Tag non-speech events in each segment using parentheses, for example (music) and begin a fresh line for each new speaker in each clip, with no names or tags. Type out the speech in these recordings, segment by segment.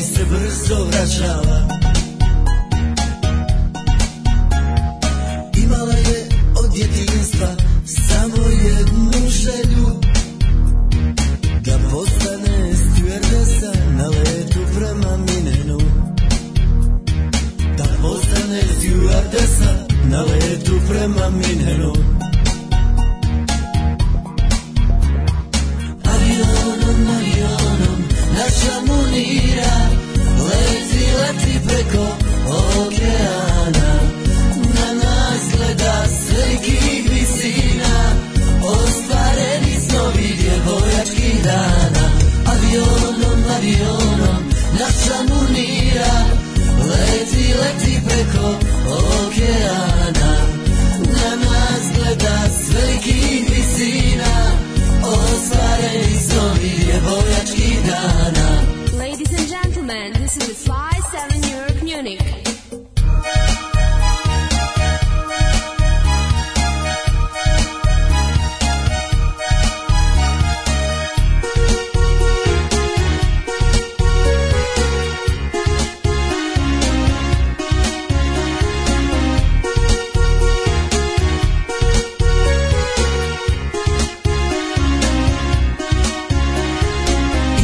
brzo vraćala Imala je od djetinjstva samo jednu želju Da postane stjuardesa na letu prema Minenu Da postane stjuardesa na letu prema Minenu Avionom, avionom, naša munira Leti, leti preko okeana Na nas gleda s velikih visina Ostvareni snovi djevojačkih dana Avionom, avionom, naša munira Leti, leti preko okeana Na nas gleda s velikih visina Ostvareni snovi djevojačkih dana
Ladies and gentlemen, this is the Fly 7 New York Munich.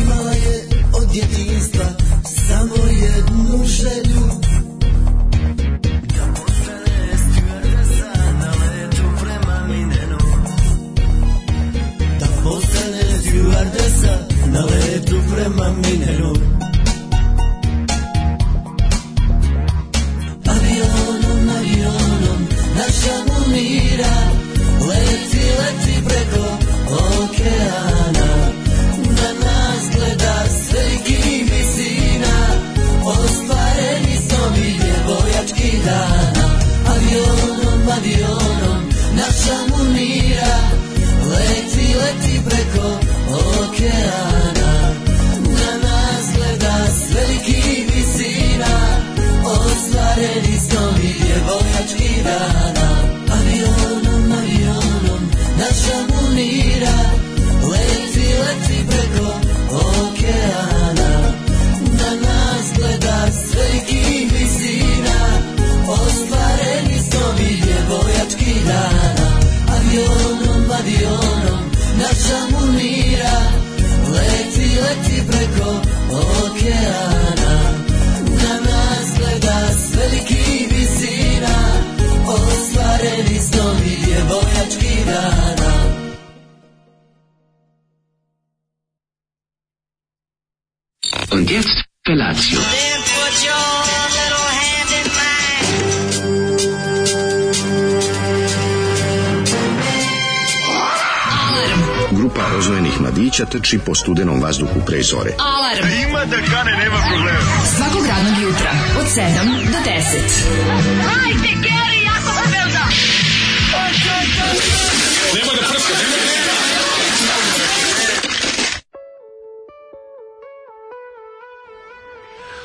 Imala je od djetinjstva samo jednu želju Da postane stjuardesa na letu prema Minenu Da postane stjuardesa na letu prema Minenu Avionom, avionom, naša munira Leti, leti preko okeana Na nas gleda s velikih visina Ostvareni snovi djevojačkih dana Avionom, avionom, naša munira Leti, leti preko okeana Na nas gleda s velikih visina Ostvareni snovi djevojačkih dana Avionom, avionom, naša munira Leti, leti preko okeana Na nas gleda s velikih visina Ostvareni snovi djevojačkih dana Avionom, avionom, naša munira Leti, leti preko okeana na nas gleda s velikih visina Ostvareni snovi djevojačkih dana
Und jetzt Felatio.
Then put your little hand in mine.
Grupa rozvojenih mladića trči po studenom vazduhu pre zore.
Alarm. Ima da kane, nema problema. Svakog radnog jutra, od 7 do 10.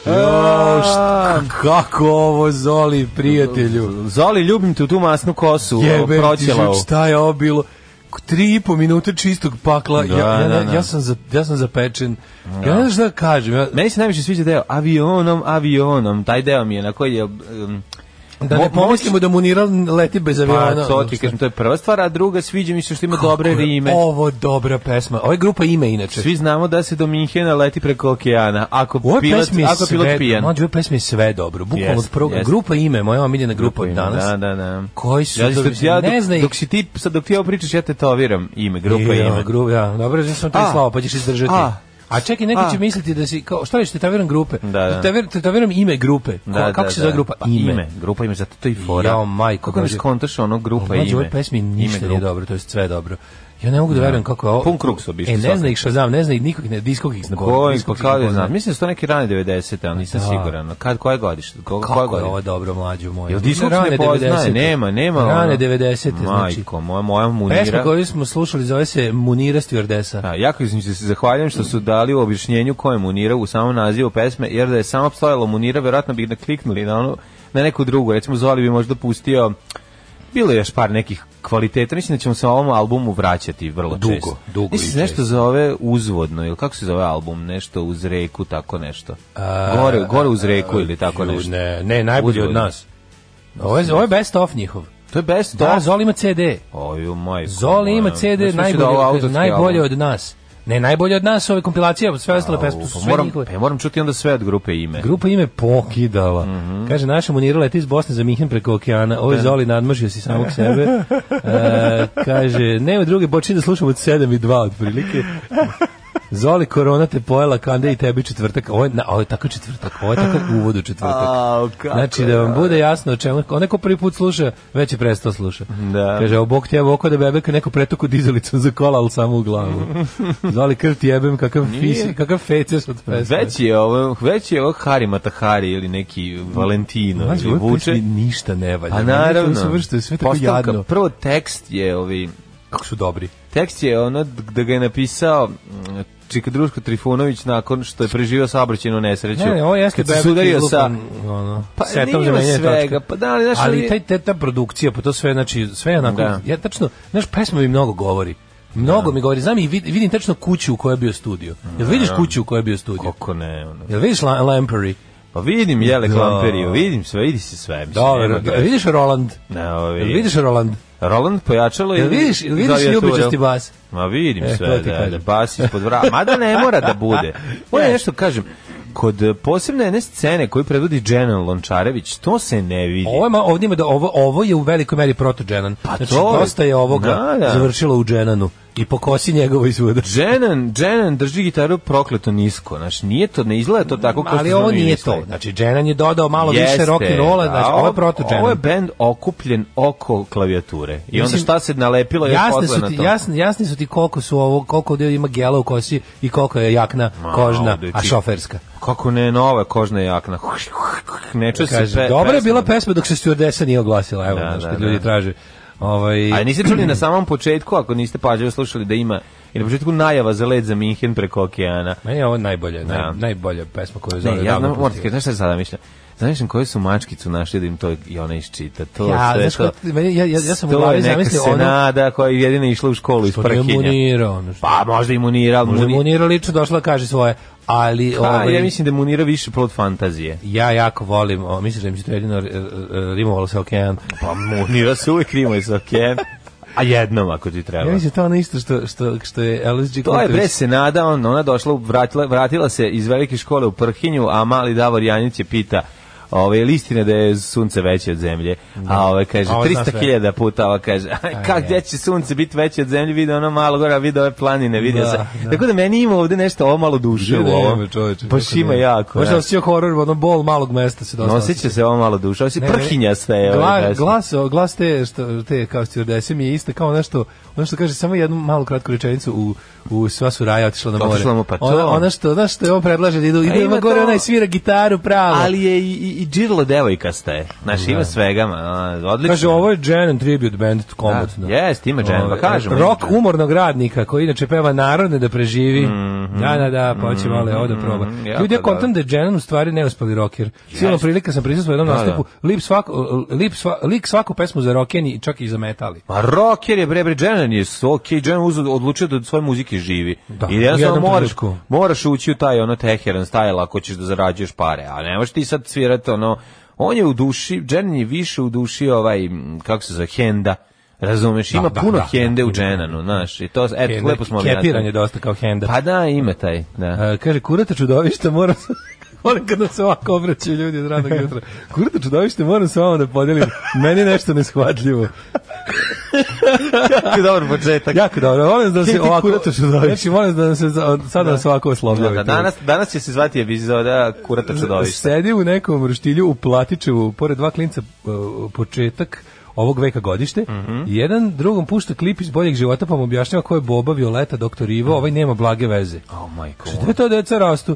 A, Kako ovo Zoli, prijatelju?
Zoli, ljubim te u tu masnu kosu.
Jebem ti
proćelavu.
život, šta je ovo bilo? K- Tri i po minute čistog pakla,
Da,
ja, ja,
da, da.
ja, sam za, ja sam zapečen. Ja ne znam šta da kažem. Ja,
Meni se najviše sviđa deo avionom, avionom. Taj deo mi je na koji je... Um,
da ne
mo- momak-
pomislimo da Muniral leti bez aviona.
Pa, to
ono
ti
što-
kažem, to je prva stvar, a druga sviđa mi se što ima dobre
Kako je
rime.
Ovo dobra pesma. Ovo je grupa ime inače.
Svi znamo da se do Minhena leti preko okeana. Ako
U ovoj
pilot,
pesmi je
ako pilot
sve,
pijan.
mlađe, u ovoj pesmi je sve dobro. Bukvalno
Jest,
od prvog,
jest.
grupa ime, moja omiljena grupa od danas.
Da, da, da.
Koji su
ja,
dobri-
dok, ja, dok,
ne zna ih.
dok, si ti, sad dok ti ovo pričaš, ja tetoviram ime, grupa
Ja,
ime.
Gru, ja, dobro, ja sam tri
A.
slova, pa ćeš izdržati.
A.
A, čekaj, neko
A.
će misliti da si, kao, šta već, tetaviram grupe.
Da, da.
Tetaviram, tetaviram ime grupe. Ko,
Da,
kako
da,
se zove
da.
grupa?
Pa, ime. Grupa ime, zato to i fora.
Jao, majko,
Kako mi
mlađe.
skontaš ono grupa
Mlađe,
ime?
ovoj pesmi ništa
Ime
nije
grupa.
dobro, to je sve dobro. Ja ne mogu da verujem kako je ovo.
Pun krug su obišli,
E, ne
sasvim.
zna ih Shazam, ne zna ih nikog, ne, diskog ih zna.
Koji,
diskog
pa
ih
kada
ne
je znam?
poznaje.
Mislim da su to neki rane 90-te, ali nisam
Da.
siguran. Kad, koje godište? Ko, koje
Kako je
godine?
ovo dobro, mlađo moje?
Jel diskog se
Rane
ne poznaje?
90-te.
Nema, nema. ono.
Rane 90-te, znači.
Majko, moja, moja munira.
Pesma koju smo slušali zove se Munira Stjordesa.
Da, jako im se zahvaljujem što su dali u objašnjenju ko je Munira u samom nazivu pesme, jer da je samo postojalo Munira, verovatno bi kliknuli na, ono, na neku drugu. Recimo, Zoli bi možda pustio... Bilo je još par nekih kvaliteta. Mislim da ćemo se ovom albumu vraćati vrlo
Dugo,
često.
dugo
Mislim,
i
se nešto
često.
zove uzvodno, ili kako se zove album, nešto uz reku, tako nešto. gore, gore uz reku ili tako
Ju,
nešto.
Ne, ne, najbolji od
Uzvodno.
nas. Ovo je, ovo je best of njihov.
To je best
Da,
of.
Zoli ima CD.
Oju, majko
Zoli ima
moja. Znaš
CD
mi se da ovo
najbolje,
autorski
najbolje
album?
od nas. Ne, najbolje od nas, ove kompilacije, sve ostale pesme
Au,
su
pa
sve
moram,
njihove.
pa ja moram čuti onda sve od grupe ime.
Grupa ime pokidala.
Mhm.
Kaže, naša munira leti iz Bosne za Minhen preko okeana. Ovo je Zoli, nadmašio si samog sebe.
(laughs)
E, kaže, nema druge, počinje da slušam od 7 i 2 otprilike. Zoli, korona te pojela, kande i tebi četvrtak. Ovo je, na, ovo je tako četvrtak, ovo je tako u uvodu četvrtak.
Au, kako
znači, da vam bude jasno o čemu, onaj ko prvi put sluša, već je prestao sluša.
Da.
Kaže, a bok ti jebe oko da bebeka neko pretuku dizalicom za kola, ali samo u glavu.
(laughs)
Zoli, krv ti jebem, kakav, fisi, kakav feces od pesme.
Već je ovo, već je ovo Hari Matahari ili neki Valentino
Mlađe,
ili
ovoj
vuče.
pesmi ništa ne valja.
A
Meni je to
naravno.
sve vrsto, je sve tako
Postavka,
jadno.
Prvo tekst je ovi
Kako su dobri.
tekst je ono d- da ga je napisao mm, Čika Druško Trifunović nakon što je preživio saobraćajnu nesreću.
Ne, ne, ovo jeste
Znači, Kad
bebek
se sudario
izlupan,
sa
ono,
Pa
setom
nije
za menjanje točka.
svega, pa da, ali, znaš,
ali
ali-
taj, te- ta produkcija, pa to sve, znači, sve je onako,
Da.
ja tačno, znaš, pesma mi mnogo govori. Mnogo mi govori, znam i vid- vidim tačno kuću u kojoj je bio studio. Jel vidiš kuću u kojoj je bio studio?
Kako ne, ono.
Jel vidiš La- Lamprey?
Pa vidim Jele
Da.
Klamperiju, vidim sve, vidi se sve. mislim, nema
Dobro,
to.
jel vidiš Roland?
Ne, ovo
Jel
vidim.
vidiš Roland?
Roland pojačalo
Jel
ili
vidiš, jel vidiš
klavijatura?
ljubičasti bas?
Ma vidim
E,
sve,
to ti
da, da,
kažem.
bas ispod vrata. Mada ne mora da
(laughs)
bude. Moje nešto kažem, kod e, posebne jedne scene koju predvodi Dženan Lončarević, to se ne vidi.
Ovo je, ma- ovdje ima da ovo, ovo je u velikoj meri proto Dženan. Pa znači,
to je-
dosta je ovoga
Da, da.
završilo u Dženanu i pokosi njegovo izvuda.
Dženan, Dženan drži gitaru prokleto nisko, znači nije to, ne izgleda to tako kao
Ali
što smo
ovo
mi
nije to.
mislili.
Znači, Dženan je dodao malo
Jeste,
više rock and rolla, znači,
a
ovo je proto
Ovo je
Dženan.
bend okupljen oko klavijature. I onda
Mislim,
šta se nalepilo je
Jasni su,
na
ti,
to.
jasni, jasni su ti koliko su ovo, koliko ovdje ima gela u kosi i koliko je jakna,
Ma,
kožna,
ovdje ti-
a šoferska.
Kako ne, nova kožna jakna. Ne čuje se
Kaže,
pe,
dobra je
pesma.
bila pesma dok se stewardesa nije oglasila, evo,
Da,
znaš,
da,
kad
da.
ljudi traže. Ovaj,
A niste čuli na samom početku, ako niste pažljivo slušali da ima i na početku najava za led za Minhen preko okeana.
meni je ovo najbolje, naj,
Da.
najbolja pesma koju je Zoli
Ne, ja
odavno
znam, morate
pustio.
kaži, znaš šta sada mišljam? Zamišljam koju su mačkicu našli da im to i ona isčita. To
Ja,
sve
znaš
to.
kako- meni- ja- ja- ja sam u
To je
glavi
neka
zamislio ono-
Senada koja je jedina išla u školu iz
To Pa nije
Prkinja.
Munira, ono što-
Pa možda i Munira, ali
Možda je
Munira-
Munira lično došla da kaže svoje, ali
Pa,
ovaj,
ja mislim da je Munira više plod fantazije.
ja jako volim, o, mislim da mi se to jedino e, e, e, rimovalo sa okean.
Pa Munira se uvijek rimuje sa okean. A jednom ako ti treba.
Ja mislim to ono isto što, što, što je LSG
To je bre
Kultović.
se nada, on, ona došla, u- vratila, vratila se iz velike škole u Prhinju, a mali Davor Janić je pita Ove listine da je sunce veće od zemlje. A ove kaže
A on zna sve.
300.000 puta, ova kaže aj,
Aj,
kak gdje će sunce biti veće od zemlje, vidi ono malo gore, a vidi ove planine, vidi
Da,
se.
da.
Tako da meni ima ovde nešto ovo malo duše u
Gde nema,
ovom.
čoveče,
Baš
kako
ima
nema.
jako.
Možda
da.
osjećao horor, ono bol malog mesta se dosta.
Osjeća se ovo malo duše, ovo si
Ne, ne,
prhinja ste.
Gla, glas, o, glas te, što, te kao stjordese mi je isto kao ono što, ono što kaže samo jednu malu kratku rečenicu u, u sva su raja otišla na more.
Otišla mu, pa to.
Ona, ona što, znaš što je on predlaže da idu, idu
ima
Pa ima gore,
to.
ona svira gitaru pravo.
Ali je i, i, i džirlo devojkasta je. Znaš, ima svega, ma, a, odlično.
Kaže, ovo je Janet tribute band, komotno.
Da, jest, ima Janet,
Ovaj,
pa kažemo, ima
Rock
Janet.
umornog radnika, koji inače peva narodne da preživi. Da, da, da, pa hoće malo ovo da proba.
Mhm. jako
Ljudi, ja kontam da je Janet u stvari neuspali rocker. Silno prilika sam prisustvovao jednom
Da,
nastupu. Lip svako, lip sva, lik svaku pesmu za rockeni, čak i za metali.
Ma Pa rocker je bre bre Jenan je s- ok, Jenan uzeo odlučio da od svoje muzike živi.
Da,
I
u
jednostavno
jednom
moraš,
trenutku.
moraš ući u taj ono Teheran style ako ćeš da zarađuješ pare, a ne možeš ti sad svirati ono on je u duši, Jenan je više u duši ovaj m, kako se zove Henda. Razumeš, ima
da,
puno
da,
Hende
da,
u Jenanu, znaš, i to eto
Henda-
lepo smo
Kepiran
objasnili.
je dosta kao henda.
Pa da, ima taj,
(laughs)
da.
E, kaže, kurata čudovišta, moram se... (laughs) Volim kad nam se ovako obraćaju ljudi od ranog
(laughs)
jutra. Kurata čudovište, moram sa vama da podelim. Meni je nešto neshvatljivo.
Jako dobar početak.
Jako dobro, molim da
Ti
se ovako...
kurata čudovište.
Znači, molim da se za- sada nas ovako oslovljavite.
Da, danas, danas će se zvati epizoda Kurata čudovišta.
Sedi u nekom roštilju u Platičevu, pored dva klinca uh, početak ovog veka godište.
Mhm.
Jedan drugom pušta klip iz boljeg života pa mu objašnjava ko je Boba, Violeta, doktor Ivo,
Mhm.
ovaj nema blage veze.
Oh my god.
Sve to deca rastu.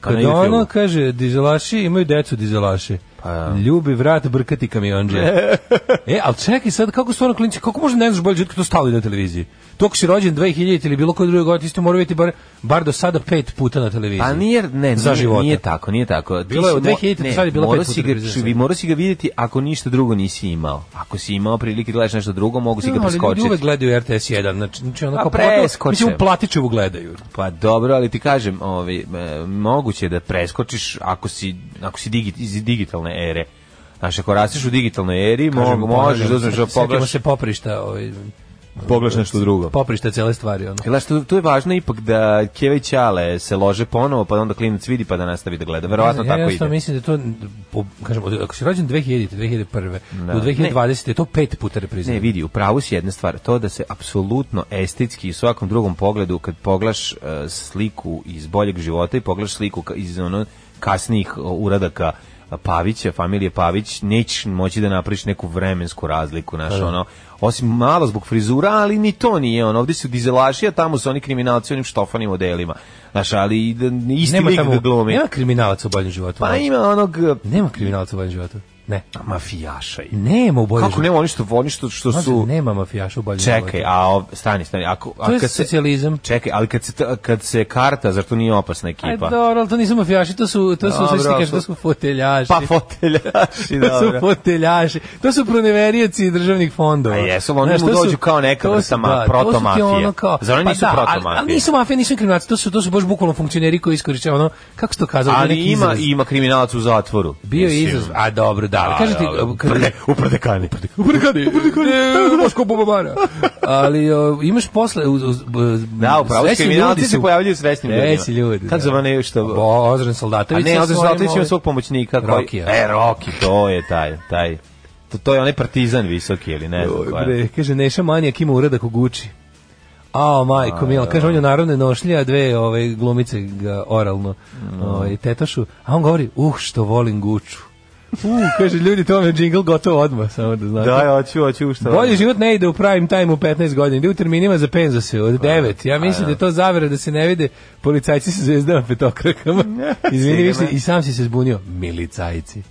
Kao na
Kad ono
YouTubeu.
kaže dizelaši imaju decu dizelaše. Ljubi vrat brkati (laughs) kamionđe. e, ali čekaj sad, kako su ono klinci, kako možda ne znaš bolje ljudi to stali na televiziji? To ako si rođen 2000 ili bilo koje druge godine, isto mora biti bar, bar do sada pet puta na televiziji.
Pa nije, ne,
Za
nije,
života.
nije tako, nije tako. Ti
Bilo je
si
od
mo-
2000
ne,
sad je bilo
morao
pet puta
si ga,
televizija.
vi morao si ga vidjeti ako ništa drugo nisi imao. Ako si imao prilike da gledaš nešto drugo, mogu si ga
No, ali ljudi
preskočiti.
uvek gledaju RTS 1, znači, znači ono
Pa
kao pogotovo-
preskoče.
mislim, u Platičevu gledaju.
Pa dobro, ali ti kažem, ovaj, e, moguće je da preskočiš ako si, ako si digi- iz digitalne ere. Znaš, ako rasteš u digitalnoj eri, mo-
Kažem,
možeš
ponavljam,
da uzmeš da
sjetimo
pogledaš,
se poprišta, ovaj,
pogledaš nešto drugo.
poprišta cele stvari, ono.
Gledaš, tu, tu je važno ipak da Keva i Ćale se lože ponovo, pa da onda klinac vidi pa da nastavi da gleda. Verovatno
Ne, ja
tako ide.
jednostavno mislim da to, po, kažem, od- ako si rođen 2000, 2001,
Da.
do 2020 je to pet puta reprizirano.
Ne, vidi, u pravu si jedna stvar, to da se apsolutno estetski i u svakom drugom pogledu, kad poglaš e, sliku iz boljeg života i poglaš sliku ka- iz ono kasnijih o, uradaka e, Pavića, familije Pavić, nećeš moći da napraviš neku vremensku razliku, znaš, ono, osim malo zbog frizura, ali ni to nije, ono, ovdje su dizelaši, a tamo su oni kriminalci u onim štofanim odelima, znaš, ali i da- isti
nema
lik
tamo,
da glumi.
nema kriminalaca u boljem životu.
Pa
mlađe.
ima onog e,
Nema kriminalaca u boljem životu. Ne.
mafijaša. i-
Nema u boljem
Kako nema oni što, oni što, što
Mlađe,
su...
Nema mafijaša u boljem životu.
Čekaj, a ov, stani, stani. Ako,
To
a
je
kad se,
socijalizam.
čekaj, ali kad se, ta- kad se karta, zar to nije opasna
Aj,
ekipa?
dobro, ali to nisu mafijaši, to su, to su,
Dobro,
sve što ti kažeš,
su-
to su foteljaši.
pa
(laughs)
foteljaši,
to su
dobro.
foteljaši, to su proneverijaci državnih fondova.
A jesu, ali oni
Znaš,
mu
to su-
dođu kao neka
to su-
vrsta ma-
da, to su ti
protomafije.
ono kao-
Zar oni
pa
nisu
da, ali-
protomafije?
ali nisu mafije, nisu kriminalci, to su, to su baš bukvalno funkcioneri koji iskoriče ono, kako se to kazalo, to je
Ali
neki
ima,
izraz.
ima kriminalac u zatvoru.
Bio je
Mislim.
izraz, a dobro, da, ali
A,
kažete,
dobro.
kad-
Prde- u prdekani.
U prdekani, u prdekani, e, Boško Bobamara. Ali o, imaš posle... U, u, u,
Da, upravo,
srećni
kriminalci
ljudi
se
su-
pojavljuju srećnim ljudima.
Srećni ljudi.
Kako
da.
zove ne, što-
Bo, Ozren Soldatović.
A ne,
sa
Ozir
svojim,
Zlatović ima
ovaj,
svog pomoćnika. Koji,
Rokija.
E, Roki, to je taj, taj. To, to je onaj partizan visoki ili ne znam
Joj,
koja.
Bre, kaže, Neša Manijak ima uradak u Guči. A, majko mila, kaže, on je narodne nošlje, a dve ove, glumice ga oralno ovaj, tetošu, a on govori, uh, što volim Guču. Uh, kaže, ljudi, to vam je džingl gotovo odmah, samo da znate.
Da, hoću, hoću, što.
Bolji život ne ide u prime time u 15 godina, ide u terminima za penzose od 9. Ja mislim da je to zavere da se ne vide policajci sa zvezdama petokrakama. Izvini,
Sigurno.
više, i sam si se zbunio. Milicajci.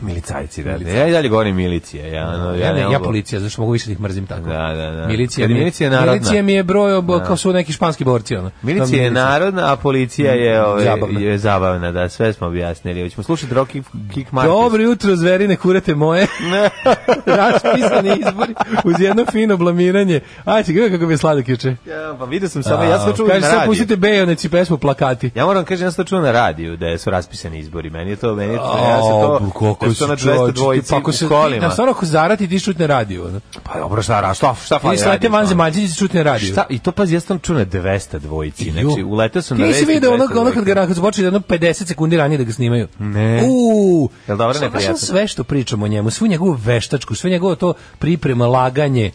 Milicajci, da. Ja i dalje govorim milicije. Ja, no,
Ja,
E, ja,
ne, ja
mogu-
policija, zašto mogu više da ih mrzim tako.
Da, da, da.
Milicija,
Kad
mi,
je milicija narodna.
milicija mi je broj ob, kao su neki španski borci. Ono. Tam
Milicija je narodna, a policija je, ove,
Mm, Zabavna.
zabavna. je zabavna, da, sve smo objasnili. Hoćemo slušati Rocky Kick Marcus. (laughs)
Dobro jutro, zverine, kurate moje. (laughs) Raspisani izbori uz jedno fino blamiranje. Ajde, gledaj kako mi je sladak juče.
Ja, pa vidio sam samo, ja sam to čuo na
Kaže, sad
radiju.
pustite Bejonec i pesmu Plakati.
Ja moram kažem, ja sam to čuo na radiju, da su raspisani izbori. Meni je to, meni je to, ja sam to,
Au, koliko
ja sam to
si čovječ,
na
ti pa ako
202
se-
u kolima.
Da, stvarno ako zarati ti čut na radiju. ono.
Pa dobro, šta, ra- šta, šta
Ili
fali
slete
radiju,
van
ono?
zemaljci ti čut na radiju.
Šta, i to pazi, ja sam čuo na 200 dvojici, znači
Ju.
uletao sam
Ti
na 200
nisi vidio ono, ono kad
202.
ga kad su počeli jedno 50 sekundi ranije da ga snimaju.
Ne.
Uuu.
E. Jel dobra
Znaš, znaš
neprijatnost?
sve što pričamo o njemu, svu njegovu veštačku, sve njegovo to priprema, laganje,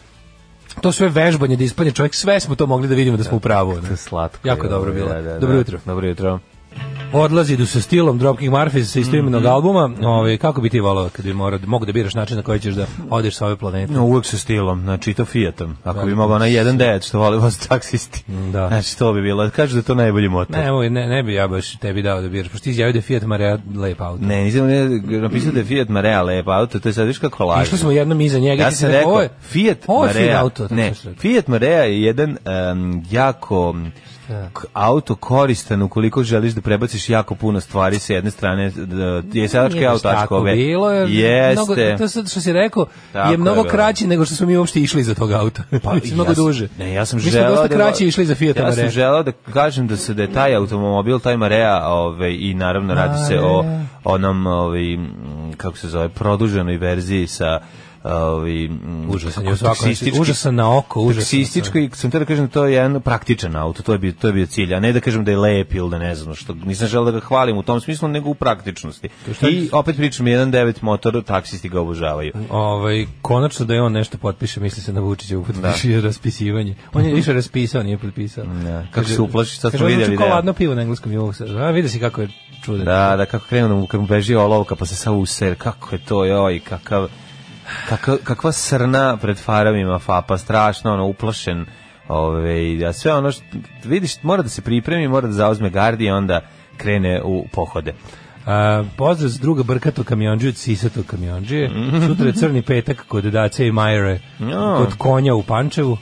to sve vežbanje da ispadne čovjek, sve smo to mogli da vidimo da smo u pravu. ono.
Slatko.
Jako
je,
dobro
ovo,
bilo.
da, da,
Dobro
da.
jutro.
Dobro jutro.
Odlazi du sa stilom Dropkick Murphys sa istoimenog
Mhm.
albuma. Ovaj kako bi ti voleo kad bi morao mogu da biraš način na koji ćeš da odeš sa ove planete.
No, uvek sa stilom, znači i to Fiatom. Ako bi mogao na jedan dec što voli vas taksisti.
Da.
Znači to bi bilo, kažu da je to najbolji motor.
Ne, moj, ne, ne bi ja baš tebi dao da biraš, pošto ti izjavio da je Fiat Marea lep auto.
Ne, nisam ne, napisao da je Fiat Marea lep auto, to je sad viš kako lažno.
Išli smo jednom iza njega.
Pa Ja
ti si
sam rekao,
ovo je-
Fiat
ovo je fin
Marea,
auto, tako
ne,
što je.
Fiat Marea je jedan em, jako m, k- auto koristan ukoliko želiš da prebaciš jako puno stvari sa jedne strane, d- je sadački
Nije baš
auto
tako
ove.
bilo, jer mnogo,
Jeste.
to sad što si rekao
Tako
je
je
mnogo
bilo.
kraći nego što smo mi uopšte išli za tog auta. (laughs) Pa,
ja
mnogo
sam-
duže.
Ne, ja sam
mi
želeo
Mi smo dosta
da-
kraće išli za Fiat
Ja sam
Marea.
želeo da kažem da se da je taj automobil, taj Marea, ovaj i naravno radi se o onom ovaj m, kako se zove, produženoj verziji sa ovaj m,
Užasan je
kako
u svakom-
taksistički-
užasan na oko, užasan.
Taksistički, sam te da kažem da to je jedan praktičan auto, to je bio to je bio cilj, a ne da kažem da je lep ili da ne znam što. Nisam želeo da ga hvalim u tom smislu, nego u praktičnosti. I opet pričam 1.9 motor, taksisti ga obožavaju.
Ovaj, konačno da je on nešto potpiše, misli se na Vučića, potpiše raspisivanje. On je više raspisao, nije potpisao.
Da. Kako
Kaže-
se uplaši, sad
kaže,
smo
ono
videli.
zvuči kao
da.
ladno pivo na engleskom je ovo sad. A, vidi si kako je čudan.
Da, da, kako krenu da mu, kako mu beži olovka, pa se sad user, kako je to, joj, kakav, kakav, kakva srna pred faramima Fapa, strašno, ono, uplašen, ove, da sve ono što, vidiš, mora da se pripremi, mora da zauzme gardi i onda krene u pohode.
Uh, A, pozdrav s druga brkato kamionđe od sisato kamionđe. Sutra je crni petak kod Dace i Majere.
Ja. Mm.
Kod konja u Pančevu.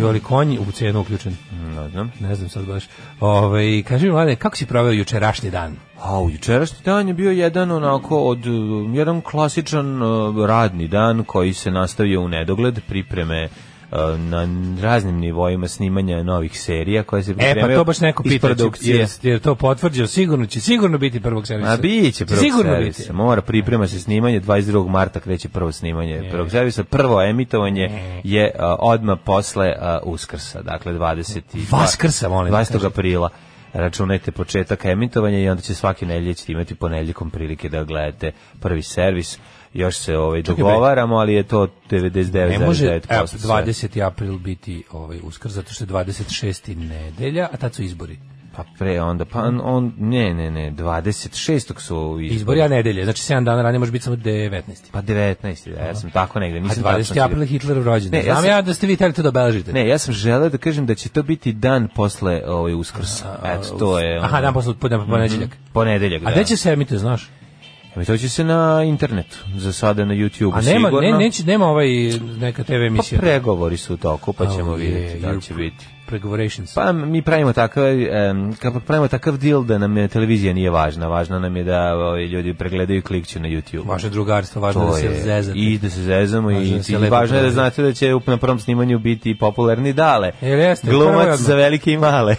I oli konj u cenu uključen.
Ne znam.
Ne znam sad baš. Ove, kaži mi, mlade, kako si proveo jučerašnji dan?
A u jučerašnji dan je bio jedan onako od um, jedan klasičan uh, radni dan koji se nastavio u nedogled pripreme uh, na raznim nivoima snimanja novih serija koje se
E, pa
pripremaju
to baš neko
iz
pita, će-
produkcije.
jer, jer to potvrđeno, sigurno će, sigurno biti prvog servisa.
A biće prvog
Sigurno
servisa.
biti.
Mora priprema se snimanje 22. marta kreće prvo snimanje prvog servisa. Prvo emitovanje je a, odmah posle a, Uskrsa, dakle 20.
Vaskrsa, molim te,
20.
kaži.
aprila. Računajte početak emitovanja i onda će svake nedelje ćete imati ponedjeljkom prilike da gledate prvi servis. Još se ovaj dogovaramo, ali je to 99,9%.
Ne može e,
sve.
20. april biti ovaj uskr, zato što je 26. nedelja, a tad su izbori.
Pa pre onda, pa on, on- ne, ne, ne, 26. su izbori.
Izbori, a nedelje, znači 7 dana ranije može biti samo 19.
Pa 19. Da, ja sam tako negde,
A
nisam tačno
20.
siguran.
april je Hitlerov rođendan.
Ne, ja
Znam ja,
sam-
da ste vi hteli to da obeležite.
Ne, ja sam želeo da kažem da će to biti dan posle ovaj Uskrsa. Eto, to je... ono,
Aha, dan posle po, po, ponedeljak.
Ponedeljak, da.
A gde će se emituje, znaš?
Emi, To će se na internetu, za sada na YouTube-u
A nema,
Pa sigurno.
ne, neće, nema ovaj neka TV
Pa
emisija.
pregovori su u toku, pa
Oh,
ćemo
yeah,
vidjeti da li
you're
će biti.
Pregovorations.
Pa mi pravimo takav, em, kako pravimo takav deal da nam je televizija nije važna, važno nam je da ovaj, ljudi pregledaju i klikću na YouTube.
Vaše drugarstvo, važno
To
Pa da se
je.
zezate.
I da se zezamo i,
Važno da se
i
lepo
važno je da
provede.
znate da će na prvom snimanju biti popularni dale.
Jel jeste, prvo je
Glumac
odmah.
za velike i
(laughs)
male.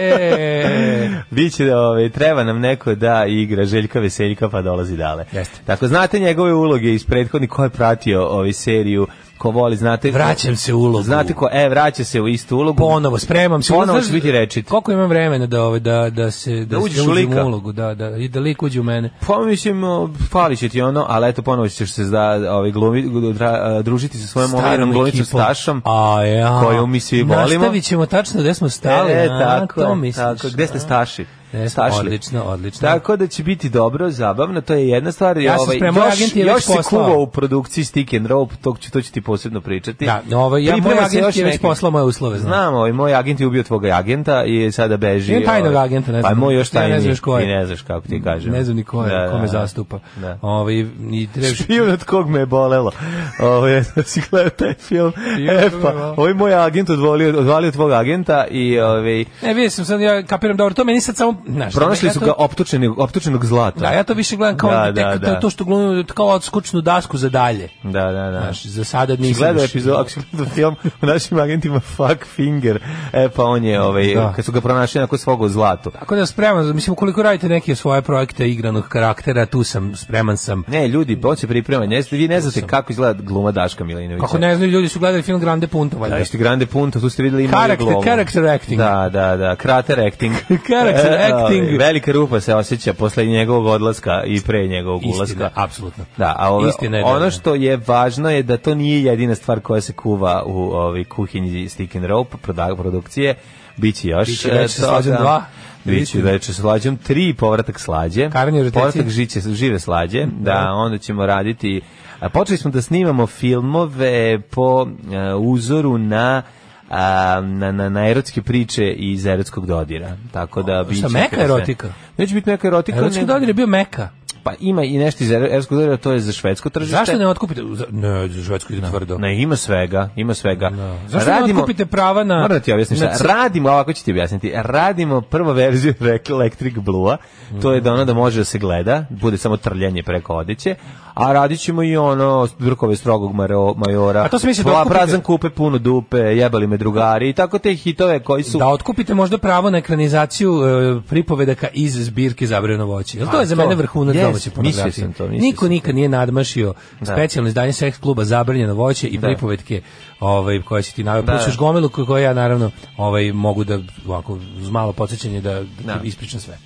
Je.
(laughs) Biće da ovaj, treba nam neko da igra Željka Veseljka pa dolazi dale.
Jeste.
Tako znate njegove uloge iz prethodnih ko je pratio ovaj seriju, ko voli, znate
Vraćam se u ulogu.
Znate ko, e vraća se u istu ulogu.
ponovo spremam se.
Ponovo
Znaš,
ću biti rečit.
Koliko imam vremena da ovaj da da se da,
uđeš
se
u
uđem
lika.
ulogu, da da i da lik uđe u mene.
Pa mislim, o, fali će ti ono, ali eto ponovo ćeš se da, ovaj, glumi, dra- družiti sa svojom omiljenom glumicom
ekipom.
Stašom.
A ja.
koju mi svi volimo.
Nastavit ćemo tačno gde smo stali.
E,
a,
tako,
to
je,
misliš,
tako. Gde
a?
ste Staši?
Ne,
Stašli.
odlično, odlično.
Tako da će biti dobro, zabavno, to je jedna stvar. i
Ja sam
ovaj,
spremao, moj
još,
agent je
još
već
se
poslao.
kuva u produkciji Stick and Rope, to ću, to ću ti posebno pričati.
Da, ovaj, ja, moj
Priprema se
agent
još
je već
neki-
poslao moje uslove, znači, znam.
Znam, ovaj, moj agent je ubio tvoga agenta i sada beži.
Imam tajnog
ovaj,
agenta, ne
Pa
znam.
moj još
Ja ne
tajni.
znam još ko je.
Ti ne znaš kako ti kažem.
Ne znam ni ko je,
Da,
ko me
da.
zastupa.
Da.
Ovaj, i trebaš...
Špijun od kog me je bolelo. Ovo (laughs) je, da si gledao taj film.
Špijun od
E,
kog me je
pa,
bolelo.
ovaj moj agent odvolio, odvalio tvog agenta i ovaj,
Ne, vidio sam sad, ja kapiram dobro, to meni sad samo... Znaš,
pronašli
ja
su
to-
ga optučenog, optučenog zlata.
Da, ja to više gledam kao da,
Da, da, da.
to, to što glumim, kao odskučnu dasku za dalje.
Da, da, da.
Znaš, za sada
Ako si
nisam...
gledao
još-
epizodu, ako si gledao film o našim agentima Fuck Finger, e pa on je, ovaj,
Da.
kad su ga pronašli onako svog u zlatu.
Tako da spreman, mislim, ukoliko radite neke svoje projekte igranog karaktera, tu sam, spreman sam.
Ne, ljudi, on se priprema, ne, vi ne znate kako izgleda gluma Daška Milinovića.
Kako ne znaju, ljudi su gledali film Grande Punto, valjda.
Da, isti Grande Punto, tu ste videli ima
Character-
i glomu.
character acting.
Da, da, da, krater
(laughs)
acting.
Character
E, ovaj,
acting.
Velika rupa se osjeća posle njegovog odlaska i pre njegovog
Istina,
ulaska.
apsolutno.
(laughs) Da, a ovo,
Istina je, da,
ono
da.
što je važno je da to nije jedina stvar koja se kuva u ovaj kuhinji Stick and Rope proda- produkcije. Biće još.
Biće Veče
e,
sa slađom
toga.
dva.
Biće veče sa slađom tri, povratak slađe.
Karanje u rotaciji.
Povratak žiće, žive slađe. Da, onda ćemo raditi... A počeli smo da snimamo filmove po e, uzoru na a, na, na, na erotske priče iz erotskog dodira. Tako da biće...
meka erotika?
Neće biti meka erotika.
Erotski
nego-
dodir je bio meka.
Pa ima i nešto iz er- erotskog dodira, to je za švedsko tržište.
Zašto ne otkupite? za- Ne, za Švedsku ide tvrdo.
Ne, ima svega, ima svega.
Zašto ne otkupite prava na-
Moram da ti objasnim šta.
na cr-
Radimo, ovako ću ti objasniti. Radimo prvu verziju (laughs) Rec- Electric Blue-a. To je da ona da može da se gleda, bude samo trljanje preko odeće. A radit ćemo i ono vrkove strogog maro- majora.
A to se misli da
Pla-
otkupite-
Prazan kupe, puno dupe, jebali me drugari i tako te hitove koji su...
Da otkupite možda pravo na ekranizaciju e, pripovedaka iz zbirke Zabrano voće. Jel to
A,
je za
to.
mene vrhunac
Jest,
domaće
mislio
pornografije?
sam to, mislio
Niko
sam
nikad nije nadmašio specijalno izdanje seks kluba Zabranjeno voće i pripovetke ovaj, koje će ti navio.
Da.
Da. još gomilu koje- koje ja naravno ovaj, mogu da, ovako, uz malo podsjećanje da, da,
Da.
ispričam sve.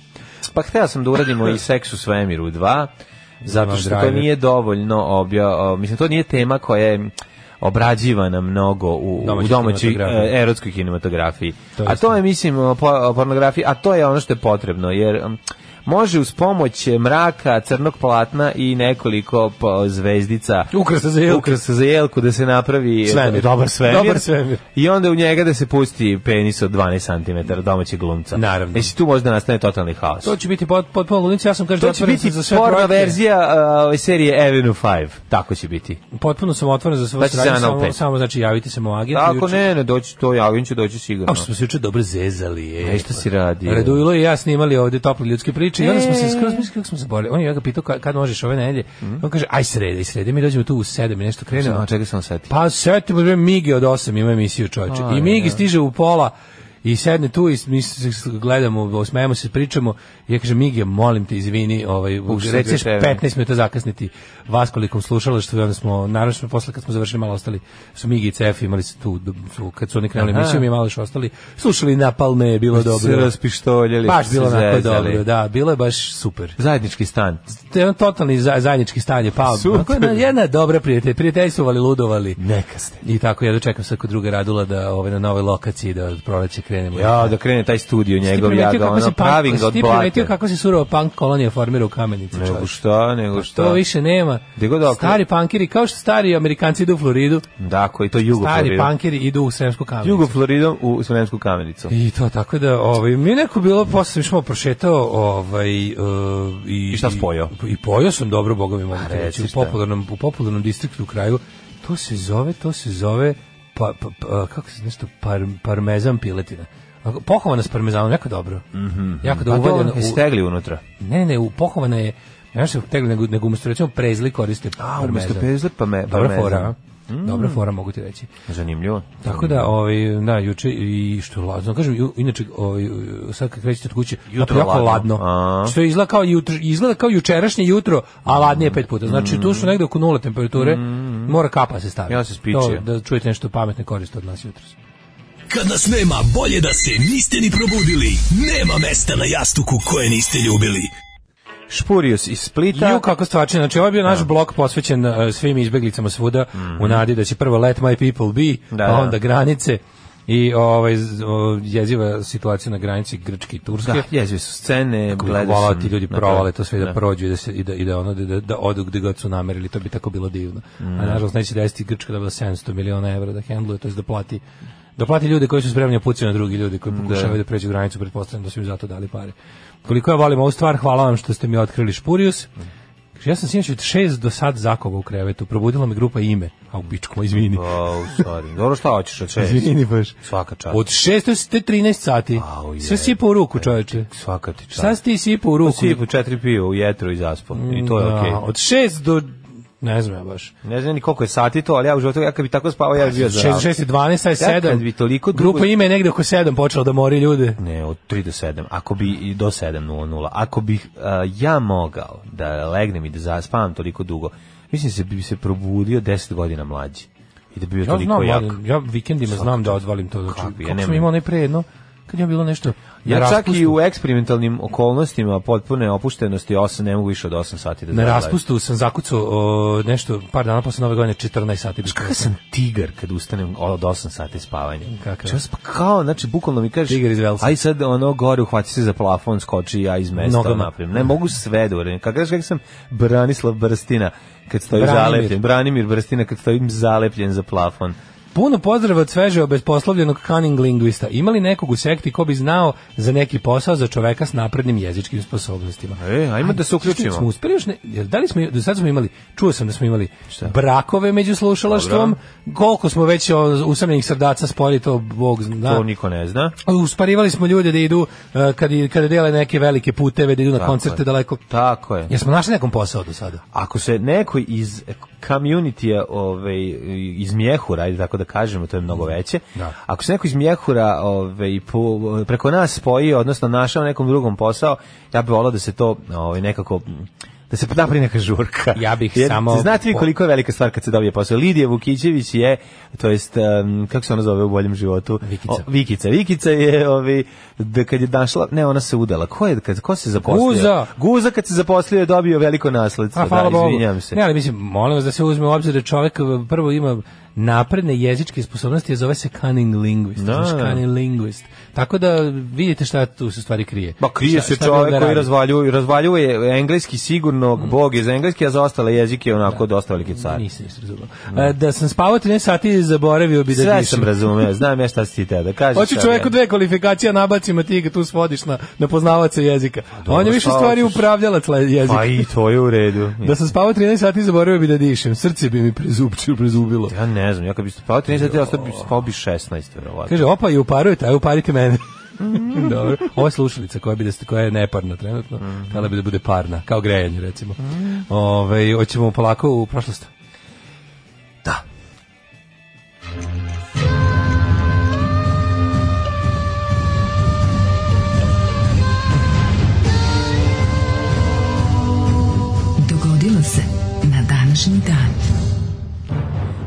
Pa hteo sam da uradimo i seks u svemiru 2, zato
Imam
što to
driver.
nije dovoljno obja, o, mislim, to nije tema koja je obrađivana mnogo u, u
Domaćoj
domaćoj
kinematografiji.
e, erotskoj kinematografiji.
To je
a to
istina.
je, mislim, o po- o pornografiji, a to je ono što je potrebno, jer... um, može uz pomoć mraka, crnog platna i nekoliko pa, zvezdica
Ukrasa za jelku.
ukrasa za jelku da se napravi
Svemir, dobar svemir.
Dobar
svemir.
i onda u njega da se pusti penis od 12 cm domaćeg glumca.
Naravno.
Znači tu možda nastane totalni haos.
To će biti pot, potpuno ludnica, ja sam kažem
To će
otvoren
biti
sam za sve
porno
projekte.
verzija uh, ove serije Avenue 5. Tako će biti.
Potpuno sam otvoren za sve
Znači,
suradnje,
za anal
samo,
pet.
samo znači javite se moj agent.
Tako ne, ne doći to, Javin će doći sigurno.
A što smo se juče dobro zezali. e, pa Je.
Ej, šta si radio? E.
Radujlo i ja snimali ovde tople ljudske priče i onda smo se skroz mislili kako smo se borili. On je ja ga pitao ka- kad možeš ove nedelje.
Mhm.
On kaže aj srede, aj srede, mi dođemo tu u 7 i nešto krenemo.
Samo čega sam seti.
Pa setimo se Migi od 8 ima emisiju čoveče. I Migi stiže u pola i sedne tu i mi se s- gledamo, osmejemo se, pričamo. I ja kažem Migi, molim te, izvini, ovaj
Ušli
reci ćeš
smo u tebe.
15 minuta zakasniti vas kolikom slušala što onda smo naravno smo posle kad smo završili malo ostali su Migi i Cef imali su tu su, kad su oni krenuli
Aha.
emisiju mi malo još ostali. Slušali Napalme je bilo
Se
dobro.
raspištoljili.
Baš
se
bilo onako
zezali.
dobro, da, bilo je baš super
Zajednički stan.
to je jedan totalni za, zajednički stan je pao.
Super.
Onako Jedna, jedna dobra prijatelj, prijateljstvovali, ludovali.
Neka ste.
I tako ja dočekam sad kod druga Radula da ovaj na novoj lokaciji da od proleće krenemo.
Ja, da krene taj studio
Jesi ti
njegov, ja
primetio
ga
kako se
ono
punk-
pravim ga
jesi
od
Ti
blate.
primetio kako se surova punk kolonija formira u kamenici,
Nego
čovječe?
šta, nego šta.
To više nema.
Gde god okre-
Stari pankeri, kao što stari Amerikanci idu u Floridu,
Da, koji to jugo
stari
Floridom.
pankeri idu u Sremsku kamenicu.
Jugo Floridom u Sremsku kamenicu.
I to tako da, ovaj, mi je neko bilo, posle sam išao prošetao, ovaj, e, i,
I šta si pojeo?
I, i pojeo sam dobro, boga mi mogu ti
reci
reći, u
šta.
popularnom, u popularnom distriktu u kraju, to se zove, to se zove, pa, pa, pa, kako se nešto, par, parmezan piletina. Onako, Pohovana s parmezanom, jako dobro. Jako
Pa
dobro.
to
uvaljena
ono,
u-
stegli unutra.
ne, ne, ne, u- pohovana je, ne znam što tegli, nego, nego umesto recimo prezli koriste
A,
parmezan.
umesto pezle, pa me,
Dobra
parmezan. Mm.
fora, a? Dobra fora, mogu ti reći.
Zanimljivo.
Tako da, ovaj, da, juče i što je ladno, kažem, ju- inače, ovaj, sad kad krećete od kuće,
Jutro
jutro jako
ladno.
ladno,
A.
što izgleda kao, jutro, izgleda kao jučerašnje jutro, a ladnije pet puta, znači tu su negde oko nula temperature, mora kapa se staviti.
Mm. Ja se spičio.
To, da čujete nešto pametne koriste od nas jutros.
Kad nas nema, bolje da se niste ni probudili. Nema mesta na jastuku koje niste ljubili.
Špurius iz Splita.
Ju kako stvarčina, znači ovo je bio naš blog posvećen e, svim izbeglicama svuda u nadi da će prvo let my people be,
Mhm. Da,
pa
da.
onda granice i ovaj z- o, jeziva situacija na granici Grčke i Turske.
Da, jezive su scene, gledao
Hvala
sam
ti ljudi
na
provale to sve da,
Da.
prođu i da se i da, i da ono da, da odu gde god su namerili, to bi tako bilo divno. A nažalost neće desiti Grčka da 700 miliona evra da hendluje, to jest da plati da plati ljude koji su spremni da pucaju na drugi ljudi koji pokušavaju da, pređu granicu, pretpostavljam da su im zato dali pare. Koliko ja volim ovu stvar, hvala vam što ste mi otkrili Špurius. Kaže, Ja sam sinoć od šest do sad zakova u krevetu, probudila me grupa ime, a u bičku, izvini.
Au, sorry. Dobro, šta hoćeš od šest?
Izvini baš.
Svaka čast.
Od šest do s- te 13 sati.
Au,
Sve sipa u ruku, čoveče.
Svaka ti čast.
Sad si ti sipa u ruku.
Sipu četiri pio u jetru i zaspo. I to je
Da,
okej.
Od 6 do ne znam ja baš.
Ne znam ni koliko je sati to, ali ja u životu, ja kad bi tako spavao, ja bi Pa bio
6
zdrav.
do 6 je 12, sad je
Ja kad
7.
bi toliko dugo-
Grupa ime je negde oko 7 počela da mori ljude.
Ne, od 3 do 7. Ako bi i do 7.00. Ako bih a, ja mogao da legnem i da zaspavam toliko dugo, mislim se bi se probudio 10 godina mlađi. I da bi bio
Ja
toliko
znam,
jak.
mladen, ja vikendima znam da odvalim to. Znači,
Kako, ja
kako, sam
nemam.
imao onaj pre jedno, kad je bilo nešto na
Ja čak
raspustu,
i u eksperimentalnim okolnostima potpune opuštenosti 8, ne mogu više od 8 sati da
na
zagledam.
raspustu sam zakucao o, nešto par dana posle nove godine 14 sati. bi
Kakav sam tigar kad ustanem od 8 sati spavanja.
Kakav?
Čas pa kao, znači, bukvalno mi kažeš,
Tigar iz Velsa.
aj sad ono gore, uhvati se za plafon, skoči ja iz mesta
Nogama.
napravim. Ne, mogu sve da uradim. Kako kažeš kako sam Branislav Brstina kad stojim
Branimir.
zalepljen. Branimir Brstina kad stojim zalepljen za plafon.
Puno pozdrava od sveže obesposlovljenog cunning lingvista. Ima li nekog u sekti ko bi znao za neki posao za čoveka s naprednim jezičkim sposobnostima?
E, ajmo da se uključimo.
Smo uspeli još ne, jel da li smo, do sad smo imali, čuo sam da smo imali brakove među slušalaštvom, koliko smo već o, usamljenih srdaca spojili, to Bog zna.
To niko ne zna.
Usparivali smo ljude da idu, e, kad, i- kada dele neke velike puteve, da idu na
Tako
koncerte
je.
daleko.
Tako je.
Jesmo našli nekom posao do sada?
Ako se neko iz community ovaj iz Mjehura, ajde tako da kažemo, to je mnogo veće.
Da.
Ako se neko iz Mjehura ovaj po, preko nas spoji, odnosno našao nekom drugom posao, ja bih volao da se to ovaj nekako mm, da se napravi neka žurka.
Ja bih samo-
Znate vi koliko je velika stvar kad se dobije posao. Lidija Vukićević je, to jest em, kako se ona zove u boljem životu?
Vikica.
O, Vikica. Vikica je ovaj da kad je našla, ne, ona se udala. Ko je kad ko se zaposlio?
Guza.
Guza kad se zaposlio je dobio veliko nasledstvo.
A, hvala
da,
Bogu.
izvinjam se.
Ne, ali mislim, molim vas da se uzme u obzir da čovek e, prvo ima napredne jezičke sposobnosti, a zove se cunning linguist.
Da.
znaš, cunning linguist. Tako da vidite šta tu se u stvari krije.
Ba, krije
Šta-
se
šta bi onda
čovjek koji
radio?
razvaljuje, razvaljuje engleski sigurno,
Mm.
bog iz engleski, a za ostale jezike je onako dosta veliki car.
Nisam ništa razumio. E, Da sam spavao 13 sati, zaboravio bi da
Sve
dišem.
sam razumeo, znam ja šta si ti te da kažeš.
Hoće
ali
čoveku
ja-
dve kvalifikacije, a nabacim, a ti ga tu svodiš na, na poznavaca jezika.
Pa
On je više
šta
stvari
hoćeš?
upravljalac le- jezika.
Pa i to je u redu.
Da sam spavao 13 sati, zaboravio bi da dišem. Srce bi mi prezupčilo, prezubilo.
Ja ne znam, ja kad bi pa, spao 13 sati, ja ostao bi spao bi 16, verovatno.
Kaže, opa, i uparujete, aj uparite mene. (laughs) Dobro. Ovo je slušalica koja, bi da, ste- koja je neparna trenutno, htjela bi da bude parna, kao grejanje recimo. Ove, hoćemo polako u prošlost. Da.
Dogodilo se na današnji dan.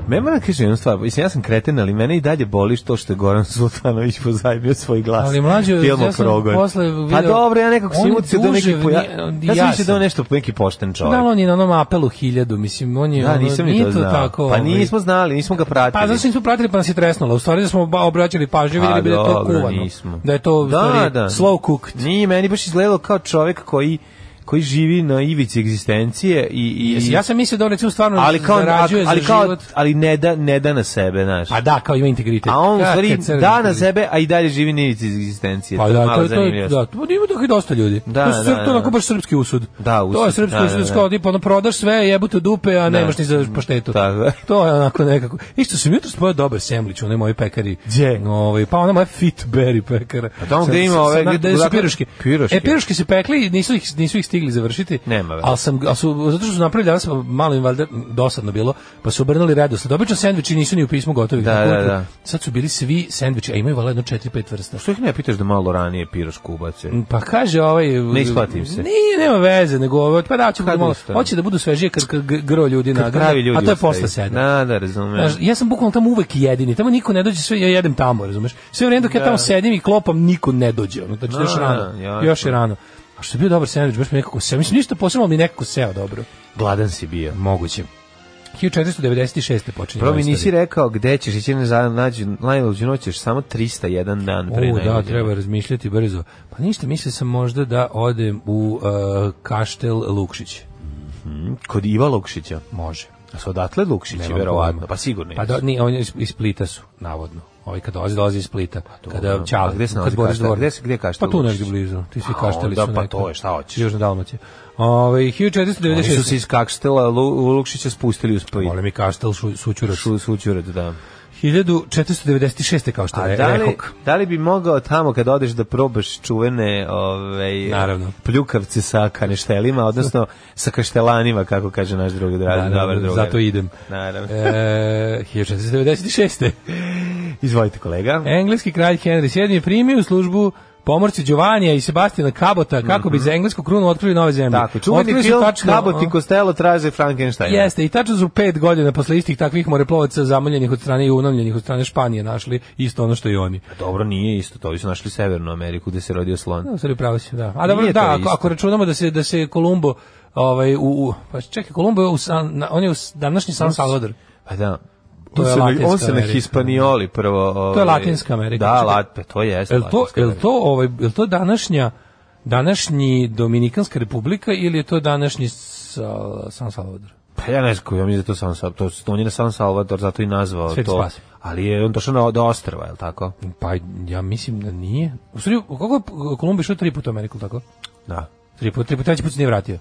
Me moram kaže jednu stvar, mislim, ja sam kreten, ali mene i dalje boli što što je Goran Sultanović pozajmio svoj glas.
Ali mlađe,
Filmu
ja sam
Progon.
posle video-
Pa dobro, ja nekako
On
sam
je
ucio da neki
duže,
poja...
nije- on-
Ja sam
ja
mislio da
sam.
on nešto neki pošten čovjek.
Da, ali on je na onom apelu hiljadu, mislim, on je,
Da,
ono,
nisam ni
nije
to znao.
tako.
pa
ovaj,
nismo znali, nismo ga pratili.
Pa zato što nismo pratili pa nas je tresnulo. U stvari da smo ba- obraćali pažnju, vidjeli
Pa,
bi da je to
dobro,
kuvano.
nismo.
Da je to u
Da,
stvari
da.
slow cooked.
Nije, meni baš izgledalo kao čovjek koji koji živi na ivici egzistencije i, i
Ja sam mislio da on recimo stvarno
ali kao
zarađuje
ali
za
kao
život.
ali ne da ne da na sebe, znaš.
Pa da, kao ima integritet.
A on u
Kakav
stvari
crni
da na
integritet.
sebe, a i dalje živi na ivici egzistencije.
Pa
je
da,
malo
to, to,
zanimljivo.
da, to ima tako i dosta ljudi.
Da,
to, su,
da,
to je onako
da.
baš srpski usud.
Da,
To
usud,
je srpski
da,
usud,
da, da.
kao tipa, ono, prodaš sve, jebute u dupe, a nemaš ni za paštetu.
Tako.
To je onako nekako. I što sam jutro spojao dobar semlić u onoj mojoj pekari.
Gdje? Pa
Ovaj, pa ona moja fit berry pekara. A
tamo gdje ima ove-
Da su
dakle,
piruške.
piruške.
E, piruške se pekli i nisu ih, nisu ih stigli završiti.
Nema veze.
Ali sam, ali su, zato što su napravili, danas pa malo im valjda dosadno bilo, pa su obrnuli redosled. Obično sendviči nisu ni u pismu gotovi.
Da, da, da.
Sad su bili svi sendviči, a imaju valjda jedno 4-5 vrsta.
Što ih ne pitaš da malo ranije pirošku ubace?
Pa kaže ovaj
Ne isplati im se.
Nije, nema veze, nego ovaj pa da će
Kad
da malo.
ustane?
Hoće da budu svežije kad, kad gr- gro ljudi
Kad
nagrade,
pravi ljudi
A to je posle
ostaju.
sedam.
Da, da, razumem.
Znaš, ja sam bukvalno tamo uvek jedini. Tamo niko ne dođe, sve ja jedem tamo, razumeš? Sve vreme dok ja tamo sedim i klopam, niko ne dođe. Ono, znači,
Da,
još rano.
jasno.
još je rano. A što je bio dobar sandvič, baš mi nekako seo. Mislim, ništa posebno, ali mi nekako seo dobro.
Gladan si bio.
Moguće. 1496. počinje.
Prvo mi
moja
nisi
istorija.
rekao gde ćeš ići na za- nađi najluđu noć, ćeš samo 301 dan pre
U, da,
najluđe.
treba razmišljati brzo. Pa ništa, mislio sam možda da odem u uh, Kaštel Lukšić.
Kod Iva Lukšića.
Može.
A su odatle Lukšići,
Nemam
verovatno.
pojma.
Pa sigurno
Pa
jesu.
do, ni, on je iz, iz Splita su, navodno. Ovaj kad dolazi, dolazi iz Splita.
Pa
kada
dobro.
čali,
A gde se nalazi Kaštel? Gde se- gde je Kaštel
Pa tu
Vučić?
negdje blizu. Ti svi
A,
kašteli
onda
su
pa
neka.
to je, šta hoćeš?
Južna Dalmacija. Ovaj
Oni su se
1496.
iz Kakštela Lu- u Lukšića spustili u Split.
Molim i Kaštel su, Sućurac.
Šu- Sućurat, da.
1496. kao što
A
je
da li,
rekog.
da li bi mogao tamo kad odeš da probaš čuvene ovaj,
Naravno.
pljukavce sa kaneštelima,
(laughs)
odnosno sa kaštelanima, kako kaže naš drugi drag,
Naravno,
dobar drugar.
zato idem.
Naravno.
E, 1496.
Izvolite
e,
kolega.
Engleski kralj Henry VII je primio u službu pomorci Giovanija i Sebastina Kabota kako bi za englesku krunu otkrili nove zemlje.
Mhm. Tako, čuveni
Otkrili su
film
tačno,
Kabot i
a?
Costello traže Frankensteina.
Jeste, i tačno su pet godina posle istih takvih moreplovaca zamoljenih od strane i unomljenih od strane Španije našli isto ono što i oni.
Dobro, nije isto, to su našli Severnu Ameriku gde se rodio slon.
Da, u stvari pravo si, da. A dobro,
Nije to
da, ako,
isto.
ako računamo da se da se Kolumbo ovaj u, u pa čekaj, Kolumbo je u San, na- on je u s- današnji San Salvador.
Pa da.
To
on
je
se na,
Latinska
on se na
Amerika.
Hispanioli prvo... ovaj,
Latinska Amerika.
Da,
Čekaj.
lat, pa to jeste
Jel to
Latinska
jel
Amerika.
to ovaj jel to današnja današnji Dominikanska republika ili je to današnji Sa- San Salvador?
Pa ja ne znam, ja mislim da je to San Salvador, to, on je na San Salvador, zato i nazvao
Sveti
to.
spas.
Ali je on došao na, do ostrva, je li tako?
Pa ja mislim da nije. U stvari, kako je Kolumbo išao tri puta u Ameriku, tako?
Da.
Tri puta, tri puta, treći put se nije vratio.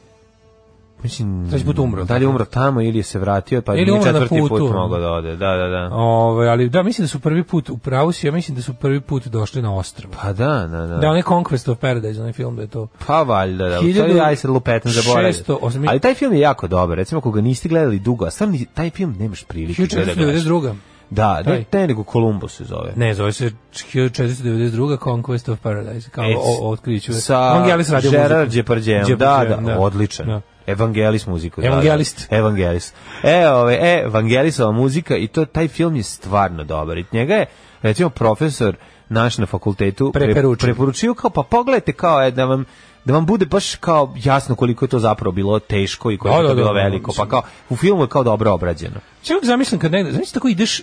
Mislim,
Treći put umro,
Da li je umro tamo ili je se vratio, pa
Ili
nije
umro na
četvrti put
putu. ono.
mogao da ode. Da, da, da.
Ove, Ovaj, ali da, mislim da su prvi put, u pravu si, ja mislim da su prvi put došli na ostrvo.
Pa da, da, da.
Da, onaj Conquest of Paradise, onaj film da je to.
Pa valjda, da. To je
1600
aj sad lupetan zaboravio.
608
Ali taj film je jako dobar. Recimo, ako ga niste gledali dugo, a stvarno ni- taj film nemaš prilike da ga gledaš.
1492.
Da, ne,
Taj.
taj nego Kolumbus se zove.
Ne, zove se 1492. Conquest of Paradise, kao
E,
o, o otkriću.
Sa
Evangelis radio
Gerard
muziku.
Depardieu. Da, da,
Depardieu,
odličan.
Da.
Evangelis muzika.
Evangelist.
Da, da. Evangelist. E, ove, e, Evangelisova muzika i to, taj film je stvarno dobar. I njega je, recimo, profesor naš na fakultetu pre-
Preporučio.
preporučio kao, pa pogledajte kao e, da vam da vam bude baš kao jasno koliko je to zapravo bilo teško i koliko
Da,
je
da,
to
da,
bilo
da,
veliko. Pa
mislim.
kao, u filmu je kao dobro obrađeno.
Čak zamislim kad negde, znači tako ideš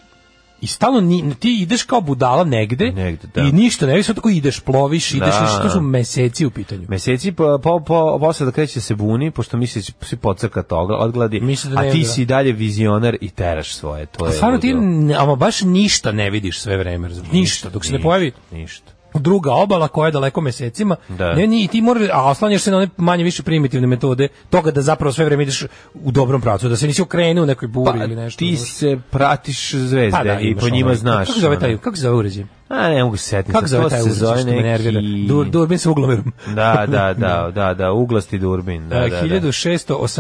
i stalno ni, ti ideš kao budala negde,
Negde, da.
i ništa ne vidiš, sad tako ideš, ploviš, ideš,
Da.
da. to su meseci u pitanju.
Meseci po, po, po, posle da kreće se buni, pošto misli da će se pocrkati ogla- odgladi,
Misli da
a
ne
ti
igra.
si i dalje vizionar i teraš svoje. To je
Pa Stvarno ti,
ludilo.
n- ama baš ništa ne vidiš sve vreme, razumiješ? Ništa, dok se ne
ništa,
pojavi
Ništa.
druga obala koja je daleko mesecima.
Da.
Ne, ni ti moraš, a oslanjaš se na one manje više primitivne metode toga da zapravo sve vreme ideš u dobrom pravcu, da se nisi okrenuo u nekoj buri ili nešto.
Pa, ti
razumeš?
se pratiš zvezde
Pa da,
i
imaš
po njima
ono-
znaš.
Kako se zove
ono.
taj, kako se zove uređaj?
A ne mogu se setiti.
Kako
sad,
zove
to
taj
se
uređaj što me nervira? Dur, durbin sa uglomerom.
Da,
(laughs)
da, da, da, da, uglasti durbin. Da,
Da,
da, da.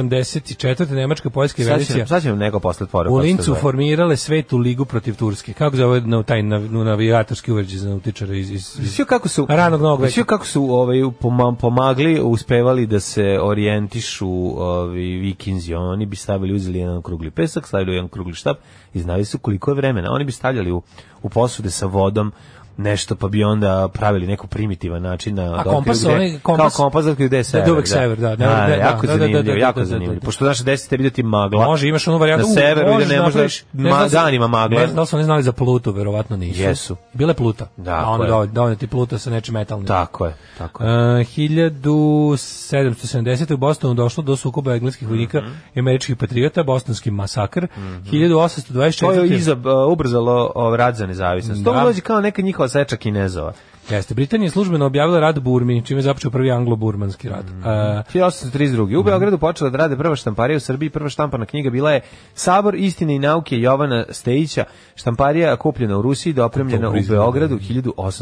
1684. Nemačka, Poljska i
Sad će,
Venecija
nam- sad će nam neko poslati poruku.
u
kako se
Lincu
zove.
formirale svetu ligu protiv Turske. Kako zove na taj nav, nu, navigatorski uređaj za nautičare iz, iz, iz
Sve kako su
ranog novog
Sve
veka?
kako su ovaj poma- pomagli, uspevali da se orijentišu ovi vikinzi, oni bi stavili uzeli jedan krugli pesak, stavili u jedan krugli štap i znali su koliko je vremena. Oni bi stavljali u, u posude sa vodom nešto pa bi onda pravili neku primitivan način na
A
da otkriju
kompas,
gde-
onaj kompas-
kao kompas da otkriju gde je sever,
uvek sever, da, ne,
da,
ne,
jako
da, da, da,
zanimljivo,
da, da,
jako
da, da,
zanimljivo
da.
pošto naše desete vidjeti magla
Može, imaš onu varijantu.
Pa, na
u,
severu
možeš
gde ne može
napraviš-
da-
ne znam
ma-
da su-
danima magla
Ne znam da li su oni znali za Pluto, verovatno nisu.
Jesu.
Bila je Pluta.
Da,
A onda
koja je.
da, da ti Pluta sa nečim metalnim.
tako je tako
Uh,
je
1770. u Bostonu došlo do sukoba engleskih vojnika
Mhm.
i američkih patriota, bostonski masakr. 1824.
To je iza, uh, ubrzalo ovaj, rad za nezavisnost. To
Da.
mi dođe kao neka njihova seča Kinezova.
Jeste, Britanija je službeno objavila rat Burmi, čime je započeo prvi anglo-burmanski rat.
Mhm.
E,
1832. U
Mhm.
Beogradu počela da rade prva štamparija u Srbiji. Prva štampana knjiga bila je Sabor istine i nauke Jovana Stejića. Štamparija kupljena u Rusiji, dopremljena
Dobro
u
izgleda.
Beogradu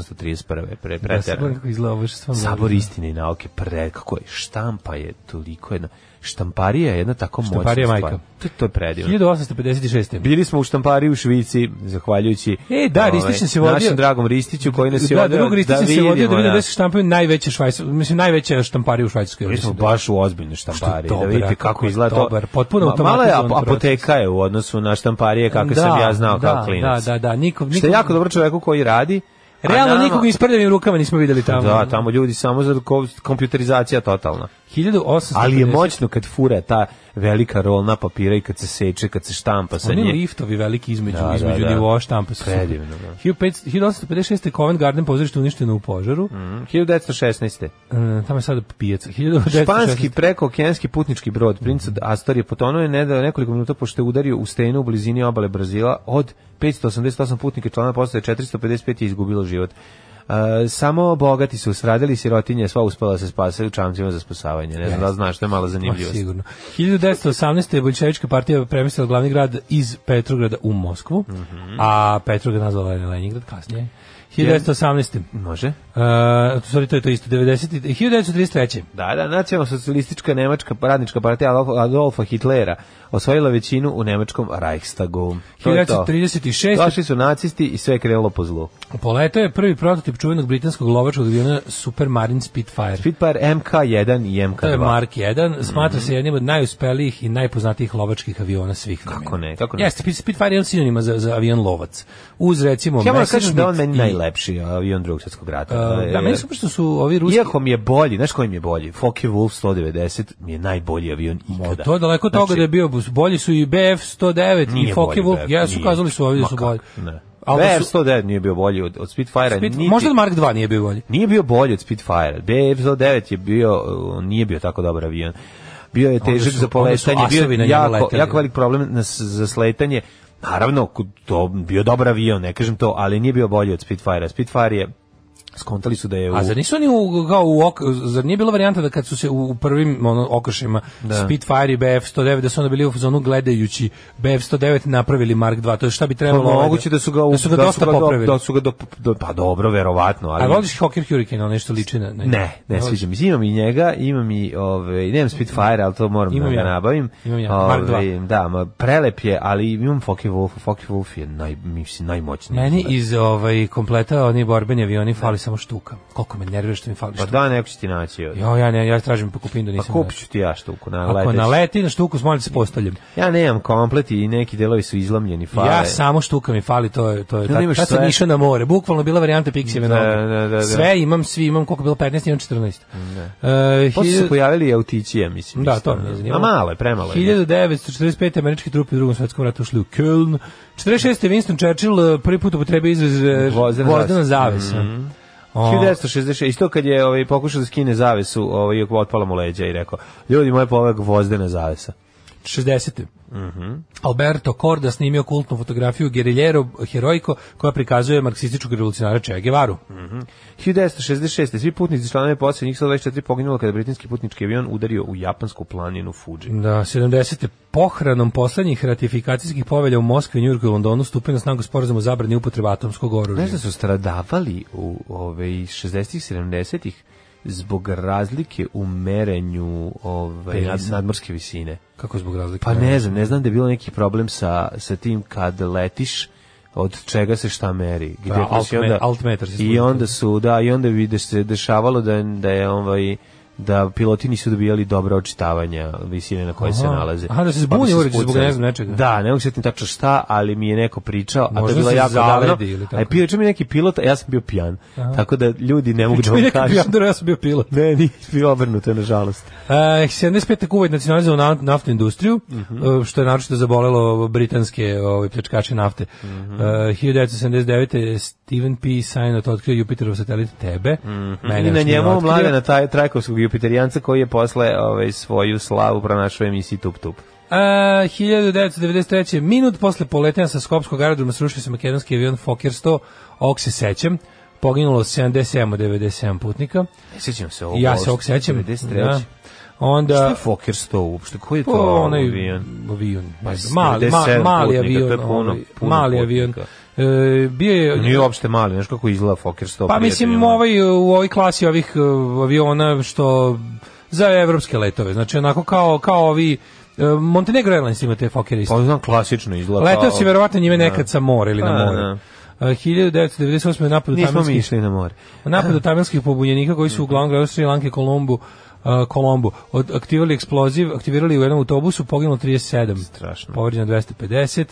1831. Pre,
da se
preterano.
pogledam kako izgleda ovo što sam
Sabor istine i nauke, pre, kako je, štampa je toliko jedna, štamparija je jedna tako moćna
Štamparija
stvar.
majka.
To, to je predivno.
1856.
Bili smo u štampariji u Švici, zahvaljujući ovaj,
E, da, Ristić se vodio-
našem dragom Ristiću koji nas je
Da,
odveo
drug Ristić se vodio da
vidimo,
vidio da se štampaju najveće švajcarske, mislim najveće štamparije u Švajcarskoj.
Mi smo
mislim, da.
baš u ozbiljnoj štampari,
Što je
da
dobar,
vidite
a
kako
kako je
izgleda
dobar,
to.
potpuno
Ma- Mala je
automatizovan
ap-
proces.
apoteka je u odnosu na štamparije kakve sam ja znao
da,
kao klinac.
Da, da, da, nikom,
Što
nikom,
je jako dobro čoveku koji radi. a
Realno
nama-
nikog isprljavim rukama nismo videli tamo.
Da, tamo ljudi samo za ko- kompjuterizacija totalna.
1850.
Ali je moćno kad fura ta velika rolna papira i kad se seče, kad se štampa sa
Oni
nje.
liftovi veliki između,
Da, da,
između
da.
nivoa štampa. su super.
Predivno, da.
1500 1856. Covent Garden pozorište uništeno u požaru.
Mhm, 1916.
E, tamo je sada pijaca. 1916.
Španski preko okeanski putnički brod
Mhm.
Prince Astor je potonuo je neda- nekoliko minuta pošto je udario u stenu u blizini obale Brazila od 588 putnika i člana postaje 455 je izgubilo život. E, samo bogati su sradili sirotinje, sva uspela da se spasaju čamcima za spasavanje. Ne znam da li znaš, to je mala
Pa,
zanimljivost.
Sigurno. 1918. je bolševička partija premjestila glavni grad iz Petrograda u Moskvu, a Petrograd nazvala je Leningrad kasnije. 1918.
Može?
Uh, sorry, to je to isto, 90. 1933.
Da, da, nacionalno-socialistička nemačka radnička partija Adolf- Adolfa Hitlera osvojila većinu u nemačkom Reichstagu. To je to.
1936.
Došli su nacisti i sve je krenulo po zlu.
Poletao je prvi prototip čuvenog britanskog lovačkog aviona Supermarine Spitfire.
Spitfire Mhm. MK1 i MK2.
To je Mark 1, smatra se jednim od najuspelijih i najpoznatijih lovačkih aviona svih vremena.
Kako ne, kako ne.
Jeste, Spit- Spitfire je jedan sinonima za, za avion lovac. Uz recimo
Ja moram
Messerschmitt
kažem da je on meni
i-
najlepši avion drugog svjetskog rata. To
Uh,
je-
da, meni su pošto su ovi ruski...
E, Iako mi je bolji, znaš koji mi je bolji? Focke Wolf 190 mi je najbolji avion
Mo,
ikada.
to je daleko od
Znači,
toga da je bio bolji su i BF-109 i
nije
Focke
bolji
Wolf,
BF,
ja su
nije.
kazali su ovi da
Ma
su
kako,
bolji.
Ne.
Ali da su-
BF 109 nije bio bolji od, od Spitfire.
Spit-
niti,
možda Mark 2 nije bio bolji.
Nije bio bolji od Spitfire. BF 109 je bio, uh, nije bio tako dobar avion. Bio je težak
su-
za poletanje,
onda su
bio
asovi na
je
njemu
jako,
letali.
jako velik problem na, s- za sletanje. Naravno, ku- to bio dobar avion, ne kažem to, ali nije bio bolji od Spitfire. Spitfire je skontali su da je u...
A zar nisu oni u, kao u ok, zar nije bila varijanta da kad su se u, u prvim ono, okršima Spitfire i BF-109 da su onda bili u zonu gledajući BF-109 napravili Mark 2, to je šta bi
Pa
trebalo ovaj
moguće da su ga u-
da su ga dosta
do-
popravili.
Da su ga do, do- pa dobro, verovatno, ali
A voliš Hocker Hurricane, ono nešto liči na...
Ne, ne
voliš?
sviđa mi. se. Imam i njega, imam i ovaj, nemam Spitfire, ali to moram
Imam
da ga
ja.
nabavim.
Imam ja, Mark
Ovaj,
dva.
Da, ma, prelep je, ali imam Focke Wolf, Focke Wolf je naj, mislim, najmoćniji. Znači,
Meni iz ovaj kompleta oni borbeni avioni fali samo štuka. Koliko me nervira što mi fali
Pa
štuka.
da, neko će ti naći. joj.
Jo, ja ne, ja tražim po kupinu,
Pa
nisam.
kupit ću ti ja štuku, na,
Ako
leteću.
naleti na štuku, smolim se postavljam.
Ja nemam komplet i neki delovi su izlomljeni, fale.
Ja samo štuka mi fali, to je to je.
Jel
Tad,
Pa imaš
tad sam
sve?
išao na more. Bukvalno bila varijanta Pixijeve
Da,
noge.
da, da, da.
Sve imam, svi imam, koliko je bilo 15, imam 14. E,
Posle su
hiljadu-
se pojavili i autići, ja mislim.
Da,
isto, ono,
to me ne zanima.
A malo je, premalo je.
1945. američke trupe u drugom svetskom ratu ušli u Köln. 46. Winston Churchill e, prvi put upotrebio izraz e,
Gvozdena
gvozdena
zavesa. Mhm.
zavesa. O,
1966, isto kad je ovaj, pokušao da skine zavesu, ovaj, otpala mu leđa i rekao, ljudi, moje povek gvozdena zavesa.
60.
Mhm.
Alberto Korda snimio kultnu fotografiju Guerrillero Heroico koja prikazuje marksističkog revolucionara Che Guevaru.
Mhm. 1966. Svi putnici članove posle njih 124 poginulo kada je britanski putnički avion udario u japansku planinu Fuji.
Da, 70. Pohranom poslednjih ratifikacijskih povelja u Moskvi, Njujorku i Londonu stupio na snagu sporazum o zabrani upotrebe atomskog oružja.
Znaš da su stradavali u ove, 60-ih, 70-ih zbog razlike u merenju ove, nad,
Penisa.
nadmorske visine.
Kako zbog razlike?
Pa
(laughs)
ne znam, ne znam da je bilo neki problem sa, sa tim kad letiš od čega se šta meri. Gde
Da,
pa si
altme-
onda-
altimetar se služi.
I onda su, da, i onda bi da se dešavalo da, da je ovaj da piloti nisu dobijali dobra očitavanja visine na kojoj se
Aha.
nalaze.
Aha, da se
Pa bi
zbuni uređaj zbog
spucali.
ne znam nečega.
Da, ne mogu se sjetiti tačno šta, ali mi je neko pričao, a to je
Možda
bilo
se
jako
zavedi
davno.
ili tako.
A je pričao mi neki pilot, a ja sam bio pijan. Tako da ljudi ne mogu da
Čuj,
vam
neki
kažu.
pijandor, ja sam bio pilot.
Ne, nisi bio obrnuto, nažalost.
Uh, 75. Kuwait nacionalizovao na- naftnu industriju,
Mhm.
uh, što je naročito zabolelo britanske ovaj, pljačkače nafte.
Mhm.
Uh, 1979. je Steven P. Sinot otkrio Jupiterov satelit Tebe. Mene
Mhm. I na
još nije
njemu
otkrio.
mladena taj trajkovskog jupiterijanca koji je posle ovaj svoju slavu pronašao u emisiji Tup Tup.
Uh, 1993. Minut posle poletenja sa Skopskog aerodroma srušio se makedonski avion Fokker 100, ovog se sećam. Poginulo 77 od 97 putnika.
Sećam se ovo.
Ja se ovog sećam.
93.
Da.
Šta
Onda...
je Fokker 100 uopšte? Koji je to
Pa, onaj
avion?
avion, ne
Pa,
znam, mali, ma,
97
mali
putnika,
avion,
to je puno-
ovaj,
puno
mali avion.
putnika.
E, bio je
Nije uopšte mali, znaš kako izgleda Fokker 100?
pa mislim
prijatelju?
ovaj u ovoj klasi ovih e, aviona što za evropske letove. Znači onako kao kao ovi e, Montenegro Airlines ima te Fokker isto.
Pa znam, klasično izgleda.
Letao
kao-
si verovatno njime nekad sa mora ili na
Pa,
moru.
da.
E, 1998. je napad u
Nismo mi
tamilskih
išli na more.
napadu tamilskih pobunjenika koji su uglavnom gledali Sri Lanke Kolombu uh, Kolombu. Od, aktivirali eksploziv, aktivirali u jednom autobusu, poginulo 37.
Strašno.
Povređeno 250.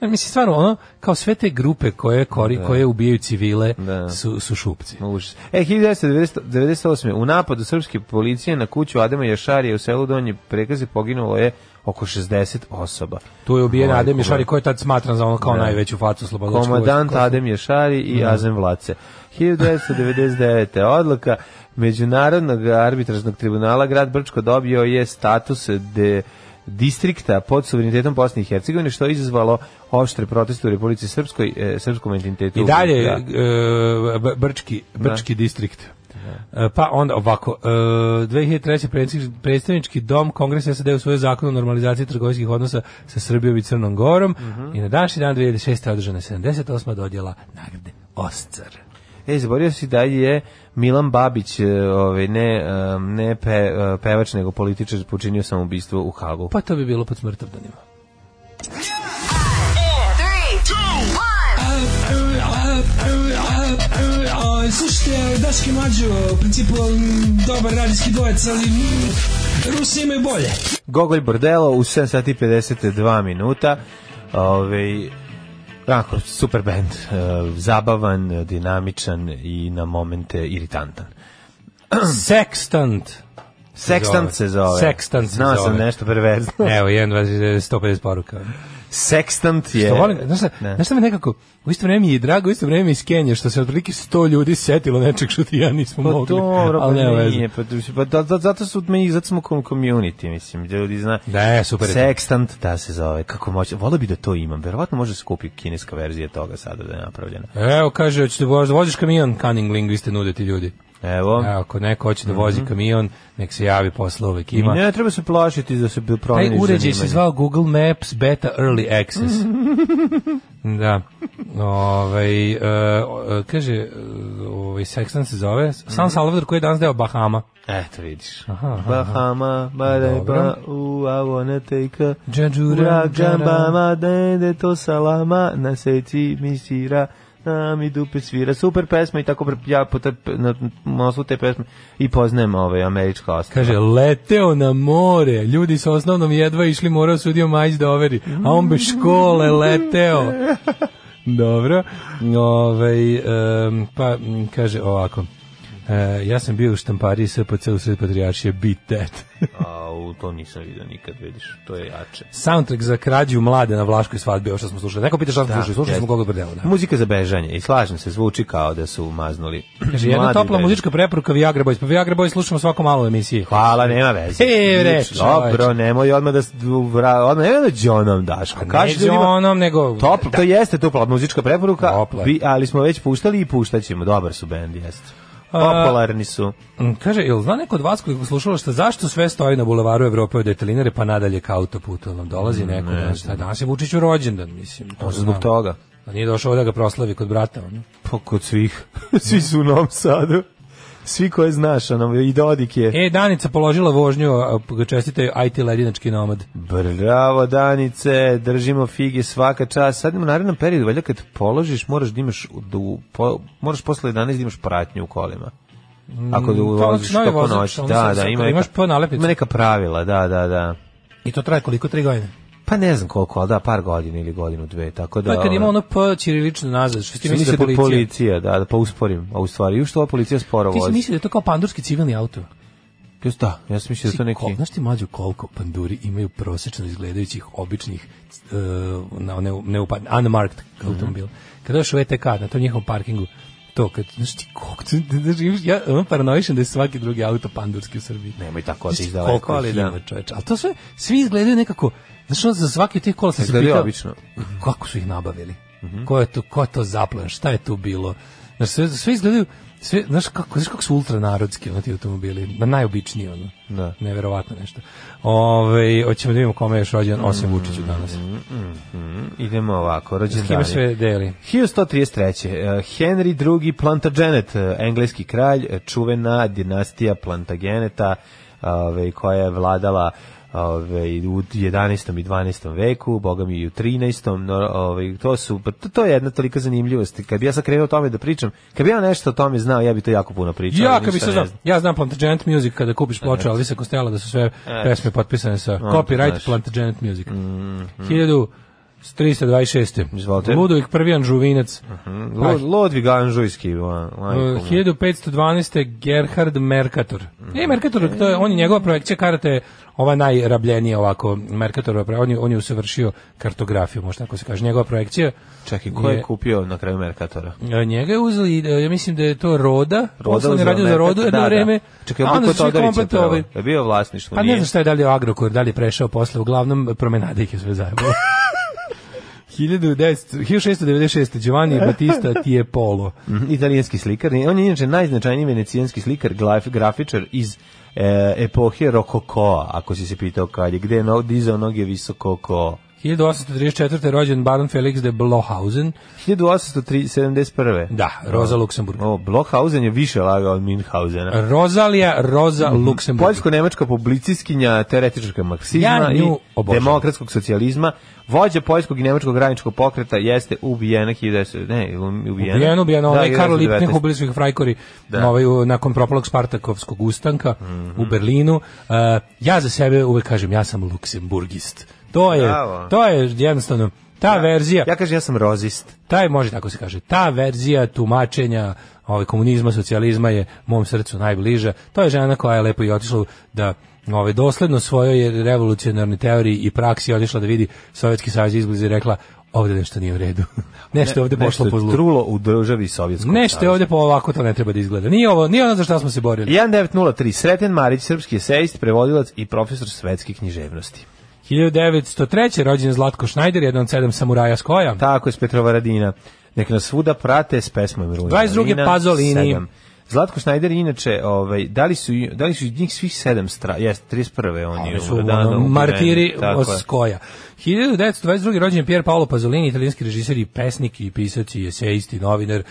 Ja, mislim, stvarno, ono, kao sve te grupe koje, kori, koje ubijaju civile
Da.
su, su šupci.
Užas. E, 1998. U napadu srpske policije na kuću Adema Jašarija u selu Donji Prekaze poginulo je oko 60 osoba.
Tu je ubijen
Majko
Adem
moja.
Ješari koji je tad smatran za ono kao najveću facu slobodačku.
Komadant
vojsku.
Adem Ješari i Azem Vlace. 1999. odluka Međunarodnog arbitražnog tribunala grad Brčko dobio je status de distrikta pod suverenitetom Bosne i Hercegovine što je izazvalo oštre proteste u Republici Srpskoj e, srpskom entitetu.
I dalje
Da.
e, B- Brčki, Brčki distrikt. E, Pa onda ovako, e, 2003. predsjednik- predstavnički dom Kongresa SAD usvojio zakon o normalizaciji trgovinskih odnosa sa Srbijom i Crnom Gorom
Mhm.
i na današnji dan 2006. održana je 78. dodjela nagrade Oscar.
E, zaborio si da je Milan Babić, e, ovaj, ne, e, ne pe, e, pevač, nego političar, počinio samoubistvo u Hagu.
Pa to bi bilo pod smrtovdanima.
Slušajte, Daške Mađo, u
типа,
principu m, dobar radijski dvojec, ali mm, Rusi imaju bolje.
Gogolj Bordelo u 7 sati i 52 minuta. Ove, Onako, super band, e, zabavan, dinamičan i na momente iritantan.
Sextant.
Sextant se zove.
Sextant se
Znao sam
zove.
nešto
(laughs)
prevezno.
Evo, 1, 2, 150 poruka.
Sextant je...
Što volim, znaš, šta-
Ne.
znaš šta me nekako, u isto vreme mi je drago, u isto vreme mi je skenje, što se otprilike sto ljudi setilo nečeg što ti i ja nismo
Pa
mogli.
dobro, pa
ali nema veze.
nije, pa, pa da, da, zato su mi, zato smo kom- community, mislim, ljudi zna.
Da, e, super je to.
Sextant, da se zove, kako moći, volio bi da to imam, verovatno može se kupi kineska verzija toga sada da je napravljena.
Evo, kaže, hoćete da voz- voziš kamion, cunning lingviste nude ti ljudi.
Evo,
Evo, ako neko hoće da vozi kamion, nek se javi posle uvek
I
ima.
ne treba se plašiti da se promeniš
Taj uređaj se
zanimanje.
zvao Google Maps Beta Early Access. (laughs) da. Ovaj e, o- e, kaže, e, ovaj Sexton se zove, San Salvador koji je danas deo Bahama.
Eto vidiš.
Aha, aha,
Bahama, Mareba,
Dobro.
u Avone teka,
Džadžura,
Ura,
džara.
Džambama, Dende to salama, na seci misira, šta mi dupe svira, super pesma i tako pre- ja po te, na osnovu te pesme i poznajem ove američka ostava.
Kaže, leteo na more, ljudi sa osnovnom jedva išli, morao sudio Majić da overi, a on bez škole leteo. Dobro. Ovaj, em, pa, m, kaže ovako, E, ja sam bio u štampariji SPC u sred patrijaršije Beat That.
A, u to nisam vidio nikad, vidiš, to je jače.
(laughs) Soundtrack za krađu mlade na Vlaškoj svadbi, ovo što smo slušali. Neko pita šta smo slušali, slušali smo
jeste.
Gogol Brdeo. Da.
Muzika za bežanje i slažem se, zvuči kao da su maznuli.
Kaže, jedna
Mladi
topla
beže.
muzička preporuka Viagra Boys. Pa Viagra Boys slušamo svako malo u emisiji.
Hvala, nema veze.
E, bre,
Dobro,
čoveče. Pa
nemoj odmah da s- vra, odmah nemoj da đonom daš. A
Ne
kaži ljudima,
onom, nego...
Topla, to jeste topla muzička preporuka,
Topla je.
bi, ali smo već puštali i puštaćemo. Dobar su bend, jeste. Popularni su.
Mm, Kaže, jel zna neko od vas koji slušala šta, zašto sve stoji na bulevaru Evrope od detalinare, pa nadalje ka autoputu, jel nam dolazi neko, ne, šta, danas je Vučiću rođendan, mislim. To
Možda zbog
znam.
toga.
A nije došao ovdje da ga proslavi kod brata, ono.
Pa kod svih. (laughs) Svi su u Novom Sadu. Svi koje znaš, ono, i Dodik je.
E, Danica položila vožnju, a, p- čestitaju IT ledinački nomad.
Bravo Danice, držimo fige svaka čast. Sad u narednom periodu, valjda kad položiš, moraš da imaš da u- po, moraš posle 11 da imaš pratnju u kolima. Ako da voziš
Mm, pa novi
toko
vozač,
noći.
ono
Da,
sad
da,
sad
ima
kad imaš P nalepnicu.
Ima neka pravila, da, da, da.
I to traje koliko, tri godine?
Pa ne znam koliko, ali da, par godina ili godinu, dve, tako da...
To je kad ima
ono,
ono P ćirilično nazad, što ti
mislim
misli da je policija.
policija, da, da pa usporim. A u stvari, što ova policija sporo
Ti si
vozi?
mislio da je to kao pandurski civilni auto?
Plus Da, ja sam mislio da
Ti
to
kol-
neki...
Znači, znaš ti mlađu koliko panduri imaju prosečno izgledajućih običnih e, na ne, ne upad, unmarked
Mhm.
automobila. Kada još u ETK, na tom njihovom parkingu, to kad, znaš ti (laughs) koliko, znaš, imaš- ja ono paranoišem da je svaki drugi auto pandurski u Srbiji.
Nemoj tako
Znaš
otići
ti
daleko,
koliko
ali
ih
da.
ima, čoveče. Ali to sve, svi izgledaju nekako, znaš ono, za svaki od tih kola sam se
Izgledaju
pitao,
obično.
kako su ih nabavili? Ko je to, ko je to zaplan? Šta je tu bilo? Znaš, sve, sve izgledaju, sve, znaš kako, znaš kako su ultranarodski ono ti automobili, na najobičniji ono.
Da.
Neverovatno nešto. Ove, hoćemo da vidimo kome je još rođen,
Mm.
osim Vučiću danas.
Idemo ovako,
S kime
rođendani.
sve deli?
1133. eh, Henry II Plantagenet, eh, engleski kralj, eh, čuvena dinastija Plantageneta, ovaj, koja je vladala ovaj, u 11. i 12. veku, boga mi i u 13. No, ovaj, to, su, pa to, to je jedna tolika zanimljivost. Kad bi ja sad krenuo o tome da pričam, kad bi ja nešto o tome znao, ja bi to jako puno pričao.
Ja,
ali
kad bi
ništa
se
ne
znam,
znam.
ja znam Plantagenet Music kada kupiš ploču Alvisa Costello da su sve pesme potpisane sa
znaš. Mhm.
copyright Plantagenet Music. 1326.
Izvolite. Mhm.
Ludovik prvi Anžuvinac.
Lo- Lodvig Anžujski. va-
Uh,
majko mu.
1512. Gerhard Mercator. E, Mercator, to je, on je njegova projekcija karata je ova najrabljenija ovako, Mercatorova, pra- on je, on je usavršio kartografiju, možda tako se kaže, njegova projekcija.
Čekaj, ko je
je-
kupio na kraju Merkatora?
E, Njega je uzeli, i, e, ja mislim da je to Roda, posle on je
uzeo
radio za
Mercator-
Rodu jedno
da, da.
vreme.
Čekaj,
a onda
on
su svi komplet ovaj-
Je bio vlasništvo,
Pa
nije?
ne znam šta je da li je Agrokor, da li je prešao posle, uglavnom promenade ih je sve
(laughs)
zajebalo. 1900 1696.
(laughs)
Giovanni Battista Tiepolo.
Mhm, italijanski slikar. On je inače najznačajniji venecijanski slikar, glaf- grafičar iz e, epohe Rokokoa, ako si se pitao kad je, gde je no, dizao noge visoko ko...
1834. je rođen Baron Felix de Blohausen.
1871.
Da, Roza Luksemburg.
O, Blochhausen je više lagao od Minhausena.
Rozalija Roza
Mm,
Luksemburg.
Poljsko-nemačka publiciskinja teoretička marksizma
Ja
i
nju obožavam.
demokratskog socijalizma, vođa poljskog i nemačkog graničkog pokreta jeste ubijena 1900, ne, ubijena.
Ubijeno, ubijeno, ovaj Karl
1919.
Lipneh ubili su ih frajkori
Da. Mhm.
ovaj, u- nakon propalog Spartakovskog ustanka u Berlinu. Uh, ja za sebe uvek kažem, ja sam luksemburgist. To je,
Bravo.
to je jednostavno, ta verzija,
Ja kažem, ja sam rozist.
taj može tako se kaže, ta verzija tumačenja ovaj komunizma, socijalizma je mom srcu najbliža. To je žena koja je lepo i otišla da ovaj dosledno svojoj je revolucionarnoj teoriji i praksi otišla da vidi Sovjetski savez izbliza i rekla ovde nešto nije u redu. (laughs) nešto je ovde pošlo po zlu.
trulo u državi Sovjetskog
Nešto je
saveza.
ovde po ovako to ne treba da izgleda. Nije ovo, nije ono za šta smo se borili.
1903. Sreten Marić, srpski eseist, prevodilac i profesor svetske književnosti.
1903. rođen je Zlatko Šnajder, jedan od sedam samuraja s koja.
Tako je s Petrova Radina. Nek nas svuda prate s pesmom Rujna
22.
Marina,
Pazolini.
sedam. Zlatko Šnajder inače, ovaj, da li su da li su iz njih svih sedam stra, jest 31. on je
Oni su
umro, da, da,
ono,
ubijen,
martiri
tako je.
Skoja. 1922. rođen je Pier Paolo Pasolini, italijanski režiser i pesnik i pisac i esejist i novinar.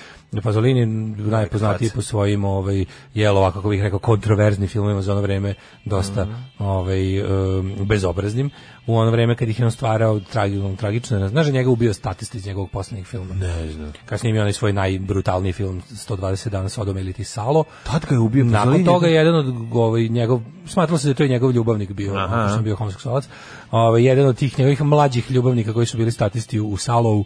Pasolini najpoznatiji po svojim ovaj, jel ovako, kako bih rekao, kontroverznim filmovima za ono vreme, dosta
Mhm.
ovaj, em, bezobraznim. U ono vreme kad ih je on stvarao tragično, tragično. Znaš da njega ubio statista iz njegovog poslednjeg filma? Ne znam. Kasnije imao onaj svoj najbrutalniji film 120 dana Sodoma ili Tisalo.
Tad ga je ubio
Nakon
Pasolini.
toga je jedan od ovaj njegov smatralo se da je to je njegov ljubavnik bio,
Aha.
što je bio homoseksualac. Ovaj jedan od tih njegovih mlađih ljubavnika koji su bili statisti u Salovu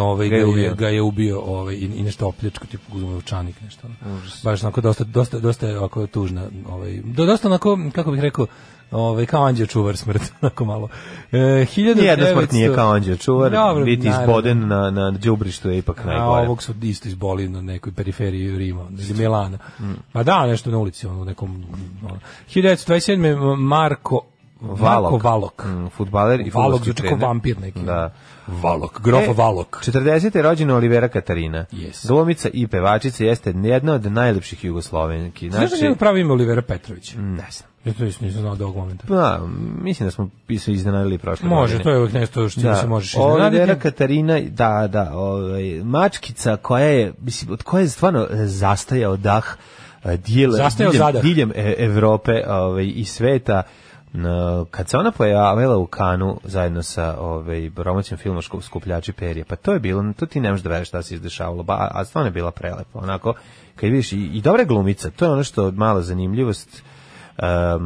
ovaj ga
je
je,
ubio.
ga je ubio ovaj i, i nešto opljačko tipu uzme novčanik nešto. ono. Baš onako dosta dosta dosta je ovako tužna, ovaj do- dosta onako kako bih rekao Ovaj kao anđeo čuvar smrt, (laughs) onako malo. E, 1900
Nijedna smrt nije kao anđeo čuvar,
Dobro,
biti
naravno.
izboden na, na đubrištu je ipak
A
najgore.
ovog su isto izboli na nekoj periferiji Rima ili Milana.
Mm.
Pa da, nešto na ulici, ono, u nekom... Ono. 1927. Marko Marko
Valok.
Valok.
Mm, fudbaler i
Valok
fudbalski
zvuči kao
trener.
vampir neki.
Da.
Valok, grof
E,
Valok.
40. je rođena Olivera Katarina.
Yes.
Glumica i pevačica jeste jedna od najlepših jugoslovenki.
Znaš da je
Znači, Mm,
pravi ime Olivera Petrović?
ne znam.
Ja to isto nisam znao do ovog momenta.
Pa, mislim da smo pisali iznenadili prošle
Može, to
godine.
je uvijek nešto što se možeš
Olivera
iznenaditi.
Katarina, da, da, ovaj, mačkica koja je, mislim, od koje je stvarno e, zastajao dah e, dijele,
Zastajao
diljem,
zadah.
diljem e, Evrope ovaj, i sveta. Na- kad se ona pojavila u Kanu zajedno sa ovaj, romaćem filmom Ško- Skupljači perje, pa to je bilo, to ti ne možeš da veriš šta se izdešavalo, ba, a stvarno je bila prelepa, onako, kad vidiš, i, i dobra je glumica, to je ono što je mala zanimljivost, em,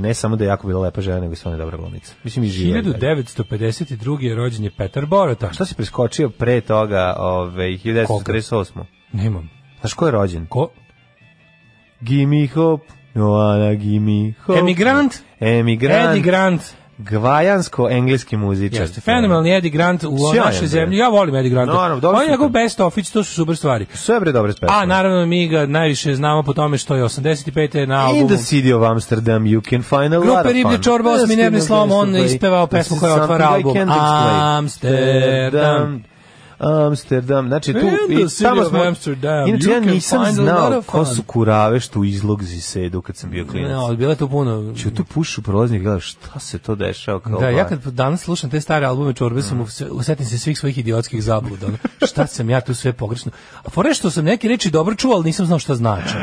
ne samo da je jako bila lepa žena, nego i stvarno je dobra glumica. Mislim, i živa. je dalje.
1952. je rođen je Petar Borota.
Šta si preskočio pre toga, ovaj 1948.
Nemam.
Znaš ko je rođen?
Ko?
Gimme Hop, Joana Gimme Hop.
Emigrant?
Emigrant.
Eddie Grant.
Gvajansko-engleski muzičar.
Jeste, fenomenalni Eddie Grant u
Sjajan, bre.
našoj zemlji. Ja volim Eddie Granta.
Naravno, dobro
On je
su
njegov
to.
best office, to su super stvari.
Sve bre dobre pesme.
A naravno mi ga najviše znamo po tome što je 85. na
In
albumu
the city of Amsterdam you can find a lot of
Grupe
fun.
Riblje Čorba, osmi nervni slom, on je ispevao
This
pesmu
is
koja otvara
something I
album.
can't explain.
Amsterdam.
Amsterdam, znači tu
In the
i
city
tamo
of
smo
Amsterdam,
Inače
you
ja
can
nisam
find a lot
znao
of
ko
fun.
su kurave što u izlogzi sedu kad sam bio klinac.
No, bilo je to puno.
Ču tu pušu prolaznik, gledaš, šta se to dešava kao
Da,
bar?
ja kad danas slušam te stare albume Čorbe, sam use- usetim se svih svojih idiotskih zabluda. ono, Šta sam ja tu sve pogrešno? A fore što sam neke reči dobro čuo, ali nisam znao šta znači.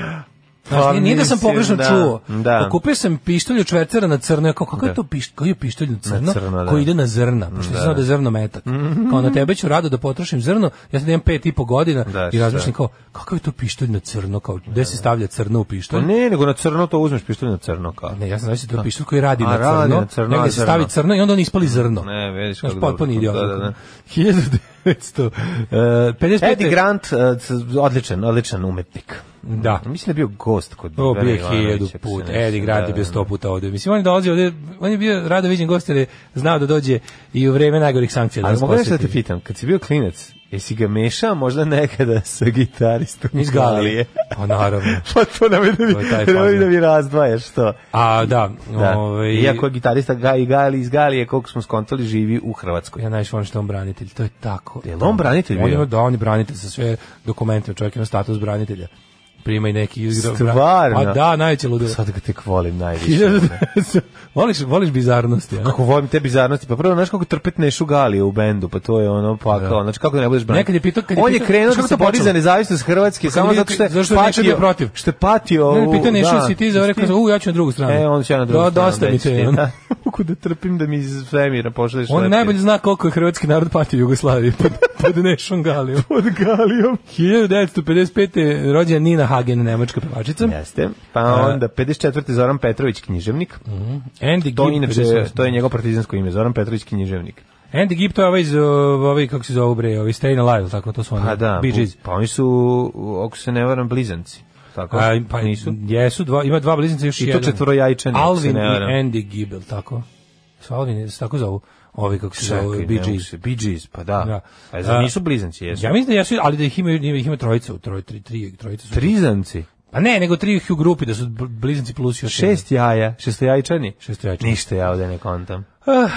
Znaš,
Pa,
nije, nije da sam
mislim,
pogrešno
da,
čuo. Pa
da.
Kupio sam pištolj od švercera na crno. Ja kao, kako je to piš, koji je pištolj na crno?
crno, da. Mhm.
Koji ide na zrna, pošto da. znao da je zrno metak. Kao na tebe ću rado da potrošim zrno, ja sad imam pet i po godina
Da,
i razmišljam
šta?
kao, kakav je to pištolj na crno? Kao, gde se stavlja crno u
Pa
pištolj?
ne, nego na crno to uzmeš pištolj na crno kao.
Ne, ja sam znači da pišu koji radi
A,
na crno,
radi na crno,
negde
a
se
crno.
stavi crno i onda on ispali zrno.
Ne, vidiš
Znaš,
kako
potpuni
dobro.
idiot.
Da, da, da.
1900, e, 55.
Eddie Grant, eh, c- odličan, odličan umetnik.
Da.
Mislim da je bio gost kod
O,
Vera
bio je
Ivanovića,
hiljadu
ako se
puta.
ne
Eddie
varam.
Grant je
Da,
bio
da,
sto
da.
puta ovde. Mislim, on je dolazio ovde, on je bio rado viđen gost jer je znao da dođe i u vreme najgorih sankcija da
Ali
nas
mogu nešto da te
poseti.
pitam, kad si bio klinac, jesi ga mešao možda nekada sa gitaristom
Iz Galije. Pa naravno.
(laughs) pa to ne da mi,
To je taj
nemoj
fazon.
da mi razdvajaš to.
A, da.
Da.
ovaj,
Iako je gitarista Ga- i Gali iz Galije, koliko smo skontali, živi u Hrvatskoj.
Ja najviše volim što je on branitelj, to je tako.
Jel on branitelj
On
bio?
ima, da, on je branitelj sa sve dokumente, čovjek ima status branitelja. Prima i neki izgra.
Stvarno?
A da, najveće ludilo.
Sad ga tek volim
(laughs)
najviše. ono.
Hiljadu- voliš, voliš bizarnosti, a?
Kako volim te bizarnosti, pa prvo znaš kako trpet Nešu Galija u bendu, pa to je ono pa kao, znači kako ne budeš branitelj.
Nekad je pitao- kad je
On je
pitao-
krenuo
znaš
da
kako
se
to
bori
počelo? Pa
za nezavisnost Hrvatske
Kad
samo
je
zato što je
zašto je Neša bio
patio,
protiv?
što je patio.
Ne,
u-
ne, pitao je nešto,
da.
si ti za ovaj rekao, u, ja ću na drugu stranu.
E, on će ja na drugu
Da,
stranu.
dosta mi
reći,
te,
da.
ono.
(laughs) Mogu da trpim da mi iz svemira pošalješ
On
lepke.
najbolje zna koliko je hrvatski narod pati u Jugoslaviji pod, pod Nešom Galijom.
(laughs) pod Galijom.
1955. je rođena Nina Hagen, nemačka pevačica.
Jeste. Pa onda 54. Zoran Petrović književnik.
Mm, Andy
To je
Gibb,
inače
58..
to je njegov partizansko ime, Zoran Petrović književnik.
Andy Gibb, to je ovaj, iz, uh, ovaj kako se zove bre, ovaj Stayin' Alive, ili tako to su oni.
Pa da,
Bee Gees.
pa oni su, ako se ne varam, blizanci. Tako?
A, pa
nisu.
Jesu, dva, ima dva bliznice, još
I to
jedan.
četvorojajičani, ako se
Alvin i
ne varam.
Andy Gibb, ili tako? Su Alvin, ili se tako zovu? Ovi kako se
Čekaj,
zove, Bee
ne mogu
Gees.
se- Bee Gees, pa da.
Da.
A zar
A,
nisu blizanci, jesu?
Ja mislim da jesu, ali da ih ima, ih ima trojica, u troj, tri, tri, trojica su.
Trizanci?
Pa ne, nego tri ih u grupi, da su bl- bliznici plus još
Šest jaja, šestojajčani?
Šestojajčani.
Ništa ja ovde ne kontam.
jedan. Ah,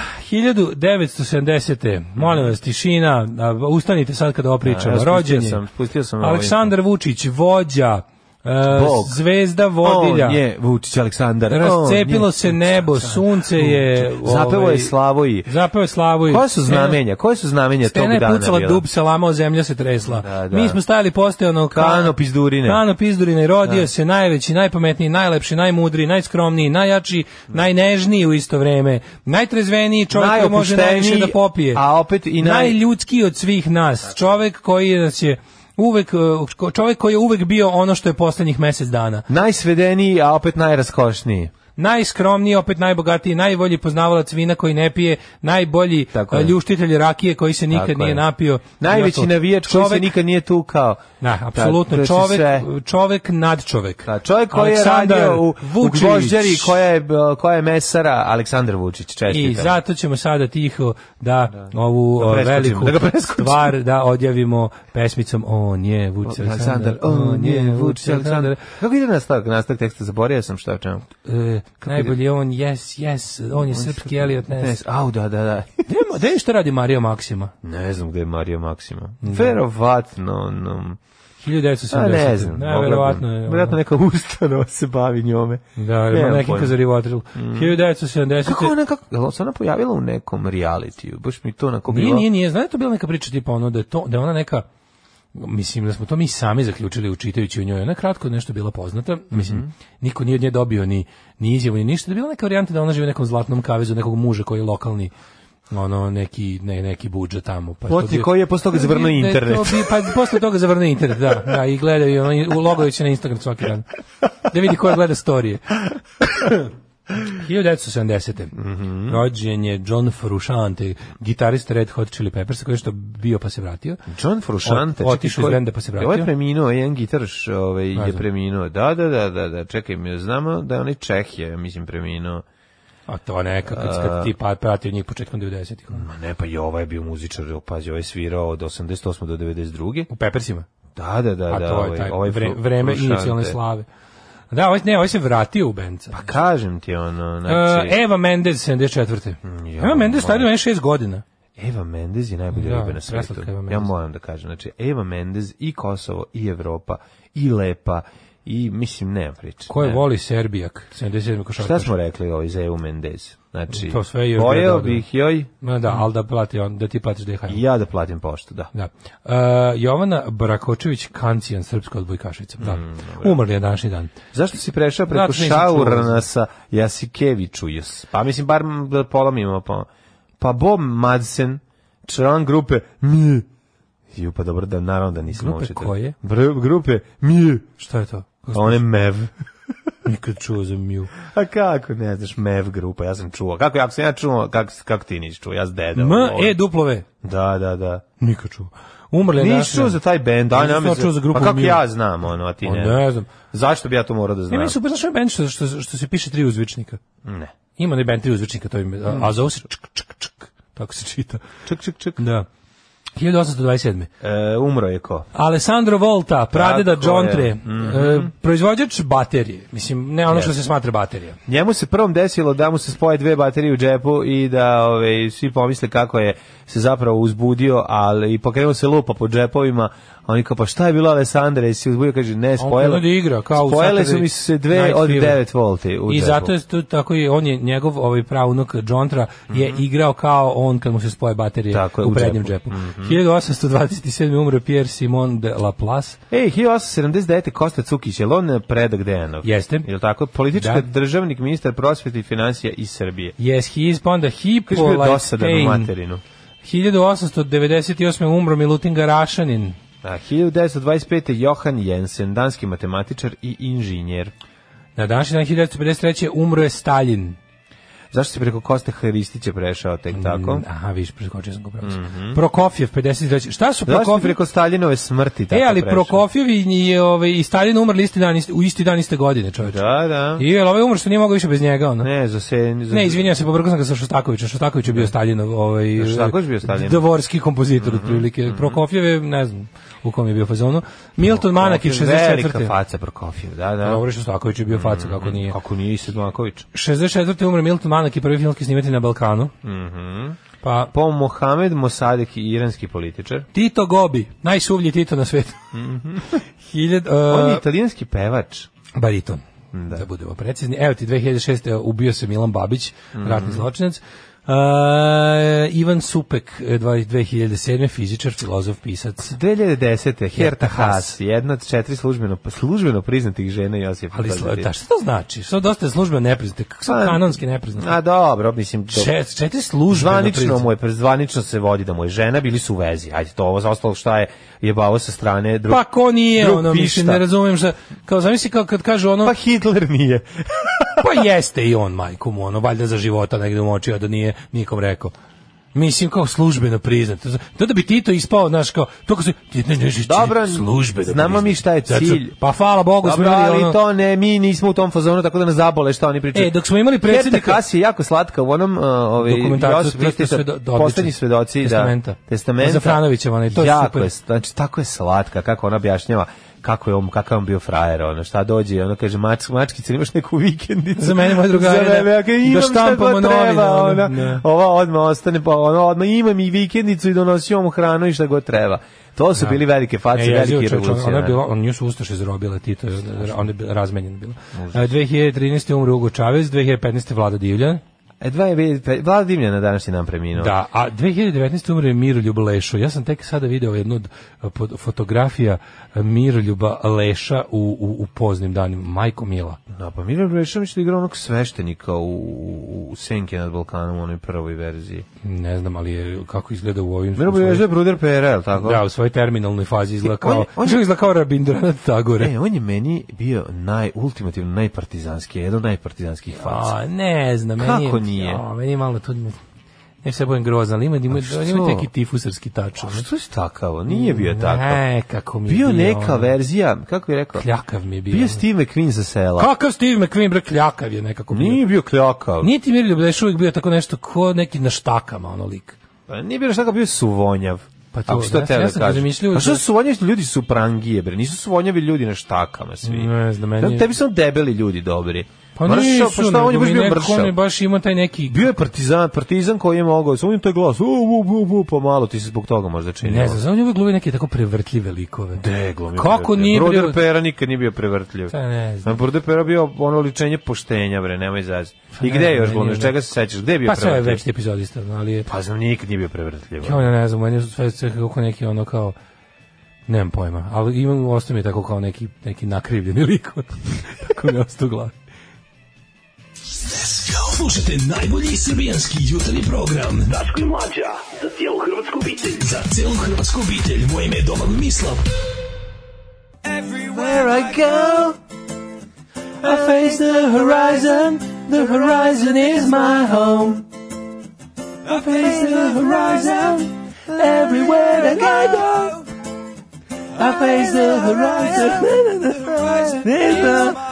1970. Molim vas, tišina, a, ustanite sad kada ovo pričamo.
A, ja spustio
Rođen je
sam- spustio sam ovo
Aleksandar Vučić, vođa, e,
Bog.
Zvezda vodilja.
On je Vučić Aleksandar. on
Rascepilo
je
se
Vučić
nebo,
Aleksandar.
sunce je...
Zapevo
ovaj,
je Slavoji.
Zapevo je Slavoj.
Koja su znamenja? Koja su znamenja tog
Stena
E, dana?
je pucala
bila?
dub, se lamao, zemlja se tresla.
Da, da.
Mi smo stajali postojano ka-
Kano pizdurine.
Kano pizdurine, rodio se najveći, najpametniji, najlepši, najmudriji, najskromniji, najjači, najnežniji u isto vreme, najtrezveniji čovjek koji može
Najopušteniji,
najviše da popije.
a opet i naj-
najljudskiji od svih nas. Čovjek koji nas je uvek eh, čovjek koji je uvek bio ono što je poslednjih mjesec dana.
Najsvedeniji, a opet najraskošniji.
Najskromniji, opet najbogatiji, najbolji poznavalac vina koji ne pije, najbolji
Tako
eh,
je.
ljuštitelj rakije koji se nikad
Tako
nije
je.
napio.
Najveći navijač koji se nikad nije tukao.
Da, apsolutno.
to su
Čovek,
znači sve.
čovek nad čovek.
Da, čovjek koji
Aleksandar
je radio u, u
Vučić.
Gvožđari, koja je, koja je mesara, Aleksandar Vučić, čestitam.
I zato ćemo sada tiho da, ovu
Da
o,
preskočimo,
veliku
da ga preskočimo.
stvar da odjavimo pesmicom On je
Pa,
Vučić Aleksandar, on je Vučić Aleksandar.
Kako ide nastavak? Nastavak teksta zaboravio sam šta o čemu.
E, najbolji je on, yes, yes, on je srpski Elliot Ness.
Au, da, da,
(laughs)
da.
Gde je što radi Mario Maksima?
ne znam gde je Mario Maksima. Verovatno,
ono,
no,
1970.
a Pa, ne znam.
Da,
mogla bi-
verovatno je. ono.
Verovatno neka ustanova se bavi njome.
Da,
Nemam
ima neki
pojma. Mm.
kazarivotril. 1970.
Kako ona, kako, jel se ona pojavila u nekom realitiju? Baš mi to onako
Nije,
bilo-
nije, nije. Znate, to bila neka priča tipa ono da je, to, da je ona neka mislim da smo to mi sami zaključili učitajući u njoj. Ona je kratko nešto bila poznata.
Mhm.
Mislim, niko nije od nje dobio ni, ni izjavu ni ništa. Da je bila neka varijanta da ona živi u nekom zlatnom kavezu nekog muža koji je lokalni ono neki ne, neki budžet tamo pa
Poti
bio-
koji je posle toga
Da,
zavrnuo
da je to
internet.
bio- pa posle toga zavrnuo internet da, da i gledaju oni uloguju se na Instagram svaki dan da vidi ko gleda storije
(laughs)
1970.
Mhm.
Rođen je John Frusciante, gitarista Red Hot Chili Peppers, koji je što bio pa se vratio.
John Frusciante.
Ot-
čekaj,
otišao iz
ko-
benda pa se vratio.
Ovo je preminuo, jedan gitaraš ovaj, je
znam.
preminuo. Da, da, da, da, da, čekaj, mi znamo da je onaj Čeh je, mislim, preminuo.
A to neka, kad, kad ti pa, pratio njih početkom ono, 90-ih.
Ma ne, pa i ovaj je bio muzičar, pazi, ovaj je svirao od 88. do 92.
U Peppersima.
Da, da, da,
A
da,
to je
ovaj,
taj
ovaj
vre,
Fru-
vreme
Frusciante.
inicijalne slave. Da, ovaj, ne, ovaj se vratio u band.
Pa kažem ti,
E,
ono, znači... Mm,
Eva Mendes, 74.
Ja,
Eva Mendes stario
moj.
je 6 godina.
Eva Mendez je najbolja
Da,
riba na svetu.
preslatka Eva Mendes.
Ja moram da kažem, znači Eva Mendez i Kosovo i Evropa i Lepa i mislim nema priče.
Koje
ne.
voli Serbijak, 77. košarkaš.
Šta smo rekli ovaj za Evu Mendez? Znači,
To sve još da je
pojeo
dobro.
bih joj
Ma da, ali da, plati on, da ti platiš DHL.
i ja da platim poštu, da.
Da. Uh, Jovana Brakočević Kancijan, srpska odbojkašica. Da.
Mm,
Umrli je današnji dan.
Zašto si prešao
Zato
preko
nisam čuo.
Šaurana sa Jasikeviću? jes? Pa mislim, bar m- da polomimo. Pa, pa Bob Madsen, član grupe Mije. Ju, pa dobro da, naravno da nisam
Grupe
učitelj.
koje?
Br- grupe Mije.
Šta je to?
A on je Mev. (laughs)
Nikad čuo za Miju.
A kako ne znaš Mev grupa, ja sam čuo. Kako ja sam ja čuo, kako, kako ti nisi čuo, ja s
M,
dedom. ovo.
E, duplo V.
Da, da, da.
Nikad čuo. Umrli je
Nisi čuo za taj bend, aj
Nisam
nam.
čuo za grupu
Pa kako
Miju.
ja znam, ono, a ti
Pa
ne.
ne znam.
Zašto bi ja to morao da
Ne,
znam?
meni su, pa znaš ovaj band što, što, što se piše tri uzvičnika?
Ne.
Ima ne band tri uzvičnika, to ime, a, a zove se čk, čk, čk. Tako se čita.
Ček, ček, ček.
Da. 1827.
E, umro je ko?
Alessandro Volta, pradeda
Tako
John
je. Mhm.
Tre, e, proizvođač baterije. Mislim, ne ono što se smatra baterija.
Njemu se prvom desilo da mu se spoje dve baterije u džepu i da ove, svi pomisle kako je se zapravo uzbudio, ali i pokrenuo se lupa po džepovima, a oni kao, pa šta je bilo Alessandra, jesi se uzbudio, kaže, ne,
krenuo
spojele,
da igra, kao u
spojele su
Saturday
mi se dve
Night
od
Fever.
9 volti u
I
džepu.
zato je to tako i on je njegov ovaj pravnuk Jontra je igrao kao on kad mu se spoje baterije
Mhm. Tako je,
u
u
prednjem džepu.
džepu. Mhm.
1827 umro Pierre Simon de Laplace.
Ej, 1879. Kosta Cukić, je li on predak Dejanov?
Jeste.
Je li tako? Politički
Da.
državnik, ministar prosvete i financija iz Srbije.
Yes, he is, pa onda
Kaži bio
Hippolyte
dosadan u
Kane.
materinu.
1898. umro Milutin Garašanin.
A, 1925. Johan Jensen, danski matematičar i inženjer.
Na današnji dan 1953. umro je Stalin.
Zašto si preko Koste Hristića prešao tek
Mm,
tako? Mhm.
Aha, viš, preskočio sam ga upravo. Prokofjev, 53. Šta su
Zašto si
Prokofjev?
preko Staljinove smrti tako
E, ali
prešao?
Prokofjev i, i, ovaj, i Stalin umrli isti dan, isti- u isti dan iste godine, čoveče.
Da, da.
I je ovaj umro što nije mogao više bez njega, ono. Ne,
Ne, za se... Za...
izvinjavam se, pobrkao sam ga sa Šostakovićem. Šostaković je bio Staljinov, ovaj...
Šostaković je bio Staljinov. Mhm,
Dvorski kompozitor, otprilike. Prokofjev je, ne znam, u kom je bio fazonu. Milton Manakić,
Prokofjev, Velika
64.
faca Mhm, Prokofjev, da, da.
Pa Dobro, Šostaković je bio faca, kako nije.
Kako nije i Sedmaković?
64. umre Milton Manak i prvi filmski snimatelj na Balkanu. Mhm. Pa,
Po Mohamed Mosadek i iranski političar.
Tito Gobi, najsuvlji Tito na svetu. (laughs) Hiljad, uh,
Mhm. On je italijanski pevač.
bariton.
Mm,
Da. budemo precizni. Evo ti 2006. e, ubio se Milan Babić,
Mhm.
ratni zločinac. Uh, Ivan Supek, eh, 2007. fizičar, filozof, pisac.
2010. Herta
Herta
Haas,
Haas,
jedna od četiri službeno, službeno priznatih žena Josipa
Ali
Paziti.
sl- da, što to znači? Što dosta je službe nepriznate? Kako su
Pa,
kanonski nepriznate?
A dobro, mislim, do-
Čet, četiri službe
zvanično, mu je, zvanično se vodi da mu je žena, bili su u vezi. Ajde, to ovo za ostalo šta je jebavo sa strane drug,
Pa ko nije,
drug
ono, mislim,
pišta.
ne razumijem šta, kao, zamisli kao kad kažu ono,
Pa Hitler nije.
Pa jeste i on, majku mu, ono, valjda za života negde umočio, a da nije nikom rekao. Mislim, kao službeno priznat. To da bi Tito ispao, znaš, kao, to kao se, ti ne, ne, ne,
Dobro,
službeno
znamo mi šta je
priznat. Zato-
cilj.
Pa hvala Bogu, smo
Dobro,
imali
ali
ono...
to ne, mi nismo u tom fazonu, tako da nas zabole šta oni pričaju.
E, dok smo imali E,
Herta
predsjednika...
Haas je jako slatka u onom uh, ovaj,
Dokumentarcu,
Josip
to ste
Ristić,
svedo- odlično.
poslednji svedoci
Testamenta.
da, testamenta.
Za Franovića, onaj, to je
jako
super.
Je, znači, tako je slatka, kako ona objašnjava kako je on, kakav je on bio frajer, ono, šta dođe, ono kaže, mač, mačkice, imaš neku vikendicu.
Za mene, moje drugari,
Za mene,
da-
ja kažem, imam
da
šta
štampamo
god
novine,
treba,
ono,
ona,
ne.
ova odmah ostane, pa ono, odmah imam i vikendicu i donosio mu hranu i šta god treba. To su bili velike face,
E, jezivo,
velike
čovječe,
revolucije.
Ona je ono
ne.
bila, on nju su Ustaše zarobile, Tito, je- ona je bila- razmenjena bila. E, 2013. umro Hugo Čavez, 2015. Vlada Divljan,
E, dva je bil- pe- Vlada Dimljana na današnji nam preminuo.
Da, a 2019. umre Miroljuba Lešo. Ja sam tek sada video jednu od eh, pod- fotografija eh, Miroljuba Leša u, u, u poznim danima. Majko Mila.
Da, pa Milan Brešović da igra onog sveštenika u, u, u Senke nad Balkanom u onoj prvoj verziji.
Ne znam, ali je, kako izgleda u ovim...
Milan
u svojoj-
Brešović je Bruder Pera, je li tako?
Da, u svojoj terminalnoj fazi izgleda kao...
On
On
je-
je,
on je-
izgleda kao Rabindranath Tagore.
E, on je meni bio naj, ultimativno najpartizanski, jedan od najpartizanskih faca.
a, ne znam, meni je...
pa, Kako nije?
A, meni je malo tu... Ne se bojem grozan, ali ima, ima,
što?
ima neki tifusarski tač. ono.
Što je takavo? Nije bio takav.
Ne, kako mi je
Bio neka
ono,
verzija, kako je rekao?
Kljakav mi je bio.
Bio Steve McQueen za sela.
Kakav Steve McQueen, bre, kljakav je nekako. bio.
Nije bio kljakav.
Nije ti Miroljub Leš uvijek bio tako nešto ko neki na štakama, ono lik.
Pa nije bilo šta kao bio suvonjav.
Pa to,
Ako si to
ja-
teo
ja
da
sam
kažem.
razmišljao
Pa što
da-
su suvonjavi ljudi su prangije, bre. Nisu suvonjavi ljudi na štakama svi.
Ne znam, meni je-
Tebi su debeli ljudi dobri.
Pa
Mršav,
nisu,
pa šta, on je
nego
baš
mi
bio
nekako
mršav.
On je baš imao taj neki...
Bio je partizan, partizan koji je mogao, samo im taj glas, u, u, u, u, pa malo ti se zbog toga možda čini.
Ne znam, znam, on je uvijek glumio neke tako prevrtljive likove.
Deglo mi je
Kako
prevrtljiv.
nije
Broder
bio...
Pera nikad nije bio prevrtljiv.
Pa ne znam.
Na Broder Pera bio ono ličenje poštenja, bre, nemoj zazi. I
Pa ne
gde je
znam,
još
meni
glumio,
je
Iz
ne-
čega se sećaš, gde je bio
Pa sve je
prevrtljiv?
već epizodista, ali je...
Pa znam, nikad nije bio prevrtljiv.
Ja ne znam, meni su sve sve kako neki ono kao... Nemam pojma, ali imam, ostao mi je tako kao neki, neki nakrivljeni lik. (laughs) tako mi je ostao u glavi.
Slušajte najbolji srbijanski jutarnji program. Daško i Mlađa, za cijelu hrvatsku obitelj. Za cijelu hrvatsku obitelj. Moje ime je Domagoj Mislav.
Where I go, I face the horizon, the horizon is my home. I face the horizon, everywhere that I go. I face the horizon, the horizon is my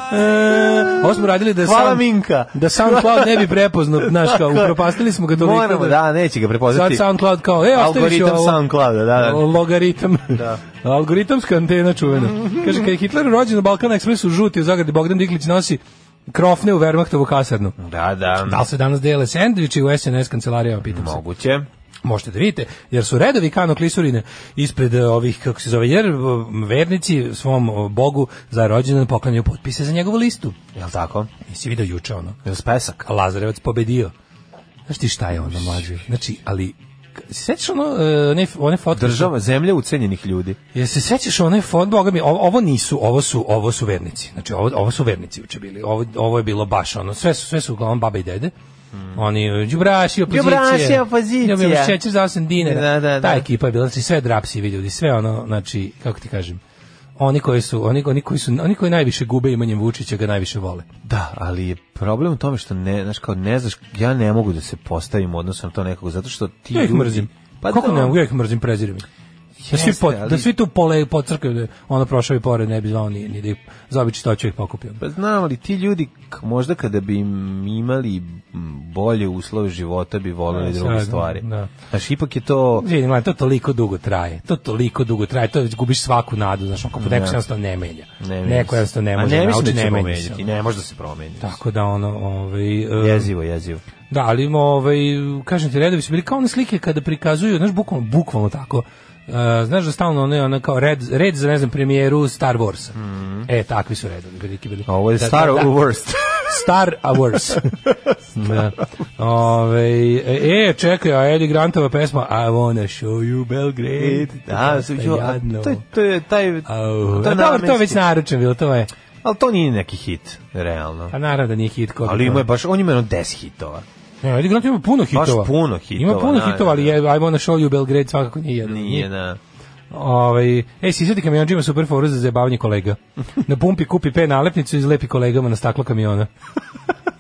Ovo smo radili da je
Hvala
sound-
Minka.
Da SoundCloud ne bi
(laughs)
prepoznao, znaš kao, upropastili smo ga toliko.
Moramo, da, neće ga prepoznati.
Sad SoundCloud kao, e, ostaviš
Algoritam
ovo.
SoundClouda, da, da.
(laughs) Logaritam. Da. (laughs) Algoritamska antena
(laughs)
čuvena. Kaže, kad je Hitler rođen na Balkan Expressu, žuti u zagradi Bogdan Diklić nosi krofne u Wehrmachtovu kasarnu.
Da, da,
Da li se danas dele sendviči u SNS kancelarijama, pitam se.
moguće.
Možete da vidite, jer su redovi kano klisurine ispred e, ovih, kako se zove, jer e, vernici svom e, bogu za rođendan poklanjaju potpise za njegovu listu.
Jel tako?
Nisi video juče ono?
Jel spesak?
Lazarevac pobedio. Znaš ti šta je ono mlađe? Znači, ali k- se sećaš ono, e, one, one fotke?
Država, zemlja ucenjenih ljudi.
Jel se sećaš one fotke? Boga mi, ovo, ovo nisu, ovo su, ovo su vernici. Znači, ovo, ovo su vernici uče bili. Ovo, ovo je bilo baš ono, sve su, sve su uglavnom baba i dede. Oni, džubraši, opozicije.
Mm. Đubraši, opozicija.
Dobijemo šećer za 8 dinara.
Da, da, da.
Ta ekipa je bila, znači sve drapsivi ljudi, sve ono, znači, kako ti kažem, oni koji su, oni, oni koji su, oni koji najviše gube imanjem Vučića ga najviše vole.
Da, ali je problem u tome što ne, znaš, kao ne znaš, ja ne mogu da se postavim u odnosu na to nekog, zato što ti
Ja ih
ljudi-
mrzim.
Pa
Kako
da,
ne mogu, ja ih mrzim, prezirem ih. Da svi,
Jeste,
pot,
ali-
da svi tu pole pocrkaju, da ono prošao i pored, ne bi zvao ni, ni da ih zaobići to ću ih pokupio.
Pa znam, ali ti ljudi k- možda kada bi im imali m, bolje uslove života bi volili
Da,
druge
sad,
stvari.
da.
Znaš, ipak je to...
Vidim, mladen, to toliko dugo traje, to toliko dugo traje, to već gubiš svaku nadu, znaš, on kako neko se jednostavno ne menja.
Ne, menja
neko
se.
jednostavno ne
A
može,
ne mislim
nauči,
da će
ne menja se.
promeniti, ne može da se promeni.
Tako da ono, ovaj, e,
Jezivo, jezivo.
Da, ali ovaj, kažem ti, redovi su bili kao one slike kada prikazuju, znaš, bukvalno, bukvalno tako, Uh, znaš da stalno ono, ono kao red, red za, ne znam, premijeru Star Warsa. E, takvi su redovi, veliki bili.
Mhm. Ovo je
Da,
Star
da, da. (laughs)
Worst.
Star
(laughs)
Hours. da. Ove, e, čekaj, a Eddie Grantova pesma I wanna show you Belgrade.
Da,
Dosta
su- jo, a
jadno.
to, je- to je taj...
Au,
to
a
je
dobro, to je već
namenski.
naručen bilo, to je.
Ali to nije neki hit, realno.
A naravno da nije hit kod.
Ali ima je baš, on ima jedno 10 hitova.
Ne, Eddie Grant ima puno hitova.
puno hitova,
Ima puno
da,
hitova, ali je I wanna show you Belgrade svakako nije jedan.
Nije, na...
Ovaj, ej, sisati kamionđi ima super foru za zabavanje kolega. Na pumpi kupi P nalepnicu i izlepi kolegama na staklo kamiona.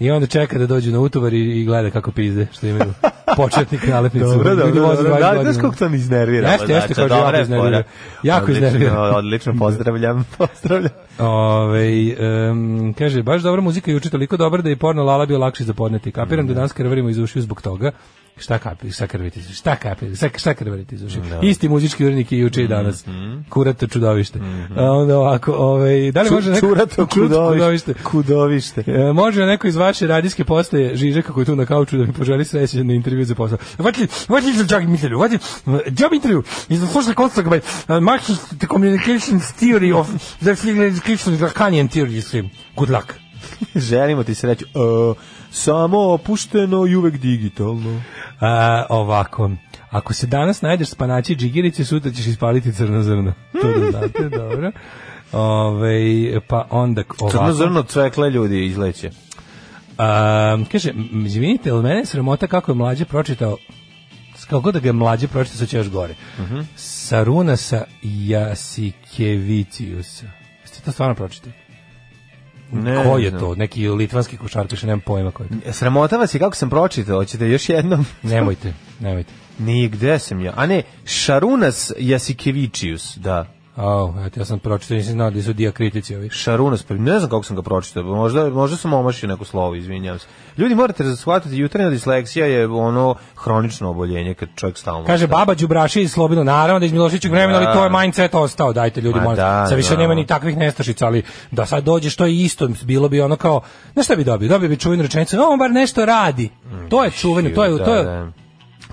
I onda čeka da dođu na utovar i, i gleda kako pizde, što imaju početnik nalepnicu. Ljudi voze 20
Da,
godina.
znaš kako to mi iznervira.
Jeste, jeste,
znači,
kao
dobra
jako
je
iznervira.
fora.
Jako
Odlično,
iznervira.
Odlično, pozdravljam, (laughs) pozdravljam.
Ove, em, kaže, baš dobra muzika juče toliko dobra da je porno lala bio lakše za podneti. Kapiram da danas krvarimo iz ušiju zbog toga. Šta kapi, šta krvite iz ušiju? Šta kapi, šta, šta krvarite iz ušiju? Isti muzički urnik i juče i danas. Kurato čudovište. A onda ovako, ovaj, da li može neko...
Čurato
Čut-
kudovište. Kudovište.
E, može neko iz vaše radijske postaje Žiže kako je tu na kauču da mi poželi srećen na intervju za posao. Vati, vati za job intervju, vati job intervju is the social construct by uh, Marxist communications theory of the field description of Kanian theory. Stream. Good luck.
(laughs) Želimo ti sreću. E, samo opušteno i uvek digitalno.
A, ovako. Ako se danas najdeš spanaći džigirice, sutra ćeš ispaliti crno
(laughs)
zrno. To da znate, dobro. Ove, pa onda ovako.
Crno zrno cvekle ljudi izleće.
Um, kaže, m, izvinite, ali mene je sramota kako je mlađe pročitao kako god da ga je mlađe pročitao, sad će još gore.
Mhm.
Sarunasa Jasikeviciusa. Jeste to stvarno pročitao?
Ne,
ko je
ne.
to? Neki litvanski košarkaš, nemam pojma ko je to.
(laughs) Sramota vas je kako sam pročitao, hoćete još jednom?
Nemojte, nemojte.
Nije, gde sam ja? A ne, Šarunas Jasikevičius, da.
Au, eto, ja sam pročitao, nisam znao da su diakritici ovi.
Šarunas, pa ne znam kako sam ga pročitao, možda, možda sam omašio neko slovo, izvinjavam se. Ljudi, morate shvatiti, jutarnja disleksija je ono hronično oboljenje kad čovjek stalno...
Kaže baba Đubraši iz Slobino, naravno da iz Miloševićeg vremena, ali to je
Da.
mindset ostao, dajte ljudi,
Ma
molim.
da,
Da, više
da.
nema ni takvih nestašica, ali da sad dođeš, to je isto, bilo bi ono kao, znaš šta bi dobio? Dobio bi čuvenu rečenicu, no, on bar nešto radi. To je čuveno, to je, to je,
Mm, Da, da.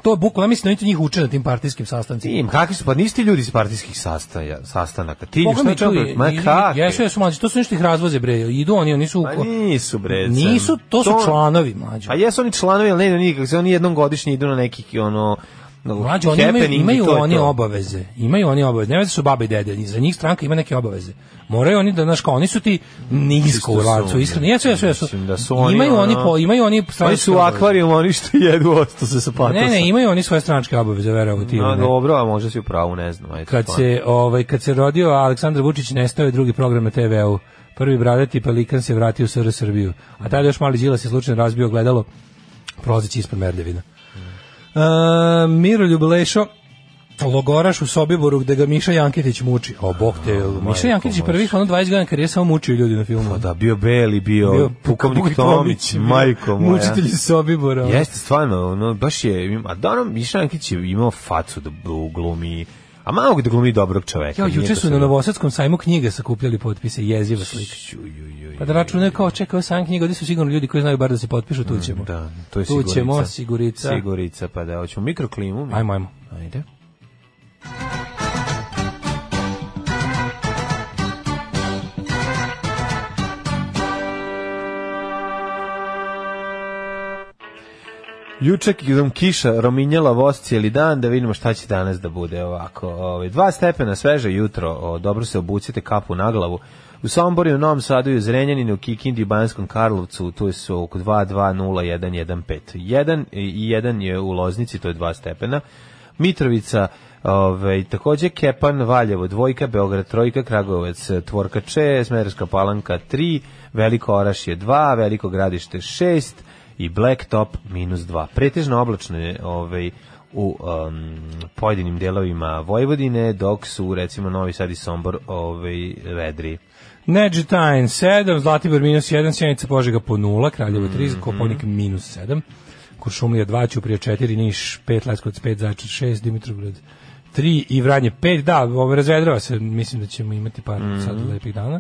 to je bukvalno, ja mislim da oni to njih uče na tim partijskim sastancima.
Tim, kakvi su, pa niste ljudi iz partijskih sastaja, sastanaka. Ti,
Boga
šta
mi,
je čovjek,
tu
ma
i- i-
kakvi?
Jesu, jesu mlađi, to su nešto ih razvoze, bre, idu oni, oni su...
Ma
uko-
Pa nisu, bre. sen.
Nisu, to su članovi, mlađi.
A jesu oni članovi, ali ne idu nikak, se oni jednom godišnje idu na neki, ono,
Mlađe, oni imaju,
happening i
imaju
to je
oni
to.
obaveze. Imaju oni obaveze. Ne veze su baba i dede. Za njih stranka ima neke obaveze. Moraju oni da znaš kao oni su ti nisko u
Isto su
lancu,
oni.
iskreno. Jesu, jesu, jesu.
Mislim da su oni,
imaju oni
ono-
po, imaju oni
Oni
stranačke
su u
obaveze.
akvarijum, oni što jedu, osto se sa patosom.
Ne, ne, imaju oni svoje stranačke obaveze, verovatno ti.
No,
ili ne.
dobro, a možda si u pravu, ne znam. Ajde,
Kad
stvarno.
se, ovaj, kad se rodio Aleksandar Vučić, nestao je drugi program na TV-u. Prvi bradati pelikan se vratio u SR Srbiju. A tada još mali Đilas je slučajno razbio gledalo prozići ispred Merdevina. E, Miroljub Lešo, logoraš u Sobiboru gde ga Miša Janketić muči. O, bog te, Miša Janketić je prvih ono 20 godina karijera samo mučio ljudi na filmu.
Pa da, bio Beli, bio,
Bio
pukovnik Tomić,
bio
majko moja.
Mučitelj iz Sobibora.
Jeste, stvarno, ono, baš je, a Dano Miša Ankić je imao facu da bu- glumi, a malo da glumi dobrog čoveka.
Ja,
nije
juče
to
su
sad-
na Novosadskom sajmu knjige sakupljali potpise, jeziva slika.
Ju, ju, ju, ju.
Pa da računaju kao čekaju sam knjiga, ovdje su sigurno ljudi koji znaju bar da se potpišu, tu ćemo.
Da, to je
Tu
sigurica.
ćemo, sigurica.
Sigurica, pa da, hoćemo mikroklimu. mi-
Ajmo, ajmo.
Ajde. Juče nam kiša rominjala voz cijeli dan, da vidimo šta će danas da bude ovako. Ove, dva stepena sveže jutro, o, dobro se obucite kapu na glavu. U Somboru, i u Novom Sadu, i u Zrenjaninu, u Kikindi, i Banskom Karlovcu, tu su oko 2-2-0-1-1-5. 1 i 1 je u Loznici, to je 2 stepena. Mitrovica, Ove, takođe Kepan, Valjevo, dvojka, Beograd, trojka, Kragujevac, e, Tvorka, Če, Smerska palanka, 3, Veliko Oraš je 2, Veliko gradište 6 i Blacktop minus 2. Pretežno oblačno je ovaj, u um, pojedinim delovima Vojvodine, dok su recimo Novi Sad i Sombor ovaj, vedri.
Neđetajn 7, Zlatibor minus 1, Sjenica Požega po 0, Kraljevo 3, Koponik minus 7, Kuršumlija 2, Ćuprija 4, Niš 5, Leskovac 5, Zajčar 6, Dimitrovgrad 3 i Vranje 5. Da, ovo razvedrava se, mislim da ćemo imati par sad lepih dana.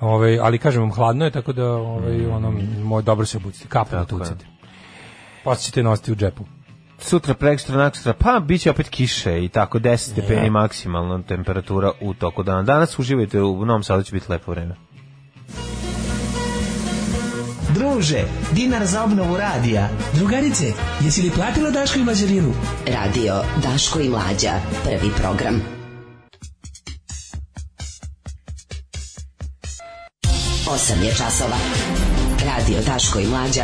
Ovaj, Ove, ali kažem vam, hladno je, tako da ove, ono, moj, dobro se obucite, kapu da tucite. Posle ćete nositi u džepu.
sutra prekstra nakstra pa biće opet kiše i tako 10 stepeni maksimalna temperatura u toku dana. Danas uživajte u Novom Sadu će biti lepo vreme.
Druže, dinar za obnovu radija.
Drugarice, jesi li platila Daško i Mađarinu?
Radio Daško i Mlađa. Prvi program. Osam je časova. Radio Daško i Mlađa.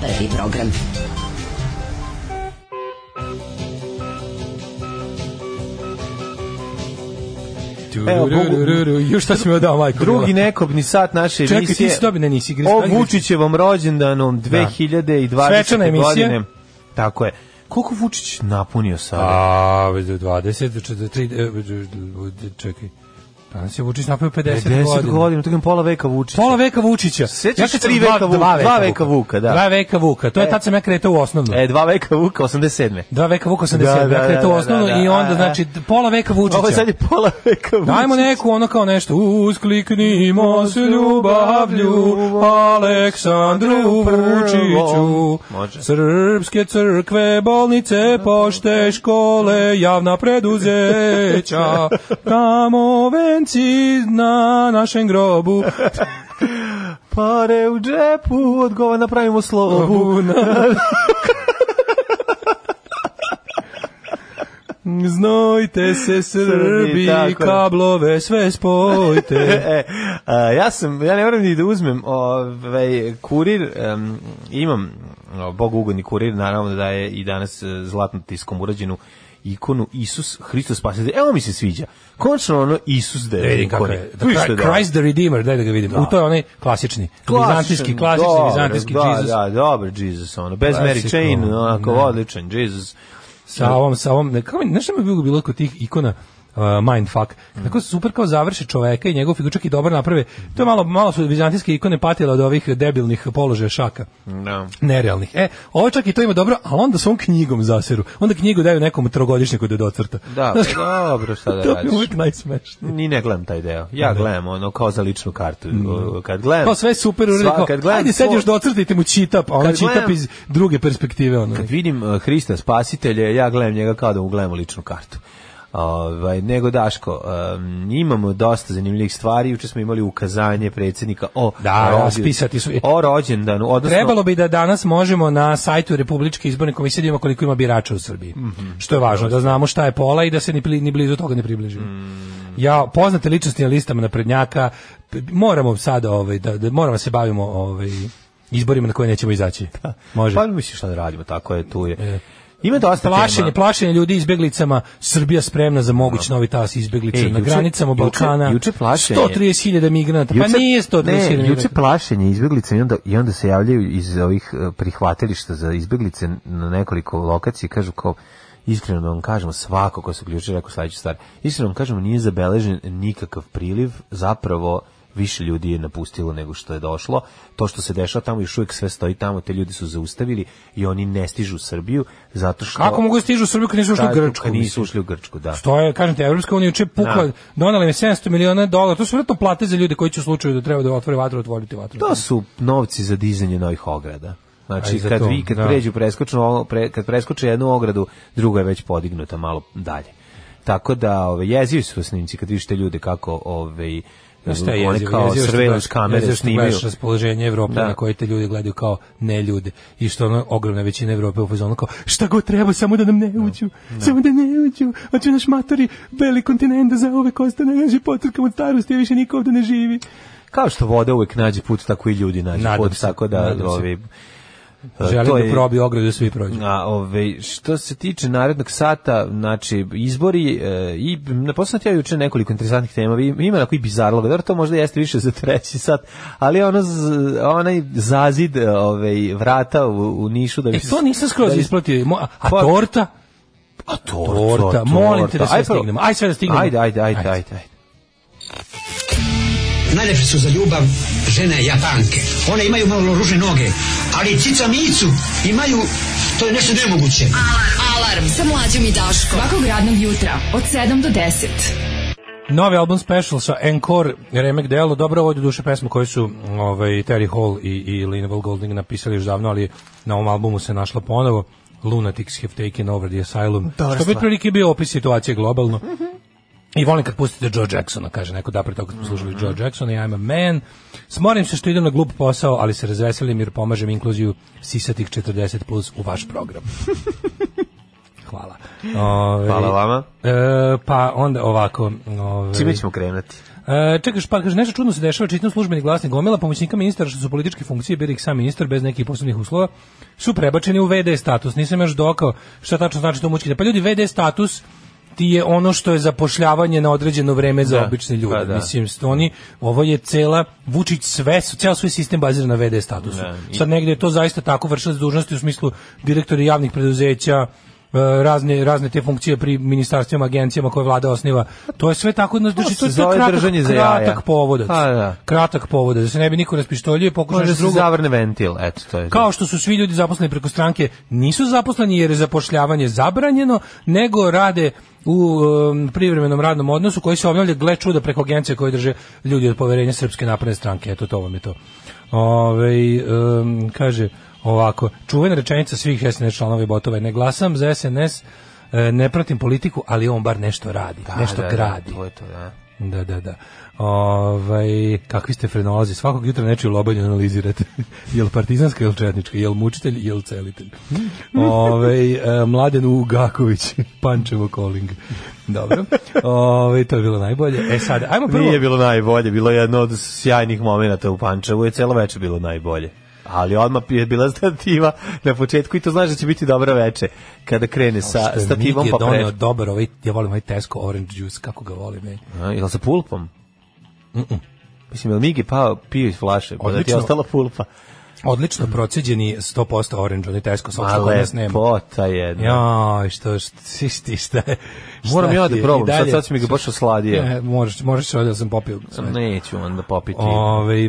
Prvi program.
Evo, Bogu-
Ju šta si mi odao, majko?
Drugi
mila?
nekobni sat naše emisije.
Čekaj, ti si dobio, ne, nisi, Gris,
O
ajde, Gris.
Vučićevom rođendanom 2020.
Svečana emisija.
godine. Tako je. Koliko Vučić napunio sada?
A, već do 20, do 43, e, čekaj. Danas je Vučić napravio 50,
50
godina.
E, godina, to je pola veka Vučića.
Pola veka Vučića.
Sećaš
kad
tri
sam dva-
veka Vuka,
dva
dva veka Vuka, da.
Dva veka Vuka, to je tad sam ja kretao u osnovnu.
E, dva veka Vuka, 87.
Dva veka Vuka sam
Da,
da,
da,
ja kretao u
da,
osnovnu
da, da,
i onda,
a, a.
znači, pola veka
Ovo je
Vučića.
sad je pola veka Vučića.
Dajmo neku ono kao nešto Uskliknimo s ljubavlju Aleksandru Vučiću
Može.
Srpske crkve, bolnice, pošte, škole Javna
(laughs)
preduzeća Tamo venci na našem grobu
Pare u džepu, odgova napravimo slobu.
Znojte se Srbi,
tako je.
kablove sve spojte
E, a, ja sam, ja ne moram ni da uzmem ovaj, kurir, em, imam o, Bogu ugodni kurir, naravno da je i danas e, zlatno tiskom urađenu ikonu Isus Hristos spasitelj. Evo mi se sviđa. Konačno ono Isus (laughs) da je
Da vidim kako
ikoni.
je.
Viš što je
The
dobro.
Christ the Redeemer, daj da ga vidim. U to je onaj klasični,
Klasičan,
vizantijski, klasični
dobro,
vizantijski
da,
Jesus.
Da, dobro, Jesus, ono, bez Mary
Klasično,
Chain, onako,
ne.
odličan, Jesus.
Sa ovom, sa ovom, ne, kao, mi- znaš šta mi je bilo, bilo kod tih ikona, Uh, mindfuck.
Mm.
Tako super kao završe čoveka i njegov figur čak i dobro naprave. To je malo, malo su vizantijske ikone patile od ovih debilnih položaja šaka.
Da.
nerealnih. E, ovo čak i to ima dobro, ali onda svom knjigom zaseru. Onda knjigu daju nekom trogodišnjaku da docrta.
Da,
Znaš,
pa dobro, šta da
to je
radiš.
uvijek najsmešnije.
Ni ne gledam taj deo. Ja gledam ono kao za ličnu kartu. O, Kad gledam...
Mm. Kao sve super
Sva-
uredno.
kad
Kad
gledam
Ajde sad
svoj-
još docrtajte mu čitap, a ono
Kad
čitap
gledam-
iz druge perspektive. Ono.
Kad vidim uh, Hrista spasitelja, ja gledam njega kao da mu gledamo ličnu kartu. Ovaj, nego Daško, um, imamo dosta zanimljivih stvari, juče smo imali ukazanje predsjednika o,
Da,
rođen-
raspisati su-
o rođendanu, odnosno
Trebalo bi da danas možemo na sajtu Republičke izborne komisije da imamo koliko ima birača u Srbiji.
Mhm.
Što je važno, da znamo šta je pola i da se ni, pli- ni blizu toga ne približimo.
Mm.
Ja, poznate ličnosti na listama naprednjaka, p- moramo sada ovaj, da, da moramo da se bavimo ovaj, izborima na koje nećemo izaći. Može. E,
Pa misliš šta da radimo, tako je, tu je. Ima dosta
Plašenje,
tema.
plašenje ljudi izbeglicama, Srbija spremna za moguć novi tas izbeglica
Ej,
na
E, juče-
granicama
juče-
Balkana.
juče plašenje.
130.000 migranata, pa
Juče-
nije 130.000
ne, juče
migranata.
plašenje izbeglica i onda, i onda se javljaju iz ovih eh, prihvatilišta za izbeglice na nekoliko lokacija i kažu kao iskreno da vam kažemo svako ko se uključio rekao sledeću stvar iskreno da vam kažemo nije zabeležen nikakav priliv zapravo više ljudi je napustilo nego što je došlo. To što se dešava tamo još uvijek sve stoji tamo, te ljudi su zaustavili i oni ne stižu u Srbiju zato što...
Kako mogu da stižu u Srbiju kad nisu ušli u
Da,
Grčku?
pa- kad Nisu
mislim?
ušli u Grčku, da.
Što je, kažem ti, Evropska unija juče pukla,
Da.
donela im je 700 miliona dolara, to su vjerojatno plate za ljude koji će u slučaju da treba da otvore vatru, otvoriti vatru.
To su novci za dizanje novih ograda.
A
Znači,
i za
kad,
to,
vi, kad,
da.
pređu preskočnu, o- pre, kad preskoče jednu ogradu, druga je već podignuta malo dalje. Tako da, ove, jezivi su snimci kad vidite ljude kako ove,
Znaš šta je
one
jezivo?
kao
Jezivo što
surveillance
gledaš-
kamere
jezivo što
snimaju.
gledaš raspoloženje Evrope
Da.
na koje te ljudi gledaju kao ne ljude. I što ono, ogromna većina Evrope u fazonu kao šta god treba, samo da nam ne uđu, samo da ne uđu, hoće naš matori veli kontinent da zauvek ostane, naši potrkam od starosti, a više niko ovde ne živi.
Kao što voda uvek nađe put, tako i ljudi nađu
Nadam
put.
se,
tako da,
nadam se.
ove,
Želim
E, to
da
je-
probiju ogradu da svi prođu.
A ove, što se tiče narednog sata, znači izbori e, i na poslednje ja juče nekoliko interesantnih tema, i- ima na koji bizarloga, dobro to možda jeste više za treći sat, ali ono z- onaj zazid e, ove, vrata u, u Nišu da bi
E, to nisam skroz
da bi-
isplatio. Mo- a- A
Pa-
torta?
A torta,
Torta, molim te da sve
Ajde, pa-
stignemo. Ajde sve da stignemo.
Ajde, ajde, ajde, ajde.
Ajde.
ajde.
Najlepše su za ljubav žene japanke. One imaju malo ružne noge, ali cica micu imaju, to je nešto nemoguće.
Alarm sa Mlađom i Daškom. Svakog radnog jutra od 7 do 10.
Novi album Special sa Encore Remek Delo, dobro ovo je do duše pesma koju su mm, ovaj, Terry Hall i, i Linval Golding napisali još davno, ali na ovom albumu se našla ponovo. Lunatics have taken over the asylum. što bi prilike bio opis situacije globalno. I volim kad pustite Joe Jacksona, kaže neko da pre toga smo slušali Joe Jacksona i I'm a man. Smorim se što idem na glup posao, ali se razveselim jer pomažem inkluziju sisatih 40 plus u vaš program. Hvala. Ovaj, Ove,
Hvala vama.
E, pa onda ovako. Ove,
Čime ćemo krenuti?
E, čekaj, pa kaže nešto čudno se dešava, čitam službeni glasnik gomila pomoćnika ministra što su političke funkcije bili ih sam ministar bez nekih posebnih uslova su prebačeni u VD status. Nisam još dokao šta tačno znači to mučkite. Pa ljudi, VD status ti je ono što je zapošljavanje na određeno vreme za
Da,
obične ljude.
pa da.
Mislim, st- oni, ovo je cela, Vučić sve, ceo svoj sistem bazira na VD statusu.
Da, i-
Sad negde je to zaista tako vršilac dužnosti u smislu direktori javnih preduzeća, e, razne, razne te funkcije pri ministarstvima, agencijama koje vlada osniva. To je sve tako, znači,
se
to, je- to je
zove
kratak,
držanje za jaja.
kratak povodac.
Pa, da.
Kratak povodac, da se ne bi niko raspištoljio i pokušao
Može
nešto
se
drugo.
zavrne ventil, eto, to je.
Kao što su svi ljudi zaposleni preko stranke nisu zaposleni jer je zapošljavanje zabranjeno, nego rade u um, privremenom radnom odnosu koji se obnavlja gle čuda preko agencije koje drže ljudi od poverenja Srpske napredne stranke. Eto to vam je to. Ovaj um, kaže ovako, čuvena rečenica svih SNS članova i botova je ne glasam za SNS, e, ne pratim politiku, ali on bar nešto radi, nešto
da,
gradi.
Da, to je to, da.
Da, da, da. Ovaj, kakvi ste frenolozi? Svakog jutra nečiju lobanju analizirate. (laughs) jel partizanska, jel četnička, jel mučitelj, jel celitelj. Ovaj e, Mladen Ugaković, (laughs) Pančevo Koling. Dobro. Ovaj to je bilo najbolje. E sad,
(laughs)
ajmo prvo...
Nije bilo najbolje, bilo je jedno od sjajnih momenata u Pančevu, je celo večer bilo najbolje. Ali odmah je bila stativa na početku i to znaš da će biti dobro veče kada krene sa
što je
stativom
Miki
pa pre.
doneo dobar, ovaj, ja volim ovaj Tesco Orange Juice, kako ga volim. Ej.
A, Jel sa pulpom? Mislim, jel Migi pao, pio iz flaše, pa da ti je
Odlično.
ostala pulpa.
Odlično proceđeni 100% Orange, oni Tesco, samo
Mm. Ma
što kod nas nema.
lepota jedna.
Joj, što, što, što, šta je?
Moram
šta
ja
ti
da
je?
probam,
I
sad,
dalje-
sad si mi ga baš osladije.
E, možeš, možeš ovdje da sam popio. sve.
Neću onda popiti.
Ove,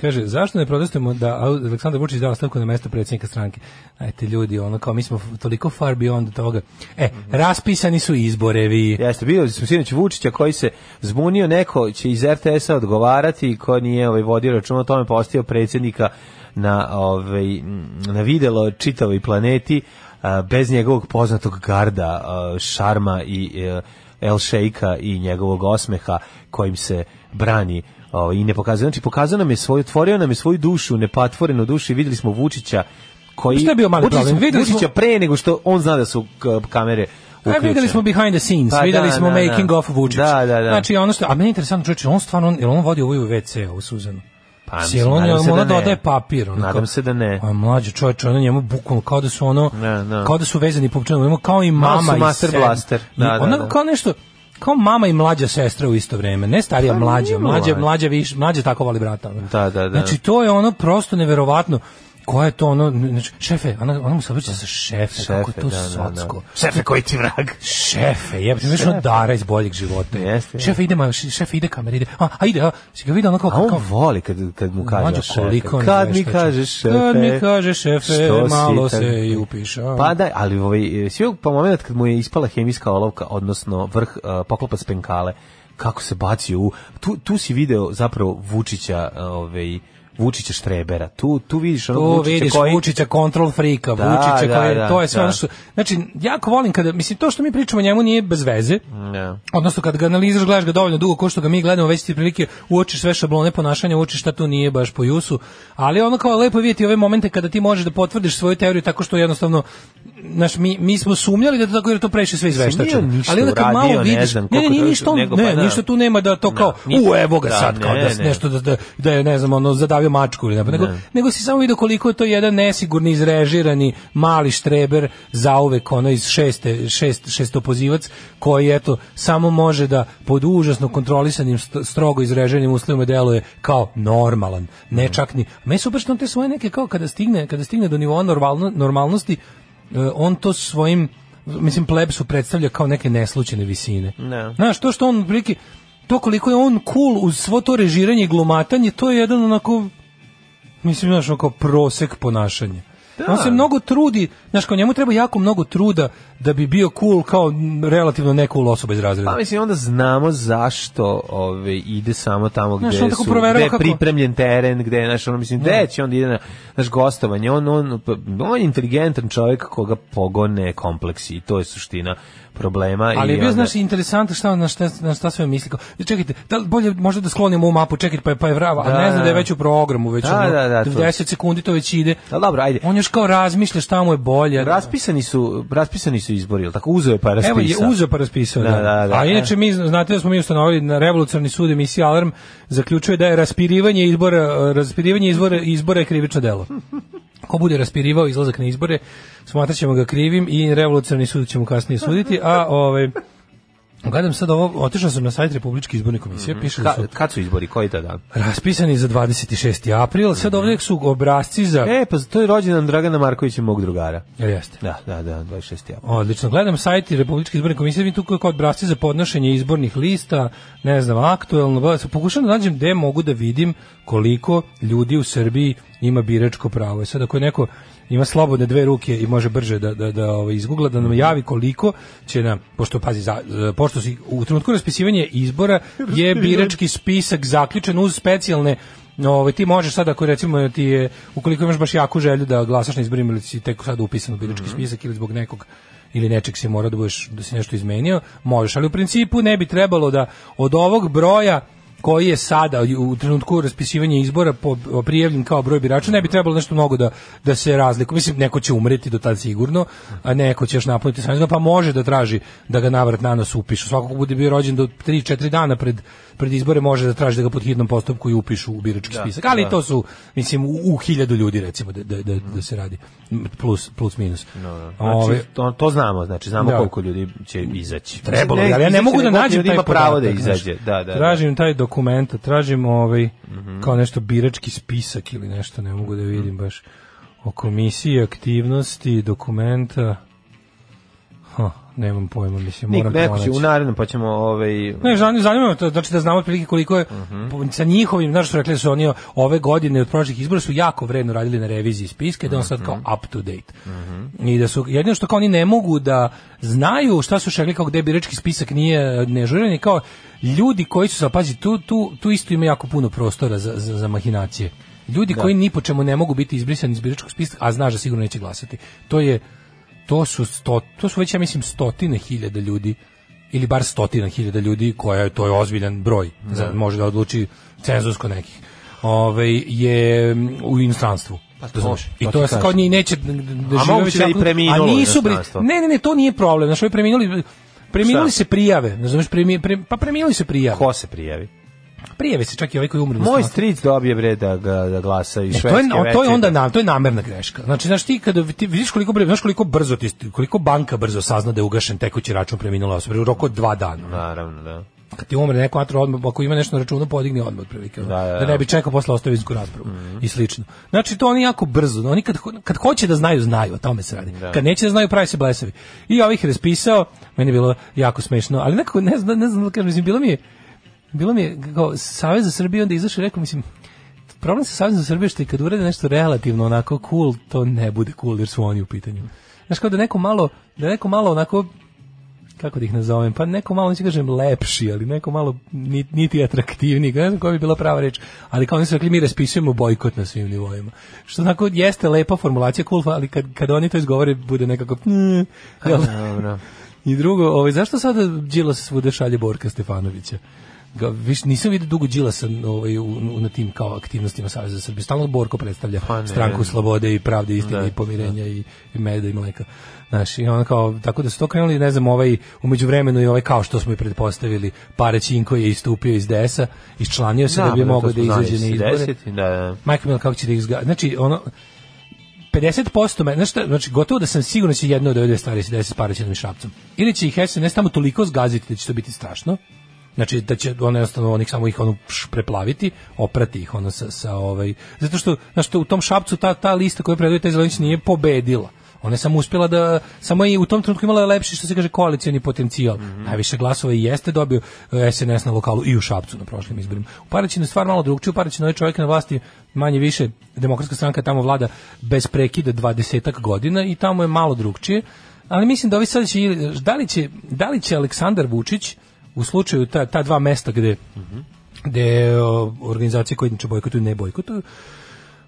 kaže, zašto ne protestujemo da Au- Aleksandar Vučić da stavku na mesto predsjednika stranke? Ajte ljudi, ono kao mi smo f- toliko far beyond toga. E,
Mhm.
raspisani su izborevi.
Jeste, bio sam sinoć Vučića koji se zbunio, neko će iz RTS-a odgovarati i ko nije ovaj, vodio računa o tome, postio predsjednika na, ovaj, m, na videlo čitavoj planeti a, bez njegovog poznatog garda, a, šarma i e, El Sheika i njegovog osmeha kojim se brani ovaj, i ne pokazuje. Znači, pokazao nam je svoju, otvorio nam je svoju dušu, nepatvorenu dušu i vidjeli smo Vučića koji...
Šta je bio mali
Vučića-
problem? Vidjeli smo-
Vučića pre nego što on zna da su k- kamere
E,
uključene.
videli smo behind the scenes,
Pa
videli
da,
smo
da,
making
da.
of Vučić.
Da, da, da.
Znači, ono što, a meni je interesantno čovječe, on stvarno, on- jel on vodi ovu WC, ovu Suzanu?
Pa,
Jel
mislim,
on,
nadam se
ona
da ne.
dodaje papir. ono
Nadam
kao-
se da ne.
A mlađi čovječ, ono njemu bukvalno kao da su ono,
Ne, ne.
kao da su vezani pupčanom, ono kao i
Malo su
mama i
master
sestra.
blaster. Da,
I
da,
ono
da.
kao nešto, kao mama i mlađa sestra u isto vreme, ne starija
Pa, nije
mlađa, mlađa,
mlađa.
mlađa, viš, mlađa tako voli brata. ono.
Da, da, da.
Znači to je ono prosto neverovatno. Koja je to ono, znači, šefe, ona, ona mu se obraća sa šefe, kako je to
da, da, da.
socko.
Šefe, koji ti vrag?
Šefe, jebate, znaš ono dara iz boljeg života.
Jeste, je.
šefe, ide, ma, šefe, ide kamera, ide. A, a ide, a, si ga vidio ono kao...
A
kao,
on voli kad, kad mu kaže
Mlađo,
šefe.
koliko on
Kad mi
veštači.
kažeš šefe.
Kad mi kaže šefe,
što si
malo
tak-
se i upišao.
Pa da, ali ovaj, svi ovog- pa moment kad mu je ispala hemijska olovka, odnosno vrh uh, poklopa spenkale, kako se bacio u... Tu, tu si video zapravo Vučića, ovaj, Vučića Štrebera. Tu, tu vidiš ono
Tu
Vučića
vidiš
koji...
Vučića control frika,
Da,
Vučića
da,
koji,
da,
to je sve
da.
ono što, znači, jako volim kada, mislim, to što mi pričamo o njemu nije bez veze,
Ne.
odnosno kad ga analiziraš, gledaš ga dovoljno dugo, ko što ga mi gledamo, već ti prilike uočiš sve šablone ponašanja, uočiš šta tu nije baš po jusu, ali ono kao lepo je vidjeti ove momente kada ti možeš da potvrdiš svoju teoriju tako što jednostavno Znaš, mi, mi smo sumnjali da je to tako jer je to previše sve
Mislim,
izveštačeno.
nije ništa
Ali onda kad malo
uradio, ne
vidiš, ne,
znam
ne,
koliko
nije
to-
ništa, on-
nego, pa
ne,
da.
ništa tu nema da to kao,
ništa.
u, evo ga
Da,
sad, kao
ne,
da, s-
ne.
nešto da, da, da je, ne znam, ono, zadavio mačku ili napad, nego, nego si samo vidio koliko je to jedan nesigurni, izrežirani, mali štreber zauvek, ono, iz šeste, šest, šestopozivac, koji, eto, samo može da pod užasno kontrolisanim, st- strogo izreženim uslovima deluje kao normalan,
Mhm.
ne čak ni... Me su baš te svoje neke, kao kada stigne, kada stigne do nivoa normalno, normalnosti, e, on to svojim mislim plebsu predstavlja kao neke neslučajne visine.
Ne.
Znaš, to što on prilike, to koliko je on cool uz svo to režiranje i glumatanje, to je jedan onako, mislim, znaš, onako prosek ponašanja. On se mnogo trudi, znaš, kao njemu treba jako mnogo truda da bi bio cool kao relativno necool osoba iz razreda.
Pa mislim onda znamo zašto ove ide samo tamo gde
Znaš, on tako
su
proverava
gde je
kako-
pripremljen teren, gde je naš ono mislim gde će on ide na naš gostovanje, on on pa, on je inteligentan čovjek koga pogone kompleksi i to je suština problema
Ali
i
je bio,
onda-
znaš, interesantno šta on na šta, na šta sve misli. Kao, čekajte, da li bolje možda da sklonimo ovu mapu, čekajte, pa je, pa je vrava,
Da,
a ne zna da je
da.
već u programu, već
Da,
ono,
da, da, to.
90 sekundi to već ide.
Da, dobro, ajde.
On još kao razmišlja šta mu je bolje.
Raspisani su, raspisani su izbori, jel tako uzeo je pa raspisao.
Evo je uzeo pa raspisao. Da,
Da, da, da.
A inače mi zna- znate da smo mi ustanovili na revolucionarni sud emisija Alarm zaključuje da je raspirivanje izbora raspirivanje izbora izbora je krivično delo. Ko bude raspirivao izlazak na izbore, smatraćemo ga krivim i revolucionarni sud ćemo kasnije suditi, a ovaj Gledam sad ovo, otišao sam na sajt Republičke izborne komisije, piše da su
Mhm. Ka, kad su izbori, koji to dan?
raspisani za 26. april, sad ovdje su obrazci za...
E, pa to je rođendan Dragana Markovića, mog drugara.
Jel jeste?
Da, da, da, 26. april.
Odlično. Gledam sajt i Republičke izborne komisije, vidim tu kao kao obrasci za podnošenje izbornih lista, ne znam, aktuelno, bla, sad pokušam da nađem gde mogu da vidim koliko ljudi u Srbiji ima biračko pravo. I sad ako je neko ima slobodne dve ruke i može brže da, da, da ovaj, izgugla, da nam javi koliko će nam, pošto, pazi, za, za- pošto si, u trenutku raspisivanja izbora je birački spisak zaključen uz specijalne Ovaj ti možeš sad ako recimo ti je ukoliko imaš baš jaku želju da glasaš na izborima ili si tek sad upisan u birački spisak ili zbog nekog ili nečeg si morao da budeš da si nešto izmenio, možeš, ali u principu ne bi trebalo da od ovog broja koji je sada u trenutku raspisivanja izbora po- prijavljen kao broj birača, ne bi trebalo nešto mnogo da, da se razliku. Mislim, neko će umreti do tad sigurno, a neko će još napuniti sanjizma, pa može da traži da ga navrat na nas upišu. Svako ko bude bio rođen do 3-4 dana pred, pred izbore može da traži da ga pod hitnom postupku i upišu u birački spisak. Ali to su, mislim, u, u hiljadu ljudi recimo da, da, da, da se radi. Plus, plus minus. Ove-
Znači, to, to znamo, znači znamo
Da.
koliko ljudi će izaći.
trebalo,
Mislim,
ali ja ne
izaći,
mogu da
nego
nađem
ljudi
taj
ima pravo da
podatak, znaš.
izađe. Da, da. Mhm. da.
Tražim taj dokument, tražim ovaj kao nešto birački spisak ili nešto, ne mogu da
Mhm.
vidim baš o komisiji aktivnosti dokumenta. Ha, nemam pojma, mislim,
Nik,
moram
neko će
pronaći.
u narednom, pa ćemo ovaj...
Ne, zanima, zanima me to, znači da znamo otprilike koliko je po- sa njihovim, znaš što rekli da su oni ove godine od prošlih izbora su jako vredno radili na reviziji spiska, da je on sad kao up to date. I da su, jedino što kao oni ne mogu da znaju šta su šegli kao gde birački spisak nije nežuren i kao ljudi koji su, sad, pazi, tu, tu, tu isto ima jako puno prostora za, za, za mahinacije. Ljudi koji ni po čemu ne mogu biti izbrisani iz biračkog spiska, a znaš da sigurno neće glasati. To je, to su, sto, to su već, ja mislim, stotine hiljada ljudi ili bar stotina hiljada ljudi koja je, to je ozbiljan broj, za, može da odluči cenzusko nekih, Ovaj je mm, u inostranstvu.
Pa to-
Razumeš? I
to
to
ti
je sad kao
kažem.
ni neće da žive
moguće
već
da je i
jako-
preminulo
a
u
nisu bri-
inostranstvo.
Ne, ne, ne, to nije problem. Znači, ovi preminuli preminuli
Šta?
se prijave, razumeš, premi, pre- pa preminuli se prijave.
Ko se prijavi?
Prijave se čak i ovi koji umru u
Moj
inostranstvu.
stric dobije bre da, ga, da glasa i
E,
švedske
to je,
veće.
to je onda na, to je namerna greška. Znači, znaš ti kada ti vidiš koliko bre- znaš koliko brzo ti koliko banka brzo sazna da je ugašen tekući račun preminula osoba u roku od dva dana.
Naravno, da.
Pa Kad ti umre neko atro odmah, ako ima nešto na računu, podigne odmah otprilike. ono.
Da, da, Mhm. da.
ne bi čekao posle ostavinsku raspravu i slično. Znači, to oni jako brzo. Oni kad, ho- kad hoće da znaju, znaju, o tome se radi. Kad neće da znaju, pravi se blesavi. I ovih raspisao, meni je bilo jako smešno, ali nekako ne znam, ne znam da kažem, mislim, bilo mi je, bilo mi je kao Savez za Srbiju onda izašao i rekao, mislim, problem sa Savezom za Srbiju je što i kad urede nešto relativno onako cool, to ne bude cool jer su oni u pitanju. Znaš, kao da neko malo, da neko malo onako kako da ih nazovem, pa neko malo, neću kažem lepši, ali neko malo ni- niti atraktivniji, ne znam koja bi bila prava reč, ali kao oni su rekli, mi raspisujemo bojkot na svim nivoima. Što onako jeste lepa formulacija, cool, ali kad, kad oni to izgovore, bude nekako... "Mm", jel?
Dobro.
I drugo, ovaj, zašto sada Đilas svuda šalje Borka Stefanovića? Ga, viš, nisam vidio dugo Đilasa ovaj, u, u- na tim kao aktivnostima Saveza za Srbiju. Stalno Borko predstavlja
Pa ne.
stranku slobode i pravde, istine i pomirenja i, i meda i mleka. Znaš, i on kao, tako da su to krenuli, ne znam, ovaj, umeđu vremenu i ovaj, kao što smo i pretpostavili, Pare Ćinko je istupio iz DS-a, iščlanio se da, bi
pa
mogao
to
da
smo znali,
izađe na izbore.
10, Da, da.
Majko Mila, kako će da ih zga... Znači, ono, 50% me, znaš šta, znači gotovo da sam siguran da će jedno od ove dve stvari se desiti s Paraćinom i Šapcom. Ili će ih SNS tamo toliko zgaziti da će to biti strašno, znači da će ono jednostavno onih samo ih ono pš, preplaviti, oprati ih ono sa, sa ovaj, zato što, znaš, to u tom Šapcu ta, ta lista koju predvodi taj zelenić nije pobedila. Ona je samo uspjela da samo je u tom trenutku imala lepši što se kaže koalicioni potencijal. Najviše glasova i jeste dobio e, SNS na lokalu i u Šapcu na prošlim izborima. U Paraćinu je stvar malo drugčija, u Paraćinu je čovjek na vlasti manje više demokratska stranka tamo vlada bez prekida 20 godina i tamo je malo drugčije. Ali mislim da ovi sad će, da li će, da li će Aleksandar Vučić u slučaju ta, ta dva mesta gde gde o, organizacije koje inače bojkotuju ne bojkotuju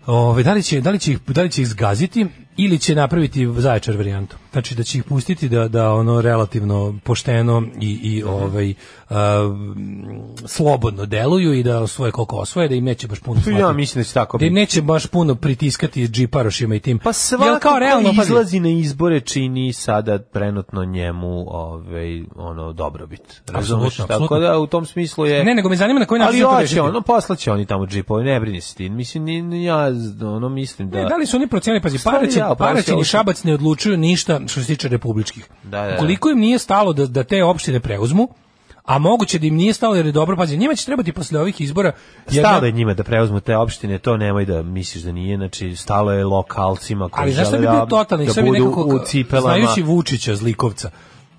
Ove, da, li će, da, li će ih, da li će ih zgaziti ili će napraviti zaječar varijantu? Znači da će ih pustiti da, da ono relativno pošteno i, i
Mhm.
ovaj, a, m, slobodno deluju i da osvoje koliko osvoje, da im neće baš puno
Tu Pa ja
smatrati-
mislim da će tako
da im
biti.
neće baš puno pritiskati džiparošima i tim.
Pa
Jel
svako
kao realno,
ko
pazi,
izlazi na izbore čini sada trenutno njemu ovaj, ono, dobrobit. Razumeš?
Apsolutno, apsolutno.
Tako da u tom smislu je...
Ne, nego me zanima na koji način
Ali
će to
hoće
rešiti.
ono, poslaće oni tamo džipove, ne brini se ti. Mislim, ni- ni ja z- ono mislim da...
Ne, da li su oni procenili, pazi,
Stvari
Paraćin,
ja, oprosti,
Paraćin
ovo
i
su-
Šabac ne odlučuju ništa što se tiče republičkih.
Da, da, da.
Koliko im nije stalo da, da te opštine preuzmu, a moguće da im nije stalo jer je dobro, pazi, njima će trebati posle ovih izbora jedna-
Stalo je njima da preuzmu te opštine, to nemoj da misliš da nije, znači stalo je lokalcima koji
ali znaš šta
žele
bi bio
da,
totalni,
da
sve bi
budu
nekako,
u cipelama.
znajući Vučića zlikovca,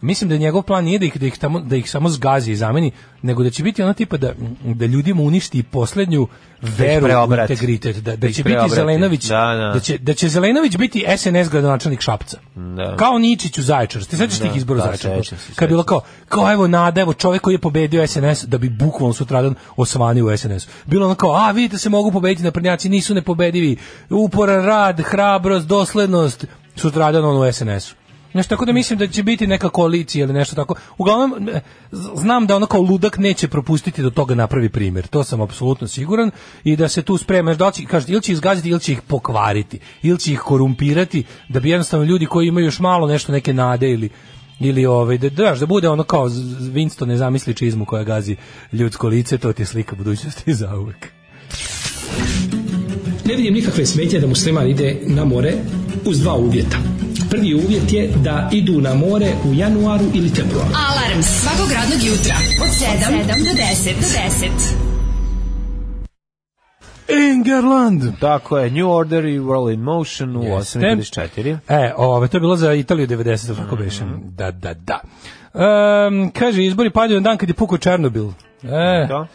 mislim da njegov plan nije da ih, da ih, tamo, da ih samo zgazi i zameni, nego da će biti ono tipa da, da ljudima uništi posljednju veru u
preobrati.
integritet, da, da
Da ih
će biti
preobrati.
Zelenović,
Da, da.
će, da će Zelenović biti SNS gradonačelnik Šapca.
Da.
Kao Ničić u Zaječaru. Ti sećaš tih izbora u
da,
Zaječaru?
sećam se,
Kad je bilo
sećam
kao, kao evo nada, evo čovjek koji je pobedio SNS da bi bukvalno sutradan osvanio u SNS. Bilo ono kao, a vidite se mogu pobediti na prnjaci, nisu nepobedivi. Uporan rad, hrabrost, doslednost, sutradan on u SNS-u. Znaš, tako da mislim da će biti neka koalicija ili nešto tako. Uglavnom, eh, z- znam da ono kao ludak neće propustiti da od toga napravi primjer. To sam apsolutno siguran i da se tu spremaš da li će, kažete, ili će izgaziti ili će ih pokvariti, ili će ih korumpirati da bi jednostavno ljudi koji imaju još malo nešto neke nade ili ili ovaj da da, da bude ono kao z- z- Winston ne zamisli čizmu koja gazi ljudsko lice, to ti je slika budućnosti za uvek.
Ne vidim nikakve smetje da musliman ide na more uz dva uvjeta. Prvi uvjet je da idu na more u januaru ili februaru.
Alarm svakog radnog jutra od 7, do 10. Do 10.
England.
Tako je, New Order i World in Motion u
Jeste.
8.54.
E, ove, to je bilo za Italiju 90, tako beše. Da, da, da. Em, kaže, izbori padaju na dan kad je pukao Černobil. E,
Da.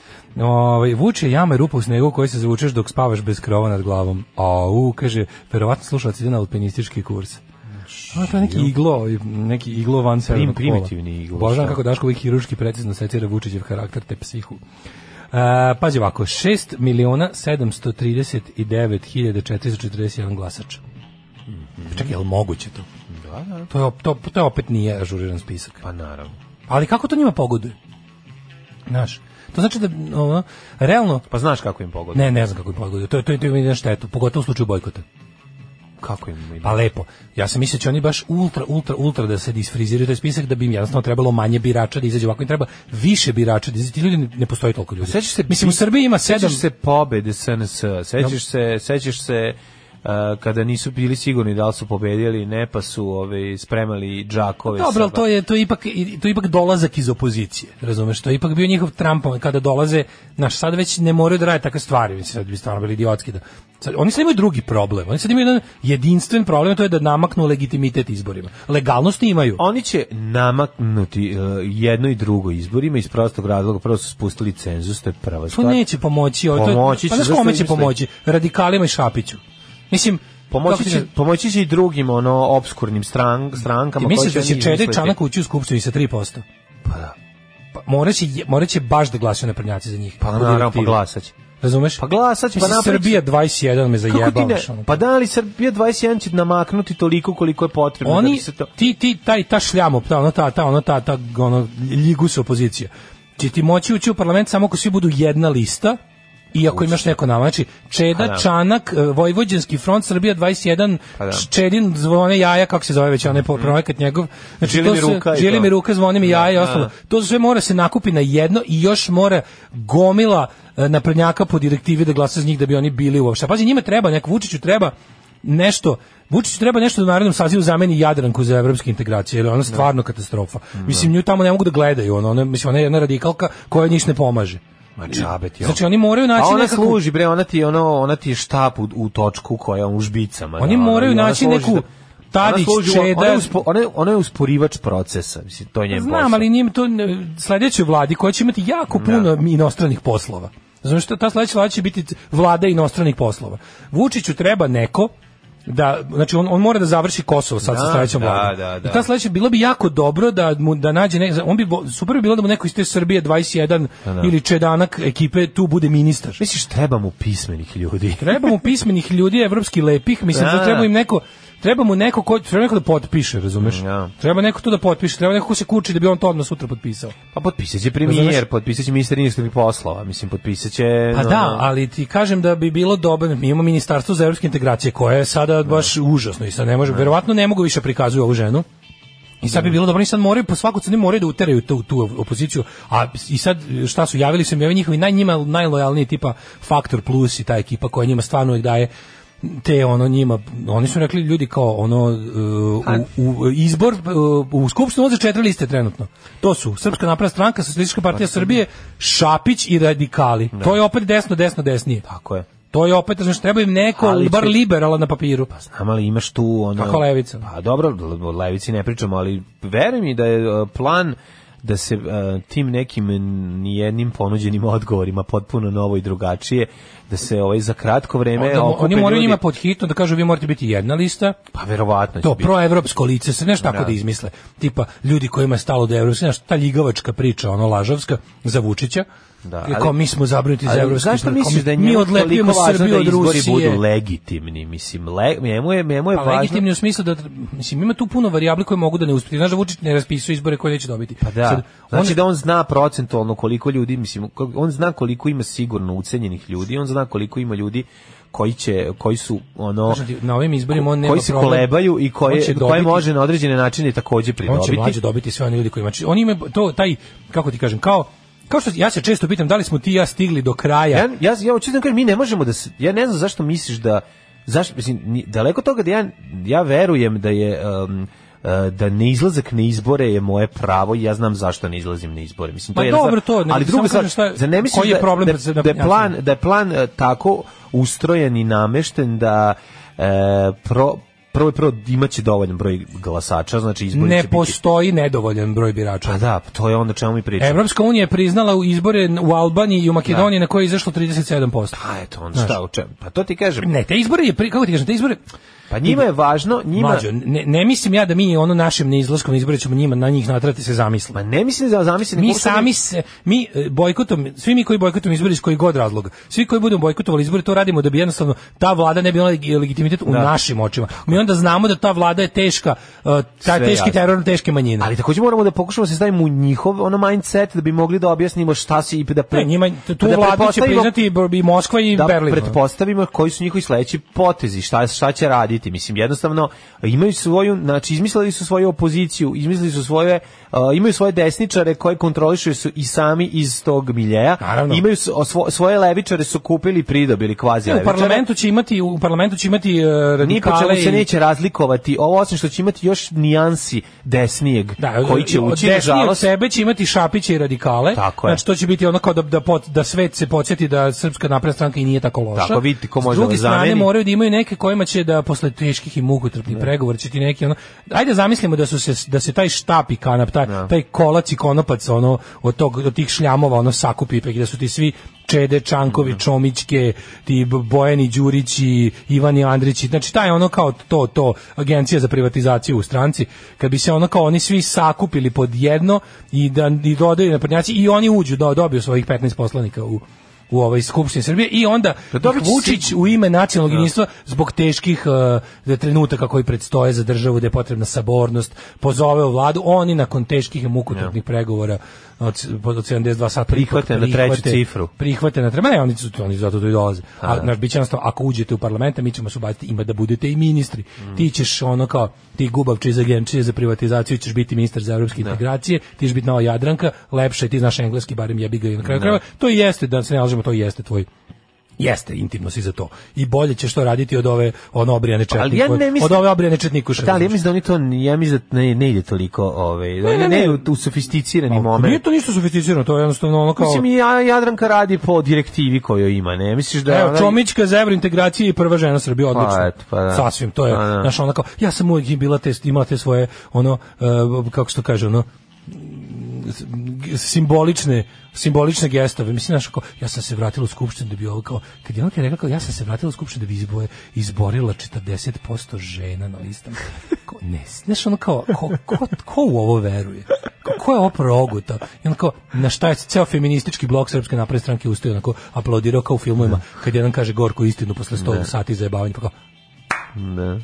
Ovaj vuče jame rupa u snegu koji se zavučeš dok spavaš bez krova nad glavom. Au, kaže, verovatno slušalac ide na alpinistički kurs.
Znači,
A to je neki iglo, neki iglo van severnog pola.
primitivni iglo,
Božan
šta?
kako Daško uvijek hiruški precizno secira Vučićev karakter te psihu. Uh, pazi ovako, 6 miliona 739 hiljada 441 glasač.
Mhm.
Čekaj, je li moguće to? Da, da. To je, op- to, to je opet nije ažuriran spisak.
Pa naravno.
Ali kako to njima pogoduje? Znaš, to znači da, ono, realno,
Pa znaš kako im pogodno.
ne, ne znam kako im pogoduje, to, je- to, je- to im ide na štetu, pogotovo u slučaju bojkota.
Kako im ide?
Pa lepo. Ja sam mislio da će oni baš ultra, ultra, ultra da se disfriziraju taj spisak, da bi im jednostavno trebalo manje birača da izađe ovako im treba više birača da izađe. Ti ljudi ne, ne postoji toliko ljudi.
Sećaš se
Mislim, u Srbiji ima sedam...
Sećaš se pobede SNS, sećaš se, sećaš se uh, kada nisu bili sigurni da li su pobedili ili ne, pa su ovaj, spremali džakove.
Pa Dobro, ali
sa-
to je to je ipak i- to je ipak dolazak iz opozicije. Razumeš, to je ipak bio njihov Trump kada dolaze, naš sad već ne moraju da rade takve stvari, mislim sad bi stvarno bili idiotski da. Sad, oni sad imaju drugi problem. Oni sad imaju jedan jedinstven problem, a to je da namaknu legitimitet izborima. Legalnost imaju.
Oni će namaknuti uh, jedno i drugo izborima iz prostog razloga. Prvo su spustili cenzus, to je prva
To
stvar.
Pa neće pomoći, ovo, to je-
Pomoći će,
pa znaš
zašto
kome
im
će
misli?
pomoći? Radikalima i Šapiću. Mislim, kako
Pomoći
ti
će,
kažem,
pomoći će i drugim ono obskurnim stran, strankama.
Ti misliš da
koje
će
oni
Čede
izmisliti.
Čanak ući u skupštinu i sa 3%?
Pa da.
Pa, moraće, moraće baš da glasuju naprednjaci za njih.
Pa
po
naravno, pa
direktivi.
glasaće.
Razumeš?
Pa glasat će, pa
Mislim,
napravit će-
Srbija 21 me
Kako ti ne?
zajebavaš. ono.
Pa da li Srbija 21 će namaknuti toliko koliko je potrebno da
Oni,
bi se to...
ti, ti, taj, ta šljamo, ta, ono, ta, ta, ono, ta, ta, ono, ljigus opozicija. Će ti moći ući u parlament samo ako svi budu jedna lista, i ako imaš neko nama, znači Čeda,
Pa da.
Čanak, e, Vojvođanski front, Srbija 21,
Pa da. Mhm.
Čedin, zvone jaja, kako se zove već, onaj po- projekat njegov. Znači,
Želi
to
mi
se-
ruka i
želi
to.
mi ruka, zvoni mi jaja i
da,
ostalo.
da.
To sve mora se nakupi na jedno i još mora gomila e, naprednjaka po direktivi da glasa za njih da bi oni bili uopšte. A Pazi, njima treba, nek Vučiću treba nešto Vučiću treba nešto da u narednom sazivu zameni Jadranku za evropske integracije, jer je ona stvarno katastrofa. Mislim, nju tamo ne mogu da gledaju, ono, ona, mislim, ona je jedna radikalka koja njih ne pomaže.
Ma čabet, jo.
Znači, oni moraju naći
A ona
nekakvu-
služi, bre, ona ti, je ono, ona ti je štap u, u točku koja je u žbicama.
Oni
da, ono,
moraju
i ona
naći
služi
neku
da-
Tadić,
služi u-
Čeda.
Ona je, uspo, ona, je, ona je usporivač procesa, mislim, to je njen posao.
Znam, ali njim to ne- sledećoj vladi koja će imati jako puno inostranih poslova. Zato što ta sledeća vlada će biti c- vlada inostranih poslova. Vučiću treba neko da znači on, on mora da završi Kosovo sad sa
Da,
sledećom
da,
vladom.
da, da.
I ta sledeća bilo bi jako dobro da mu da nađe ne, on bi bo- super bi bilo da mu neko iz te Srbije 21 ili Čedanak ekipe tu bude ministar.
Misliš, treba mu pismenih
(laughs)
ljudi.
Treba
(laughs)
mu pismenih ljudi, evropski lepih, mislim
Da.
da treba im neko treba mu neko ko treba neko da potpiše, razumeš?
Ja.
Treba neko to da potpiše, treba neko ko se kuči da bi on to odmah sutra potpisao.
Pa potpisat će premijer,
Razumeš?
potpisat će ministar inostranih poslova, mislim, potpisat će... ono-
Pa
no,
da,
no.
ali ti kažem da bi bilo dobro, mi imamo ministarstvo za evropske integracije koje je sada baš užasno i sad ne može, verovatno ne mogu više prikazuju ovu ženu. I sad bi bilo dobro, oni sad moraju, po svaku cenu moraju da uteraju tu, tu opoziciju, a i sad šta su, javili su im ovi njihovi naj, njima najlojalniji tipa Faktor Plus i ta ekipa koja njima stvarno uvek daje te ono njima, oni su rekli ljudi kao ono uh,
Pa-
u, u izbor uh, u skupštinu odlaze četiri liste trenutno. To su Srpska napredna stranka, Socijalistička
Pa-
partija Srbije, Šapić i radikali. To je opet desno, desno, desnije.
Tako je.
To je opet, znači treba im neko
Ali će- Pa,
bar liberalan na papiru.
Znam, ali imaš tu ono...
Kako levica?
Pa dobro, o levici ne pričamo, ali veruj mi da je e, plan da se e, tim nekim nijednim ponuđenim odgovorima potpuno novo i drugačije, da se ovaj za kratko vreme...
Onda mo-
okupe
oni moraju
ljudi-
njima pod hitno da kažu vi morate biti jedna lista,
Pa verovatno će
to
biti.
proevropsko lice, se nešto tako
Da.
da izmisle. Tipa, ljudi kojima je stalo do Evropske, znaš, ta ljigavačka priča, ono, lažavska, za Vučića,
Da,
da,
ali-
kao mi smo zabrinuti za
Ali
Evropske.
Zašto
izbore, kao
misliš
mi-
da je
mi
njemu toliko
odlepljujemo
važno
Srbiju
da
od
izbori
Rusije?
budu legitimni? Mislim, le, njemu je, njemu je
Pa
važno...
legitimni u smislu da, mislim, ima tu puno varijabli koje mogu da ne uspiju. Znaš da Vučić ne raspisuje izbore koje neće dobiti.
Pa da.
Sad,
znači
on-
da on zna procentualno koliko ljudi, mislim, ko- on zna koliko ima sigurno ucenjenih ljudi, on zna koliko ima ljudi koji će koji su ono
Kažem ti, znači, na ovim izborima on nema
koji se
problem.
kolebaju i
On
koje
će
koje
dobiti-
može na određene načine takođe
on će mlađe
pridobiti.
dobiti sve one ljudi koji ima. Znači, Oni imaju to taj kako ti kažem, kao kao što ja se često pitam da li smo ti i ja stigli do kraja.
Ja ja ja hoću da kažem mi ne možemo da se ja ne znam zašto misliš da zašto mislim ni- daleko od toga da ja ja verujem da je um, e, da ne izlazak na izbore je moje pravo i ja znam zašto ne izlazim na izbore. Mislim to
Pa
je jedna
dobro,
stvar.
to, ne,
ali
samo
druga stvar,
kažem šta je-
zar ne misliš
koji je
da-
problem
da,
da se-
da,
da-
je
ja
plan
znam.
da je plan e, tako ustrojen i namešten da e, pro prvo prvo imaće dovoljan broj glasača, znači izbori
ne
će biti.
postoji nedovoljan broj birača.
Pa da, to je onda čemu mi pričamo.
Evropska unija je priznala u izbore u Albaniji i u Makedoniji na koje je izašlo 37%.
Pa eto, onda šta, o čemu? Pa to ti kažem.
Ne, te izbore je, pri- kako ti kažem, te izbore,
Pa njima je važno, njima
mlađo, ne, ne mislim ja da mi ono našim neizlaskom na izbore ćemo njima na njih natrati se zamisli.
Ma ne mislim da zamislim
Mi sami se, mi e, bojkotom, svi mi koji bojkotom izbori iz kojih god razloga, svi koji budemo bojkotovali izbore, to radimo da bi jednostavno ta vlada ne bi imala leg- legitimitet u našim očima. Mi onda znamo da ta vlada je teška, e, taj
Sve
teški
jasno.
teror, na teške manjine.
Ali takođe moramo da pokušamo da se stavimo u njihov ono mindset da bi mogli da objasnimo šta se i da pre,
Ne, njima, tu
da
vladu će
pretpostavimo-
priznati i Br- i Moskva i
da
Berlin.
pretpostavimo koji su njihovi sledeći potezi, šta šta će raditi. Mislim jednostavno imaju svoju, znači izmislili su svoju opoziciju, izmislili su svoje uh, imaju svoje desničare koje kontrolišu su i sami iz tog miljeja.
Naravno.
Imaju su, osvo- svoje levičare su kupili i pridobili kvazi
U
levičare.
parlamentu će imati u parlamentu će imati e,
Ni po čemu
radikale
se
i-
neće razlikovati. Ovo osim što će imati još nijansi desnijeg
Da,
koji će
od-
ući
desni od
nažalost.
sebe će imati šapiće i radikale.
Tako je.
Znači to će biti ono kao da da, pot, da svet se podsjeti da srpska napredna stranka i nije tako loša.
Tako, vidite ko može
S druge
da vas
strane
zameni.
moraju da imaju neke kojima će da posle teških i mukotrpnih pregovora će ti neki ono Ajde zamislimo da su se da se taj štap i kanap taj, taj kolac i konopac ono od tog od tih šljamova ono sakupi pa i da su ti svi Čede Čankovi, Čomićke, ti B- Bojani Đurići, Ivani Andrići, znači taj ono kao to, to, agencija za privatizaciju u stranci, kad bi se ono kao oni svi sakupili pod jedno i da i dodaju naprednjaci i oni uđu, do, dobiju svojih 15 poslanika u, u ovoj skupštini Srbije i onda
Da Pa dobit će
Vučić u ime nacionalnog jedinstva zbog teških uh, trenutaka koji predstoje za državu da je potrebna sabornost, pozove u vladu, oni nakon teških i mukotrpnih pregovora od, od 72 sata ipak
Prihvate na treću
prihvate-
cifru.
Prihvate na treću, ne, oni, su, oni zato tu i dolaze. A, naš, bit će jednostavno, ako uđete u parlamenta, mi ćemo se ubaciti, ima da budete i ministri.
Mm.
Ti ćeš ono kao, ti gubavče iz agencije za privatizaciju, ćeš biti ministar za evropske integracije, ti ćeš biti nova Jadranka, lepše, ti znaš engleski, barem jebi ga i na kraju krajeva. To i jeste, da se ne lažemo, to i jeste tvoj Jeste, intimno si za to. I bolje ćeš to raditi od ove ono obrijane četniku.
Ali ja ne mislim-
od ove obrijane četnikuše.
Pa Da, ali ja
razumeš?
mislim da oni to, ja mislim da ne, ne ide toliko, ovaj, ne,
ne,
ne,
ne. Pa,
u, u sofisticirani moment.
Nije to ništa sofisticirano, to je jednostavno ono kao...
Mislim, ja, Jadranka radi po direktivi koju ima, ne? Misliš da...
Evo,
ona-
Čomićka za evrointegraciju i prva žena Srbije, odlično.
eto, pa da.
Sasvim, to je,
Pa da.
znaš, ona kao, ja sam uvijek bila te, imala te svoje, ono, e, kako se to kaže, ono, g- simbolične simbolične gestove. Mislim, znaš, kao, ja sam se vratila u skupštinu da bi ovo kao, kad je ona rekla kao, ja sam se vratila u skupštinu da bi izboje, izborila 40% žena na listama. Kao, ne, znaš, ono kao, ko, ko, ko u ovo veruje? Ko, ko je ovo progutao? I ono kao, na šta je ceo feministički blok Srpske napredne stranke ustao i onako aplaudirao kao u filmovima, kad jedan kaže gorku istinu posle 100 sati zajebavanja, pa kao,
Da.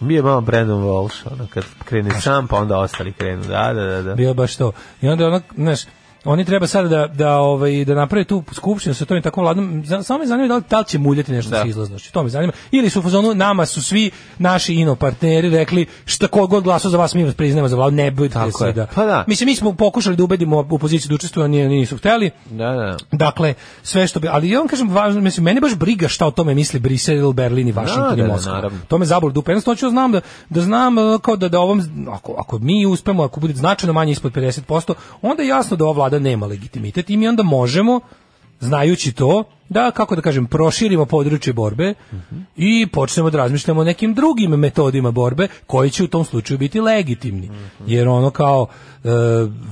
Mi je malo Brandon Walsh, ono, kad krene sam, pa onda ostali krenu. Da, da, da. da.
bio baš to. I onda ono, znaš, oni treba sada da da ovaj da naprave tu skupštinu sa tom i takvom vladom. Za- Samo me zanima da li, da li će muljati nešto da.
Da.
se izlaznošću. To me zanima. Ili su u fazonu nama su svi naši ino partneri rekli šta ko god glasao za vas mi vas priznajemo za vladu ne budete
Tako
se
je.
da.
Pa da.
Mislim mi smo pokušali da ubedimo opoziciju da učestvuje, oni nisu hteli.
Da, da.
Dakle, sve što bi, ali ja vam kažem važno, mislim mene baš briga šta o tome misli Brisel, Berlin i Washington
Da,
i
da, da,
Moskva.
naravno.
to me zaboli dupe. Jednostavno hoću da znam da da znam e, kao da da ovom ako ako mi uspemo, ako bude značajno manje ispod 50%, onda je jasno da ova vlada nema legitimitet i mi onda možemo znajući to da kako da kažem proširimo područje borbe
Mhm.
i počnemo da razmišljamo o nekim drugim metodima borbe koji će u tom slučaju biti legitimni jer ono kao e,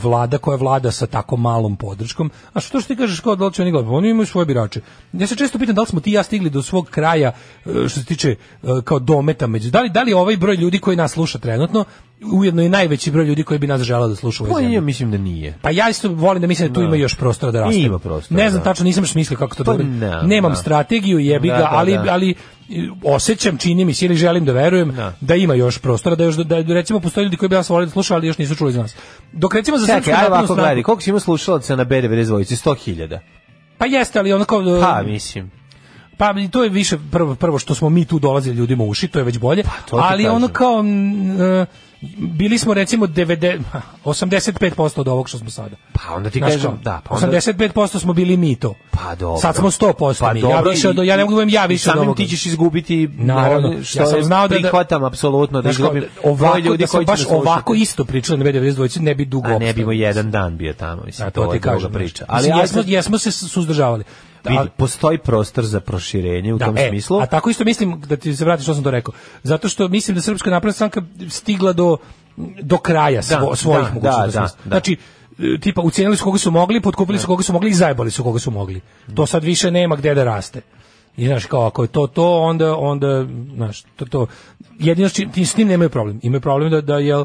vlada koja vlada sa tako malom podrškom a što što ti kažeš kao da li će oni glasati oni imaju svoje birače ja se često pitam da li smo ti i ja stigli do svog kraja e, što se tiče e, kao dometa među da li da li ovaj broj ljudi koji nas sluša trenutno ujedno i najveći broj ljudi koji bi nas želeo da sluša u
Pa
ovoj
ja
zemlji
mislim da nije.
pa ja isto volim da mislim da tu ima još prostora da raste.
Ima prostora,
Ne znam
da.
tačno, nisam još mislio kako to
Pa
dobro.
ne,
Nemam
da.
strategiju, jebi
Da,
ga,
da,
ali
da.
ali i, osjećam, čini mi se ili želim da verujem da.
Da.
ima još prostora, da još da, da recimo postoje ljudi koji bi nas volili da slušaju, ali još nisu čuli za nas. Dok recimo za
Čekaj,
srpsku
aj
naprednu
ovako
stranku-
gledaj, koliko si imao slušalaca na B92? 100.000.
Pa jeste, ali onako
Pa, mislim.
Pa i to je više prvo prvo što smo mi tu dolazili ljudima u uši, to je već bolje.
Pa, to ti
ali ono
kažem.
kao mm, e, bili smo recimo (laughs) 90 ha, 85% od ovog što smo sada.
Pa onda ti
Znaš
kažem,
kao,
da, pa onda...
85% smo bili mi to.
Pa dobro. Pa
Sad smo 100% mi. Ja više od-
i-
ja ne mogu da budem ja
i
više od
samim
ovoga.
ti ćeš izgubiti
Naravno,
ono što
ja sam
je-
znao da- da-
prihvatam apsolutno da
Znaš kao,
izgubim
ovako,
broj ljudi
da sam
koji će
baš
nas slušati.
ovako isto pričali na B92, ne bi dugo
a ne
opstali.
bimo jedan dan bio tamo, mislim,
A
to, je
ti kažem,
druga
znaš.
priča.
Mislim,
ajde
jesmo,
sad-
jesmo se suzdržavali.
Vidi, postoji prostor za proširenje u
Da,
tom
e,
smislu.
A tako isto mislim da ti se vrati što sam to rekao. Zato što mislim da Srpska napredna stranka stigla do do kraja svo,
da,
svojih
da,
mogućnosti.
da, da.
Znači e, tipa ucijenili su koga su mogli, potkupili su koga su mogli i zajbali su koga su mogli. To sad više nema gde da raste. I znaš kao ako je to to onda onda znaš to to jedino s čim- ti s tim nemaju problem. Imaju problem da da jel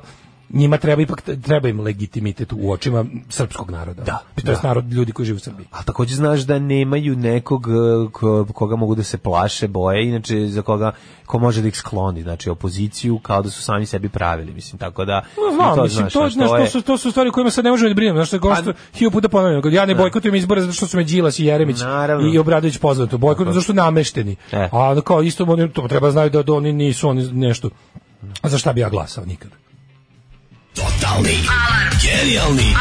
njima treba ipak treba im legitimitet u očima srpskog naroda.
Da,
to jest
da.
narod ljudi koji žive u Srbiji.
A takođe znaš da nemaju nekog e, ko- koga mogu da se plaše, boje, inače za koga ko može da ih skloni, znači opoziciju kao da su sami sebi pravili, mislim, tako da
No,
i
znam, to, mislim, to,
znaš,
znaš,
to
to,
je-
su, to su stvari kojima sad ne možemo da brinemo. Znaš, to je kao što hiljopu puta ponavljam. kad Ja ne bojkotujem izbore zato što su me Đilas i Jeremić
Naravno.
i Obradović pozvali. To bojkotujem zato što su namešteni.
E.
A ono kao isto, oni, to treba znaju da, da oni nisu oni nešto. A za šta bi ja glasao nikada?
Totalni. Genijalni.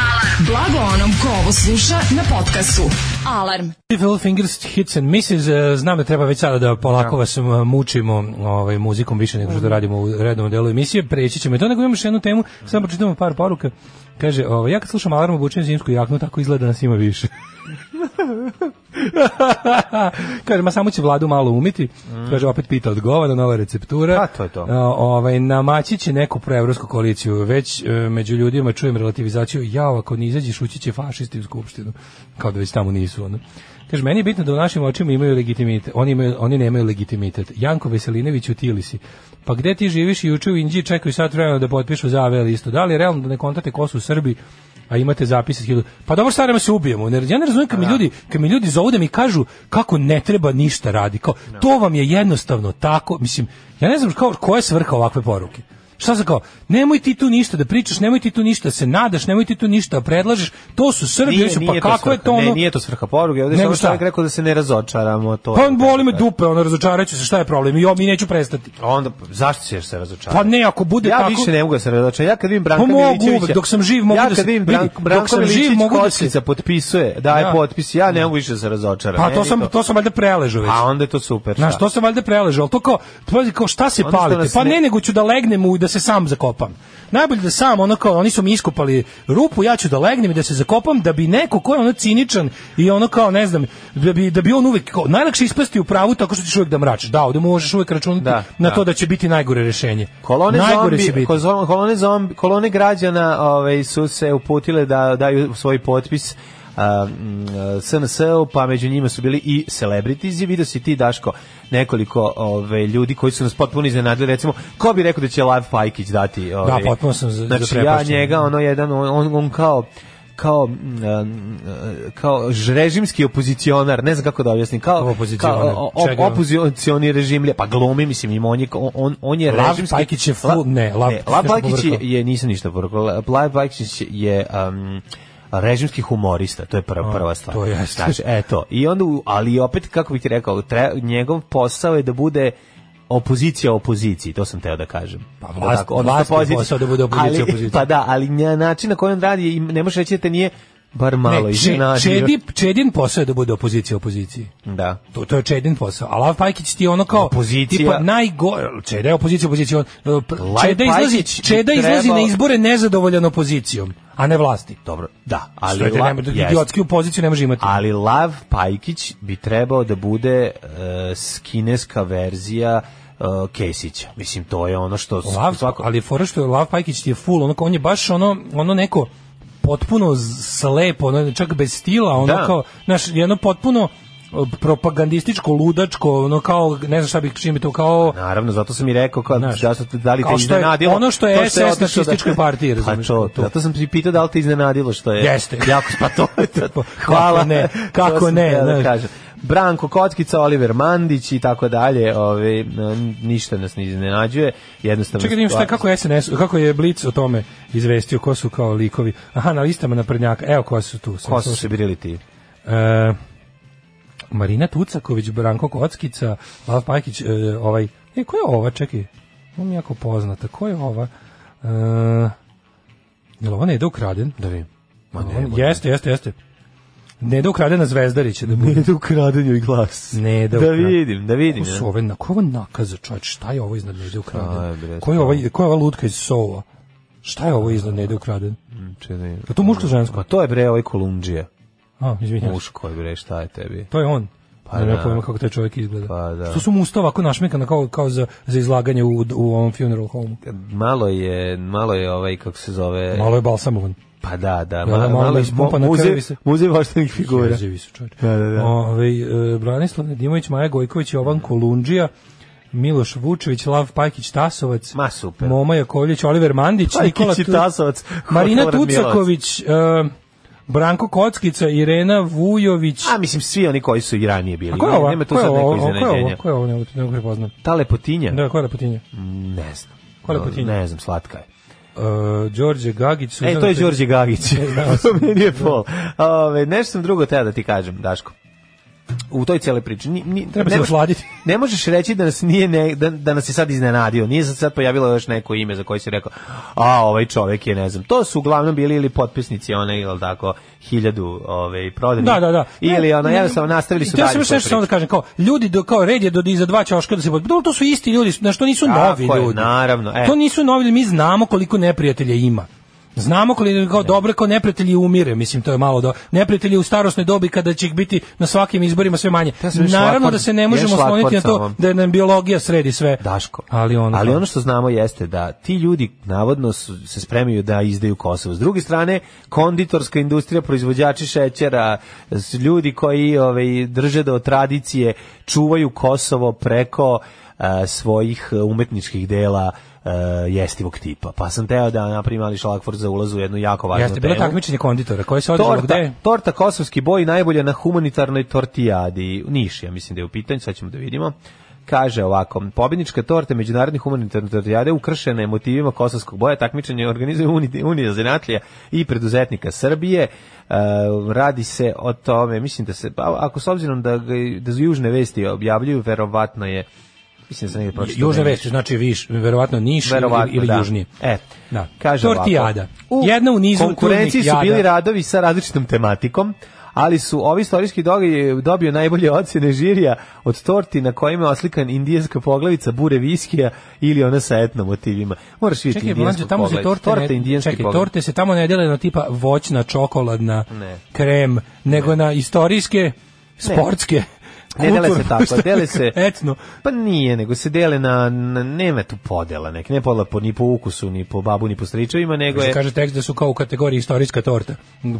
Blago onom ko ovo sluša na podcastu.
Alarm.
Evil Fingers Hits and Misses, e, znam da treba već sada da polako vas e, mučimo ovaj, muzikom više nego što radimo u rednom delu emisije, preći ćemo i to, nego imamo još jednu temu, samo pročitamo par poruka. Kaže, ovaj, ja kad slušam alarm obučen zimsku jaknu, tako izgleda da nas ima više. (laughs) Kaže, ma samo će vladu malo umiti. Kaže, opet pita od govana, nova receptura.
Pa, to je to.
E, ovaj, namaći će neku proevropsku koaliciju. Već e, među ljudima čujem relativizaciju, jao, ako ne izađeš, ući će fašisti u skupštinu. Kao da već tamo nisu. Ono. Kaže, meni je bitno da u našim očima imaju legitimitet. Oni, imaju, oni nemaju legitimitet. Janko Veselinović u Tilisi. Pa gde ti živiš i juče u Inđiji čekaju sad vremena da potpišu za AV listu. Da li je realno da ne kontate ko su Srbi a imate zapis iz hiljadu- Pa dobro, staramo se ubijemo. Ne, ja ne razumijem kad mi ljudi, kad mi ljudi zovu da mi kažu kako ne treba ništa radi. Kao, to vam je jednostavno tako. Mislim, ja ne znam kao, koja je svrha ovakve poruke. Šta se kao? Nemoj ti tu ništa da pričaš, nemoj ti tu ništa da se nadaš, nemoj ti tu ništa da predlažeš. To su Srbi, oni su, pa
to
kako je
svrha-
to ono?
Ne, nije to svrha poruge, ovdje je
Nego
samo
šta?
čovjek rekao da se ne razočaramo. To
Pa
je-
on boli me dupe, ono razočaraću se, šta je problem? Jo, mi neću prestati.
A Onda, zašto ćeš se razočarati?
Pa ne, ako bude
ja
tako...
više ne mogu da se razočaram. Ja kad vidim Branka
Pa mogu
Milićevića,
uvek, dok sam živ mogu
ja
da
kad
se-
vidim
vidi,
Branko,
dok
Branko
sam živ
Milićević
mogu da se-
kockica potpisuje, daje
Ja.
potpis, ja ne mogu više da se razočaram.
Pa
Meni
to sam, to sam valjda preležao već.
A onda je to super.
Znaš,
šta?
to sam valjda preležao, ali to kao, pazi, kao šta se
Ono što
palite?
nas
Pa
ne-
ne, nego ću da legnem u i da se sam zakopam. Najbolje da sam, ono kao, oni su mi iskopali rupu, ja ću da legnem i da se zakopam, da bi neko ko je ono ciničan i ono kao, ne znam, da bi, da bi on uvek, kao, najlakše ispasti u pravu tako što ćeš uvek da mračiš. Da, ovde možeš uvek računati
Da,
na
da.
to da će biti najgore rešenje.
Kolone
najgore će
zombi,
biti.
kolone, kolone zombi, kolone građana ovaj, su se uputile da daju svoj potpis a, mm, a, SNS-u, pa među njima su bili i celebrities i vidio si ti, Daško, nekoliko ove, ljudi koji su nas potpuno iznenadili, recimo, ko bi rekao da će Lav Pajkić dati? Ove,
Da, potpuno sam za-
Znači, ja
zaprepašten.
njega, ono, jedan, on, on, on kao kao mm, a, kao ž- režimski opozicionar, ne znam kako da objasnim, kao,
Opozicionar.
kao o- o-
Čega?
opozicioni režimlje, pa glumi, mislim, ima, on je, on, on je
Lav
režimski-
Pajkić je ful- ne, Lav-
Lav
nešto
Pajkić je,
povrkao.
je nisam ništa povrkao. Lav Lav Pajkić je um, režimski humorista, to je prva, prva stvar.
to jeste.
Znači, eto, i onda, u- ali opet, kako bih ti rekao, tre, njegov posao je da bude opozicija opoziciji, to sam teo da kažem.
Pa vlast-
odnosno
vlast je
pozicija-
posao da bude opozicija
ali,
opoziciji.
Pa da, ali na način na koji on radi, im- ne možeš reći da te nije bar malo
Ne, če,
iznenadio.
čedi, čedin posao je da bude opozicija opoziciji.
Da.
To, to je Čedin posao. A Lav Pajkić ti je ono kao
Opozicija.
tipa najgore Čeda je opozicija, opozicija. On, uh, pr-
Lav
Čeda izlazi,
Pajkić bi
Čeda izlazi
trebao-
na izbore nezadovoljan opozicijom, a ne vlasti.
Dobro, da, ali...
Ali
la-
ne, može-
jeste.
idiotsku poziciju ne može imati.
Ali Lav Pajkić bi trebao da bude e, s kineska verzija e, Kesića. Mislim, to je ono što... s-
Lav,
svako-
ali fora što je Lav Pajkić ti je full, ono kao, on je baš ono, ono neko potpuno z- slepo, ono, čak bez stila, ono
Da.
kao, znaš, jedno potpuno uh, propagandističko, ludačko, ono kao, ne znam šta bih čime to, kao,
Naravno, zato sam i rekao kao,
Znaš,
da, su- da li te
kao što je-
iznenadilo.
ono što je
to
SS
otišlo da-
nacističkoj partiji,
Pa
razumeš,
čo,
to.
zato sam ti pitao da li te iznenadilo što je.
Jeste.
(laughs) Jako, pa to,
(laughs) Kako
to hvala.
ne, kako
To sam
ne,
htio Da
znaš.
kažem. Branko Kockica, Oliver Mandić i tako dalje, ove, n- ništa nas ne iznenađuje. Jednostavno,
Čekaj, da vidim šta
stvar-
kako je SNS, kako je Blic o tome izvestio, ko su kao likovi. Aha, na listama naprednjaka, evo ko su tu. Sam
Ko su
slušao.
se birili ti?
E, Marina Tucaković, Branko Kockica, Lav Pajkić, e, ovaj, e, ko je ova, čekaj, ona mi je jako poznata, ko je ova? E, jel ovo Neda Ukraden?
Da vidim. Ma
On- jeste, jeste, jeste. Neda Ukradena Zvezdarića (laughs) da bude.
Neda ukraden joj glas.
Neda
da
ukraden.
vidim, da vidim.
Ko su
Ja.
ove, na, ko je ovo nakaza, čovječ, šta je ovo iznad Nede
Šta je,
Ukraden?
bre,
Ko je,
šta?
ovaj, ko je ova lutka iz Sola? Šta je ovo iznad Nede Ukraden?
Čekaj.
Je to muško žensko?
Pa to je bre ovaj Kolumđija.
A, izvinjam. se.
Pa, Muško je bre, šta je tebi?
To je on.
Pa
Pa da.
da.
Ja pojma kako taj čovjek izgleda.
Pa da.
Što su mu usta ovako našmekana kao, kao za, za izlaganje u, u ovom funeral home.
Malo je, malo je ovaj, kako se zove...
Malo je balsamovan.
Pa da, da,
malo
je
ispumpa na
muzej-
krvi se.
Muzej voštenih figura.
Jezivi su čovjek.
Da, da, da.
Ove, e, Branislav Nedimović, Maja Gojković, Jovan Kolundžija, Miloš Vučević, Lav Pajkić, Tasovac,
Ma, super.
Moma Jakovljević, Oliver Mandić, Nikola
Pajkić i
Tu-
Tasovac. (laughs)
Marina
Horvat Miloš.
Tucaković, e, Branko Kockica, Irena Vujović.
A, mislim, svi oni koji su i ranije bili.
A ko je ova?
Nema tu
Ko je
sad
ova?
neko
Ko je ova?
iznenađenja.
Ko je ovo? Ne, ne prepoznam.
Ta lepotinja?
Da, ko je Lepotinja?
Ne znam.
Ko je lepotinja?
Ne znam, slatka je.
Uh, Đorđe Gagić.
E,
Suzana
to je
Pe- (laughs)
Đorđe Gagić.
znao sam.
(laughs) Meni je pol. Ove, nešto sam drugo teo da ti kažem, Daško. U toj cijeloj priči. Ni, ni,
Treba
ne
se
moš-
osladiti.
Ne možeš reći da nas nije ne, da, da nas je sad iznenadio. Nije se sad pojavilo još neko ime za koje si rekao, a ovaj čovek je ne znam. To su uglavnom bili ili potpisnici one ili tako hiljadu ovaj prodanih.
Da, da, da.
Ili
Ne,
ono
ne,
jednostavno nastavili su
i teo
dalje.
sam još
svoju
nešto samo da
priču.
kažem, kao, ljudi do, kao red je do iza dva ćoška da se pod... To su isti ljudi, na što nisu
Tako
novi
je,
ljudi.
naravno, e.
To nisu novi ljudi, mi znamo koliko neprijatelja ima. Znamo koliko kao dobro kao neprijatelji umire, mislim to je malo do neprijatelji u starosnoj dobi kada će ih biti na svakim izborima sve manje.
Ja sam još
Naravno
šlagvort-
da se ne
još
možemo
šlagvort
osloniti na
sa
to
ovom.
da nam biologija sredi sve.
Daško.
Ali ono,
ali ono što znamo jeste da ti ljudi navodno su, se spremaju da izdaju Kosovo. S druge strane, konditorska industrija, proizvođači šećera, s- ljudi koji ovaj, drže do tradicije, čuvaju Kosovo preko eh, svojih umetničkih dela eh,jestivog tipa. Pa sam teo da napravim mali šlagvort za ulaz u jednu jako važnu
jeste bilo
temu.
takmičenje konditora koje se održalo
Torta,
ono, gde?
torta kosovski boj najbolja na humanitarnoj tortijadi. Niš, ja mislim da je u pitanju, sad ćemo da vidimo kaže ovako, pobjednička torta međunarodne humanitarne tortijade ukršena je motivima kosovskog boja, takmičenje organizuje Uni- Unija zanatlija i preduzetnika Srbije. E, radi se o tome, mislim da se, pa, ako s obzirom da, ga- da južne vesti objavljuju, verovatno je Mislim da se negdje pročitao.
Južne
negdje.
vesti znači viš, verovatno Niš
Verovatno,
ili, ili
da.
južnije.
E,
da.
Kaže
Tortijada.
ovako,
Jedna u nizu
konkurenciji su
turnih
bili
jada.
radovi sa različitom tematikom, ali su ovi istorijski događaj dobio najbolje ocjene žirija od torti na kojima je oslikan indijanska poglavica bure viskija ili ona sa etno motivima. Moraš vidjeti
Čekaj,
indijansku
mlađe, tamo se
poglavicu.
torte,
Torta
ne,
indijanski
čekaj,
poglavica.
torte se tamo ne dele na tipa voćna, čokoladna,
Ne.
krem, nego na istorijske, sportske,
Ne dele se
kulturne,
tako,
šta
dele se...
(laughs) etno.
Pa nije, nego se dele na, na nema tu podela, nek, ne podela po, ni po ukusu, ni po babu, ni po stričevima, nego
Kaže,
je...
kaže tekst da su kao u kategoriji istorijska torta.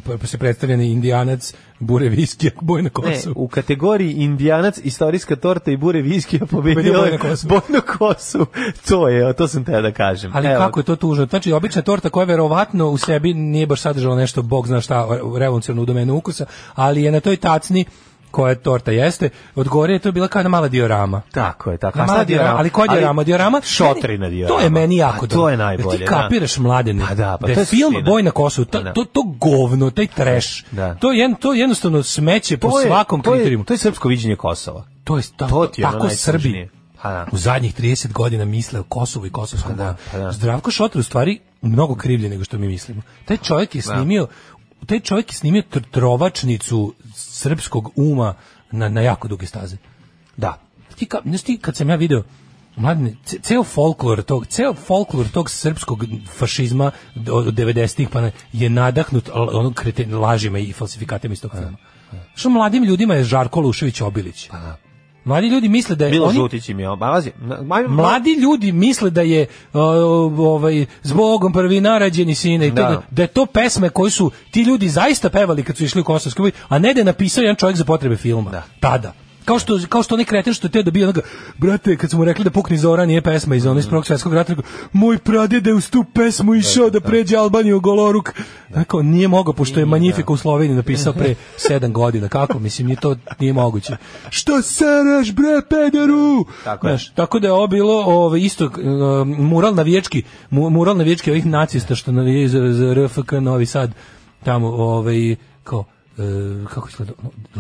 Pa- Pa se predstavljeni indijanac, bure viski, (laughs) boj na
Ne,
kosu.
u kategoriji indijanac, istorijska torta i bure viskija pobedio
Pobedio Bojnu
je
Kosu.
Bojnu Kosu. To je, to sam te da kažem.
Ali
Evo,
kako je to tužno? Znači, obična torta koja verovatno u sebi nije baš sadržala nešto, bog zna šta, revolucionarno u domenu ukusa, ali je na toj tacni koja torta jeste, od gore je to bila kao jedna mala diorama.
Tako je, tako.
Na
A šta
mala diorama, ali koja diorama? Diorama?
Šotrina
Meni-
diorama.
To je meni jako
A
dobro.
To je najbolje.
Jer ti
da.
kapiraš mladene.
Pa da, pa
da
to
je
je
film
suština. Pa
Boj na Kosovu, to,
Da.
to, to govno, taj trash.
Da.
To, je, jed- to je jednostavno smeće po
To je-
svakom
to je-
kriterijumu.
To je srpsko viđenje Kosova.
To je ta,
To ti je ono
tako Srbi
najtužnije. Pa da.
u zadnjih 30 godina misle o Kosovu i kosovskom boju.
pa da.
Zdravko Šotar u stvari mnogo krivlje nego što mi mislimo. Taj čovjek je snimio taj čovjek je snimio tr- trovačnicu srpskog uma na, na jako duge staze.
Da.
Ti ka, znaš ti kad sam ja video Mladine, ce- ceo folklor tog, ceo folklor tog srpskog fašizma d- od 90-ih pa na- je nadahnut l- onog kreten, lažima i falsifikatima
Pa
iz tog filma. Što mladim ljudima je Žarko Lušević Obilić.
Pa
Mladi ljudi misle da je
Bilo
oni-
Žutić im je... Ma, vazi, na- ma,
Mladi ljudi misle da je o, ovaj zbogom prvi narađeni sine i
Da.
da. da je to pesme koje su ti ljudi zaista pevali kad su išli u Kosovsku boj, a ne da je napisao jedan čovjek za potrebe filma. Tada. Kao što kao što onaj kreten što je teo da bio onoga brate kad su mu rekli da pukni Zora nije pesma iz onog iz Prvog svjetskog rata rekao, moj pradeda je uz tu pesmu išao da pređe Albaniju u Goloruk. Rekao, nije mogao pošto je Magnifico u Sloveniji napisao (laughs) pre 7 godina. Kako mislim nije to nije moguće. Što saraš bre pederu?
Tako je.
Znaš, tako da je ovo bilo ovo isto k- um, mural na vječki, mu, mural na vječki ovih nacista što navijaju za, za RFK Novi Sad, tamo ovaj kao e, kako izgleda,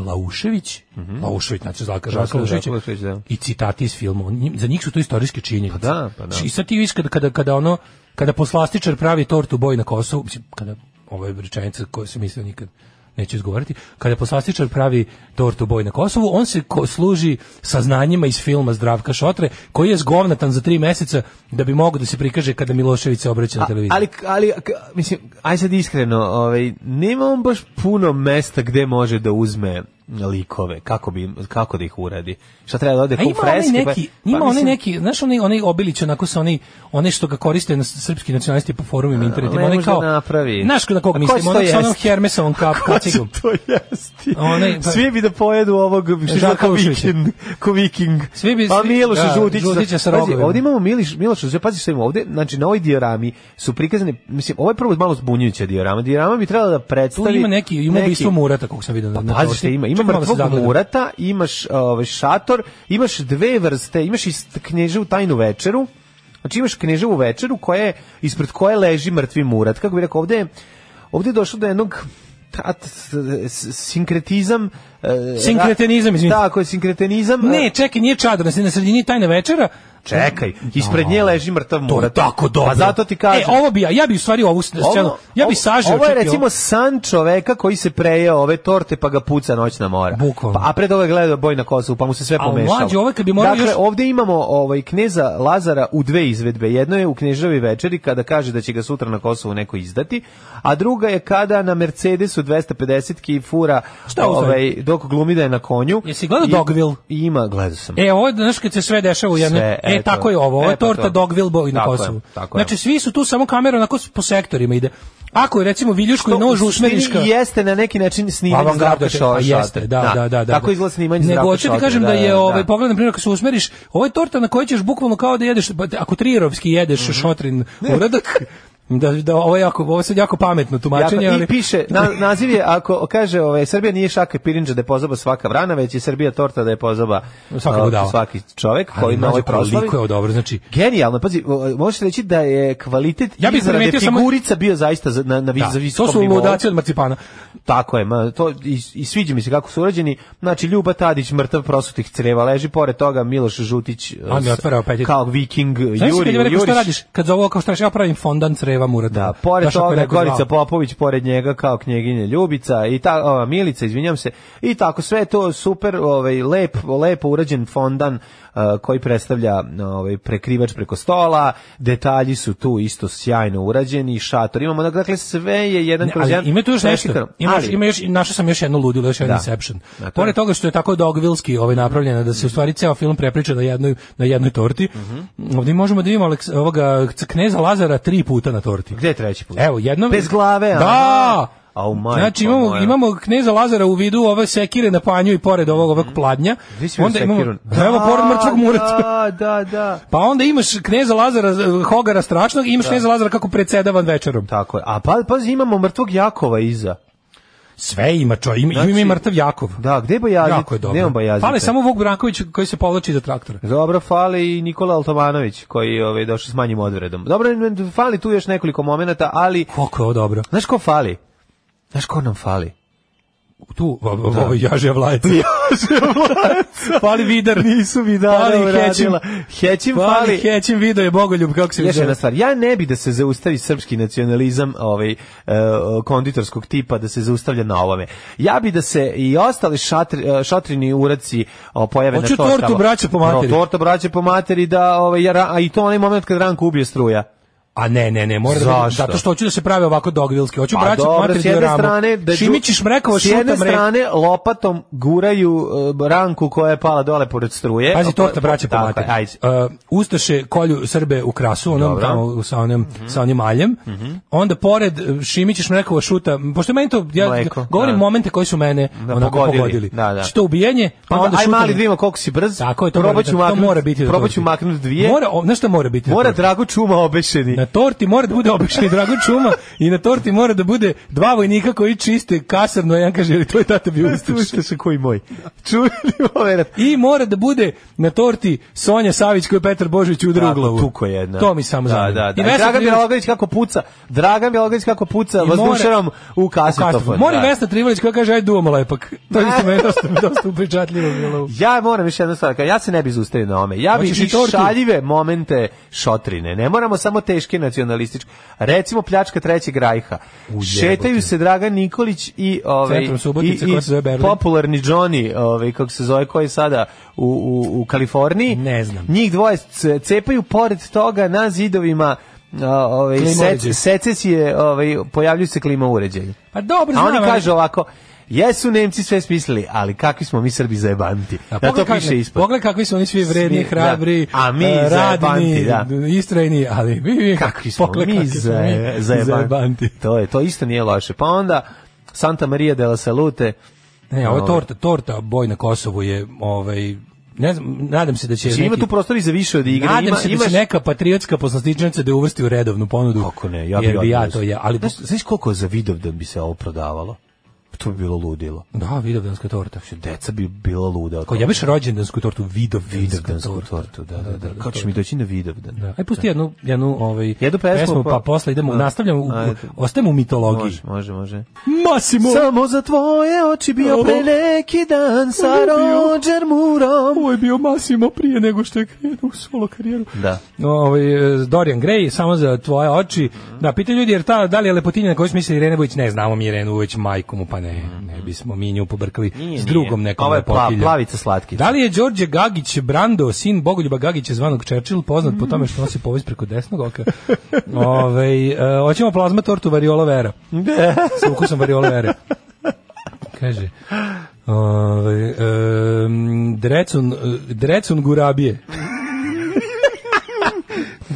Laušević, Laušević, znači Zlaka Žarka
Žarko
Laušević,
Laušević, Mhm. da.
i citati iz filma, On- njim- za njih su to istorijske činjenice. Znači,
Pa da, pa da.
I sad ti vidiš kada, kada, kada ono, kada poslastičar pravi tortu boj na Kosovu, mislim, kada, ovo je rečenica koju sam mislio nikad neću izgovoriti, kada poslastičar pravi tortu boj na Kosovu, on se ko, služi saznanjima iz filma Zdravka Šotre, koji je zgovnatan za tri meseca da bi mogao da se prikaže kada Milošević se obraća na televiziji.
Ali, ali, k- mislim, aj sad iskreno, ovaj, nema on baš puno mesta gde može da uzme likove, kako, bi, kako da ih uradi. Šta treba da ode
A
ko
ima
freske?
onaj neki,
pa,
ima
pa,
onaj
mislim,
neki, znaš onaj, onaj obilić onako sa onaj, onaj što ga koriste na srpski nacionalisti po forumima i internetima,
ne
onaj
može
kao,
da napravi.
znaš na
A
kog
ko će
mislim,
to
onaj sa onom
jesti?
Hermesovom kap,
Ko će
kacigom.
to jesti? (laughs)
Onaj, pa-
Svi bi da pojedu ovog što izgleda kao
Uševića.
viking, ko viking.
Svi bi-
pa
svi-
Miloš
da,
Žutić.
Žutića sa
Pazi,
rogovima.
Ovdje imamo Miliš, Miloš Žutić, pazi što ima ovdje, znači na ovoj diorami su prikazane, mislim, ovo je prvo malo zbunjujuća diorama, diorama bi trebala da
Tu
predstavi
ima neki, ima ubistvo Murata, kako sam vidio.
Pa
na
pazi
torti.
šta ima, ima
Čekaj malo da se
mrtvog
zagledam.
murata, imaš ovaj šator, imaš dve vrste, imaš i st- knježevu tajnu večeru. Znači imaš knježevu večeru koja je ispred koje leži mrtvi murat. Kako bi rekao, ovde je, ovde je došlo do jednog ta- t- s- sinkretizam e,
Sinkretenizam,
ra-
izvinite.
Tako je sinkretenizam.
Ne,
e,
čekaj, nije čadar, na na sredini tajna večera.
čekaj, ispred nje leži mrtav
To je
murat.
tako dobro.
Pa zato ti kažem.
E, ovo bi ja, ja bi u stvari ovu s-
Ovo-
scenu, ja bi sažeo.
Ovo je
čekaj,
recimo san čoveka koji se prejeo ove torte pa ga puca noćna mora.
Bukvalno.
Pa, a pred ovo je gledao boj na Kosovu pa mu se sve
A
pomešalo.
mlađe, ovo kad bi morao
dakle,
još-
ovdje imamo ovaj kneza Lazara u dve izvedbe. Jedno je u knježavi večeri kada kaže da će ga sutra na Kosovu neko izdati, a druga je kada na Mercedesu 250 ki fura
Šta ovo
ovaj, dok glumi da je na konju.
Jesi gledao
I-
Dogville?
i Ima, gledao sam.
E, ovo je, znaš, kad se sve dešava u jednoj...
Sve,
e,
eto.
tako je ovo, ovo
E,
je
pa
torta
to.
Dogville Boy na
Tako je,
Kosovu.
tako je.
Znači, svi su tu samo kamera onako s- po sektorima ide. Ako je, recimo, Viljuško i
To
nož
u
usmeriš ka...
suštini Jeste na neki način snimanje Zdravka
Avangarda,
Šoša.
pa jeste, da, da, da, da.
Tako izgleda snimanje
Nego
Zdravka
hoću ti
Šoša,
kažem da, je ovaj
da.
pogled na primjer kad se usmeriš,
Mhm.
ovo je torta na kojoj ćeš bukvalno kao da jedeš pa, ako trijerovski jedeš šotrin uradak. Da, da, ovo je jako, ovo je sad jako pametno tumačenje,
Jako-
ali... Dakle,
I piše, na, naziv je, ako kaže, ovaj, Srbija nije šaka i pirinđa da je pozoba svaka vrana, već je Srbija torta da je pozoba
Svaka
a,
budala.
svaki čovek
Ali,
koji na
mlađe,
ovoj proslavi.
koliko je ovo dobro, znači...
Genijalno, pazi, o, možeš reći da je kvalitet
Ja bih
izrade
primetio samo-
figurica bio zaista za- na, na vi-
Da,
za
to
visokom
su
nivou.
ludaci od marcipana.
Tako je, ma, to, i, i sviđa mi se kako su urađeni. Znači, Ljuba Tadić, mrtav prosutih creva, leži pored toga Miloš Žutić,
On mi
s-
otvara apetit.
kao viking,
Znaš kad
Juri,
je rekao šta
Juriš.
radiš? Kad za ovo kao šta radiš, ja pravim fondan creva murata.
Da, pored
Znaš, ako je
toga
neko zvao.
Gorica Popović, pored njega kao knjeginja Ljubica i ta ova, Milica, izvinjam se. I tako sve je to super, ovaj lep, lepo urađen fondan eh, koji predstavlja ovaj prekrivač preko stola. Detalji su tu isto sjajno urađeni, šator. Imamo dakle sve je jedan
Ne,
kroz jedan.
ali ima tu još nešto.
preslikano.
Ima još,
Ali-
ima još, našao sam još jednu ludilu, još jedan
Da.
Inception.
Dakle.
Pored toga što je tako dogvilski ovaj, napravljena, da se u stvari ceo film prepriča na jednoj, na jednoj torti,
Mhm.
ovdje možemo da imamo Aleks- ovoga c- kneza Lazara tri puta na torti.
Gde je treći put?
Evo, jednom...
Bez glave, a?
Da!
Au, majko
znači imamo,
moja.
imamo kneza Lazara u vidu ove sekire na panju i pored ovog ovog pladnja.
Gde Mhm. si vidio sekiru?
Da, evo, pored mrtvog murata.
Da, da, da.
Pa onda imaš kneza Lazara, eh, Hogara strašnog, i imaš kneza Lazara kako predsedavan večerom.
Tako je. A pa, pazi, imamo mrtvog Jakova iza.
Sve ima čo, ima,
Znači-
ima i mrtav Jakov.
Da, gde je Bajazit?
Jako je dobro.
Nemam Bajazita.
Fale samo Vuk Branković koji se povlači za traktora.
Dobro, fali i Nikola Altomanović koji je ovaj, došao s manjim odvredom. Dobro, fali tu još nekoliko momenata, ali...
Koliko je ovo dobro.
Znaš ko fali? Znaš ko nam
(laughs)
fali?
Tu, o- o- ovo je jaže
(laughs)
vlajca. Fali vidar.
Nisu mi dana
Fali
uradila. Hećim
Fali
fali.
Hećin video je bogoljub, kako se
Još
zove.
jedna stvar, ja ne bi da se zaustavi srpski nacionalizam ovaj, e, konditorskog tipa, da se zaustavlja na ovome. Ja bi da se i ostali šatri, e, šatrini uraci o, pojave
Hoću
na tortama.
tortu braće po materi.
No, torta braće po materi, da, ovaj, ja ra- a i to onaj moment kad Ranko ubije struja.
A ne, ne, ne, mora da bude-
Zašto?
zato što hoću da se prave ovako dogvilski. Hoću
Pa
braću
dobro,
mater
s jedne
dioramu.
strane da
Šimićiš mrekova,
s jedne
šutam mrekova.
strane lopatom guraju uh, ranku koja je pala dole pored struje.
Pazi, torta
Pa-
braće po
Tako je,
materi.
ajde.
Uh, Ustaše kolju Srbe u krasu, onom
Dobro. Mhm.
tamo sa onim, sa onim maljem. Onda pored uh, Šimićić mrekova šuta, pošto je meni to, ja
Mleko,
govorim
da.
momente koji su mene
Da,
onako
pogodili.
pogodili.
Da, da.
Što ubijenje, pa onda,
aj
šutanje.
mali, da vidimo koliko si brz.
Tako je, to, mora,
probat
biti-
ću
to
maknut,
mora biti. na
Probat ću
torti.
maknut dvije.
Mora, o, znaš šta mora biti? na
mora
torti?
Drago Čuma obešeni. (laughs)
Na torti mora da bude obični Drago Čuma i na torti mora da bude dva vojnika koji čiste kasarno, a jedan kaže, "Jel to je tata bio ustaš.
Slušajte se koji moj. ovaj Čuli moment.
I mora da bude na torti Sonja Savić koju je Petar Božović udara u glavu.
Tuko jedna.
To mi samo
da,
zanima.
da, da.
I
I,
Vesna
Dragan
Trivalić-
Bjelogrlić kako puca. Dragan Bjelogrlić kako puca
I mora-
vazdušerom u
Kastrofon.
kasetofon.
Mora i
Da.
Vesna Trivalić koja kaže, aj duvamo lepak. To je isto meni dosta,
(laughs)
dosta upečatljivo bilo.
Ja moram još jednu stvar, ja se ne bi zaustavio na ome. Ja bi
Hoćeš i
i
tortu?
šaljive momente šotrine. Ne moramo samo teške nacionalističke. Recimo pljačka trećeg rajha. Šetaju se Dragan Nikolić i ovaj
Centrom Subotice,
i,
koja se zove Berlin.
popularni Johnny, ovaj kako se zove, koji je sada u, u, u Kaliforniji.
Ne znam.
Njih dvoje c- cepaju pored toga na zidovima a, ovaj
Klima uređaj.
sec, secesije, ovaj pojavljuju se klima uređaji.
Pa dobro,
A
znam.
oni
ali-
kažu ovako, jesu Nemci sve smislili, ali kakvi smo mi Srbi zajebanti.
A
Da,
pogledaj
to
kakvi-
piše ispod.
Pogledaj kakvi su oni svi vredni,
Svi, da.
hrabri,
A mi
eh, radni,
zajebanti, da.
istrajni, ali mi, mi
Kakvi smo
pogledaj
mi
kakvi smo
zaje-
mi
zajebanti.
zajebanti.
To je, to isto nije loše. Pa onda Santa Maria della Salute,
Ne, ovo je
Ovaj.
torta, torta boj na Kosovu je, ovaj, ne znam, nadam se da će...
Znači, ima tu prostor i za više od igre.
Nadam
ima,
se da
imaš...
će neka patriotska poslastičnica da je uvrsti u redovnu ponudu.
Kako ne, ja bi
jer bi ja
odneo.
to je, ali
Znaš, znaš koliko za Vidovdan bi se ovo prodavalo? To bi bilo ludilo. Znači,
da, vidovdanska torta.
Deca bi bila luda.
Kao ja biš rođendansku tortu, vidovdansku
Vidovdansku
tortu.
tortu, da, da, da. Kako ćeš mi doći na Vidovdan?
Da. Aj pusti jednu, jednu ovaj,
Jednu pesmu,
pa,
pa-
posle idemo,
Da.
nastavljamo, u,
Ajde.
ostajemo u mitologiji.
Može, može, može.
Massimo!
Samo za tvoje oči bio
Ovo-
pre neki dan sa
Ovo je bio-
Roger Moorom.
Ovo je bio Massimo prije nego što je krenuo u solo karijeru.
Da.
Ovaj, e, Dorian Gray, samo za tvoje oči.
Mhm.
Da, pitaju ljudi, jer ta, da li je lepotinja na koju smisli Irene Vujić? Ne, znamo mi Irenu Vujić, majku mu, pa ne,
Mhm.
ne bismo mi nju pobrkali s drugom nekom
Ovo je pla-
lepotiljom.
plavica slatkica.
Da li je Đorđe Gagić Brando, sin Bogoljuba Gagića zvanog Churchill, poznat po tome što nosi povez preko desnog oka? Ove, e, hoćemo plazma tortu variola vera. (laughs) Sa ukusom variola vera. Kaže, ove, em, drecun, e, drecun gurabije. (laughs)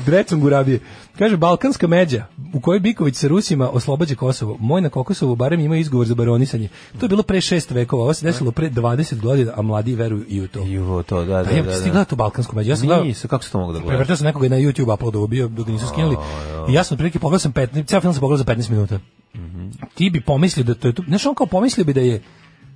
Drecun gurabije. Kaže, balkanska međa. u kojoj Biković sa Rusima oslobađa Kosovo. Moj na Kokosovu barem ima izgovor za baronisanje. To je bilo pre šest vekova, ovo se desilo pre 20 godina, a mladi veruju i u to.
Juvo to, da,
Da, Pa
da,
ja
da.
sam stigla tu balkansku mađu. Ja sam gledao,
Nisam, kako se to mogu da gledaš?
prevrtao sam nekoga na YouTube uploadovao bio dok ga nisu skinuli. I ja sam otprilike pogledao sam 15, ceo film sam pogledao za 15 minuta.
Mhm.
Ti bi pomislio da to je tu, znaš on kao pomislio bi da je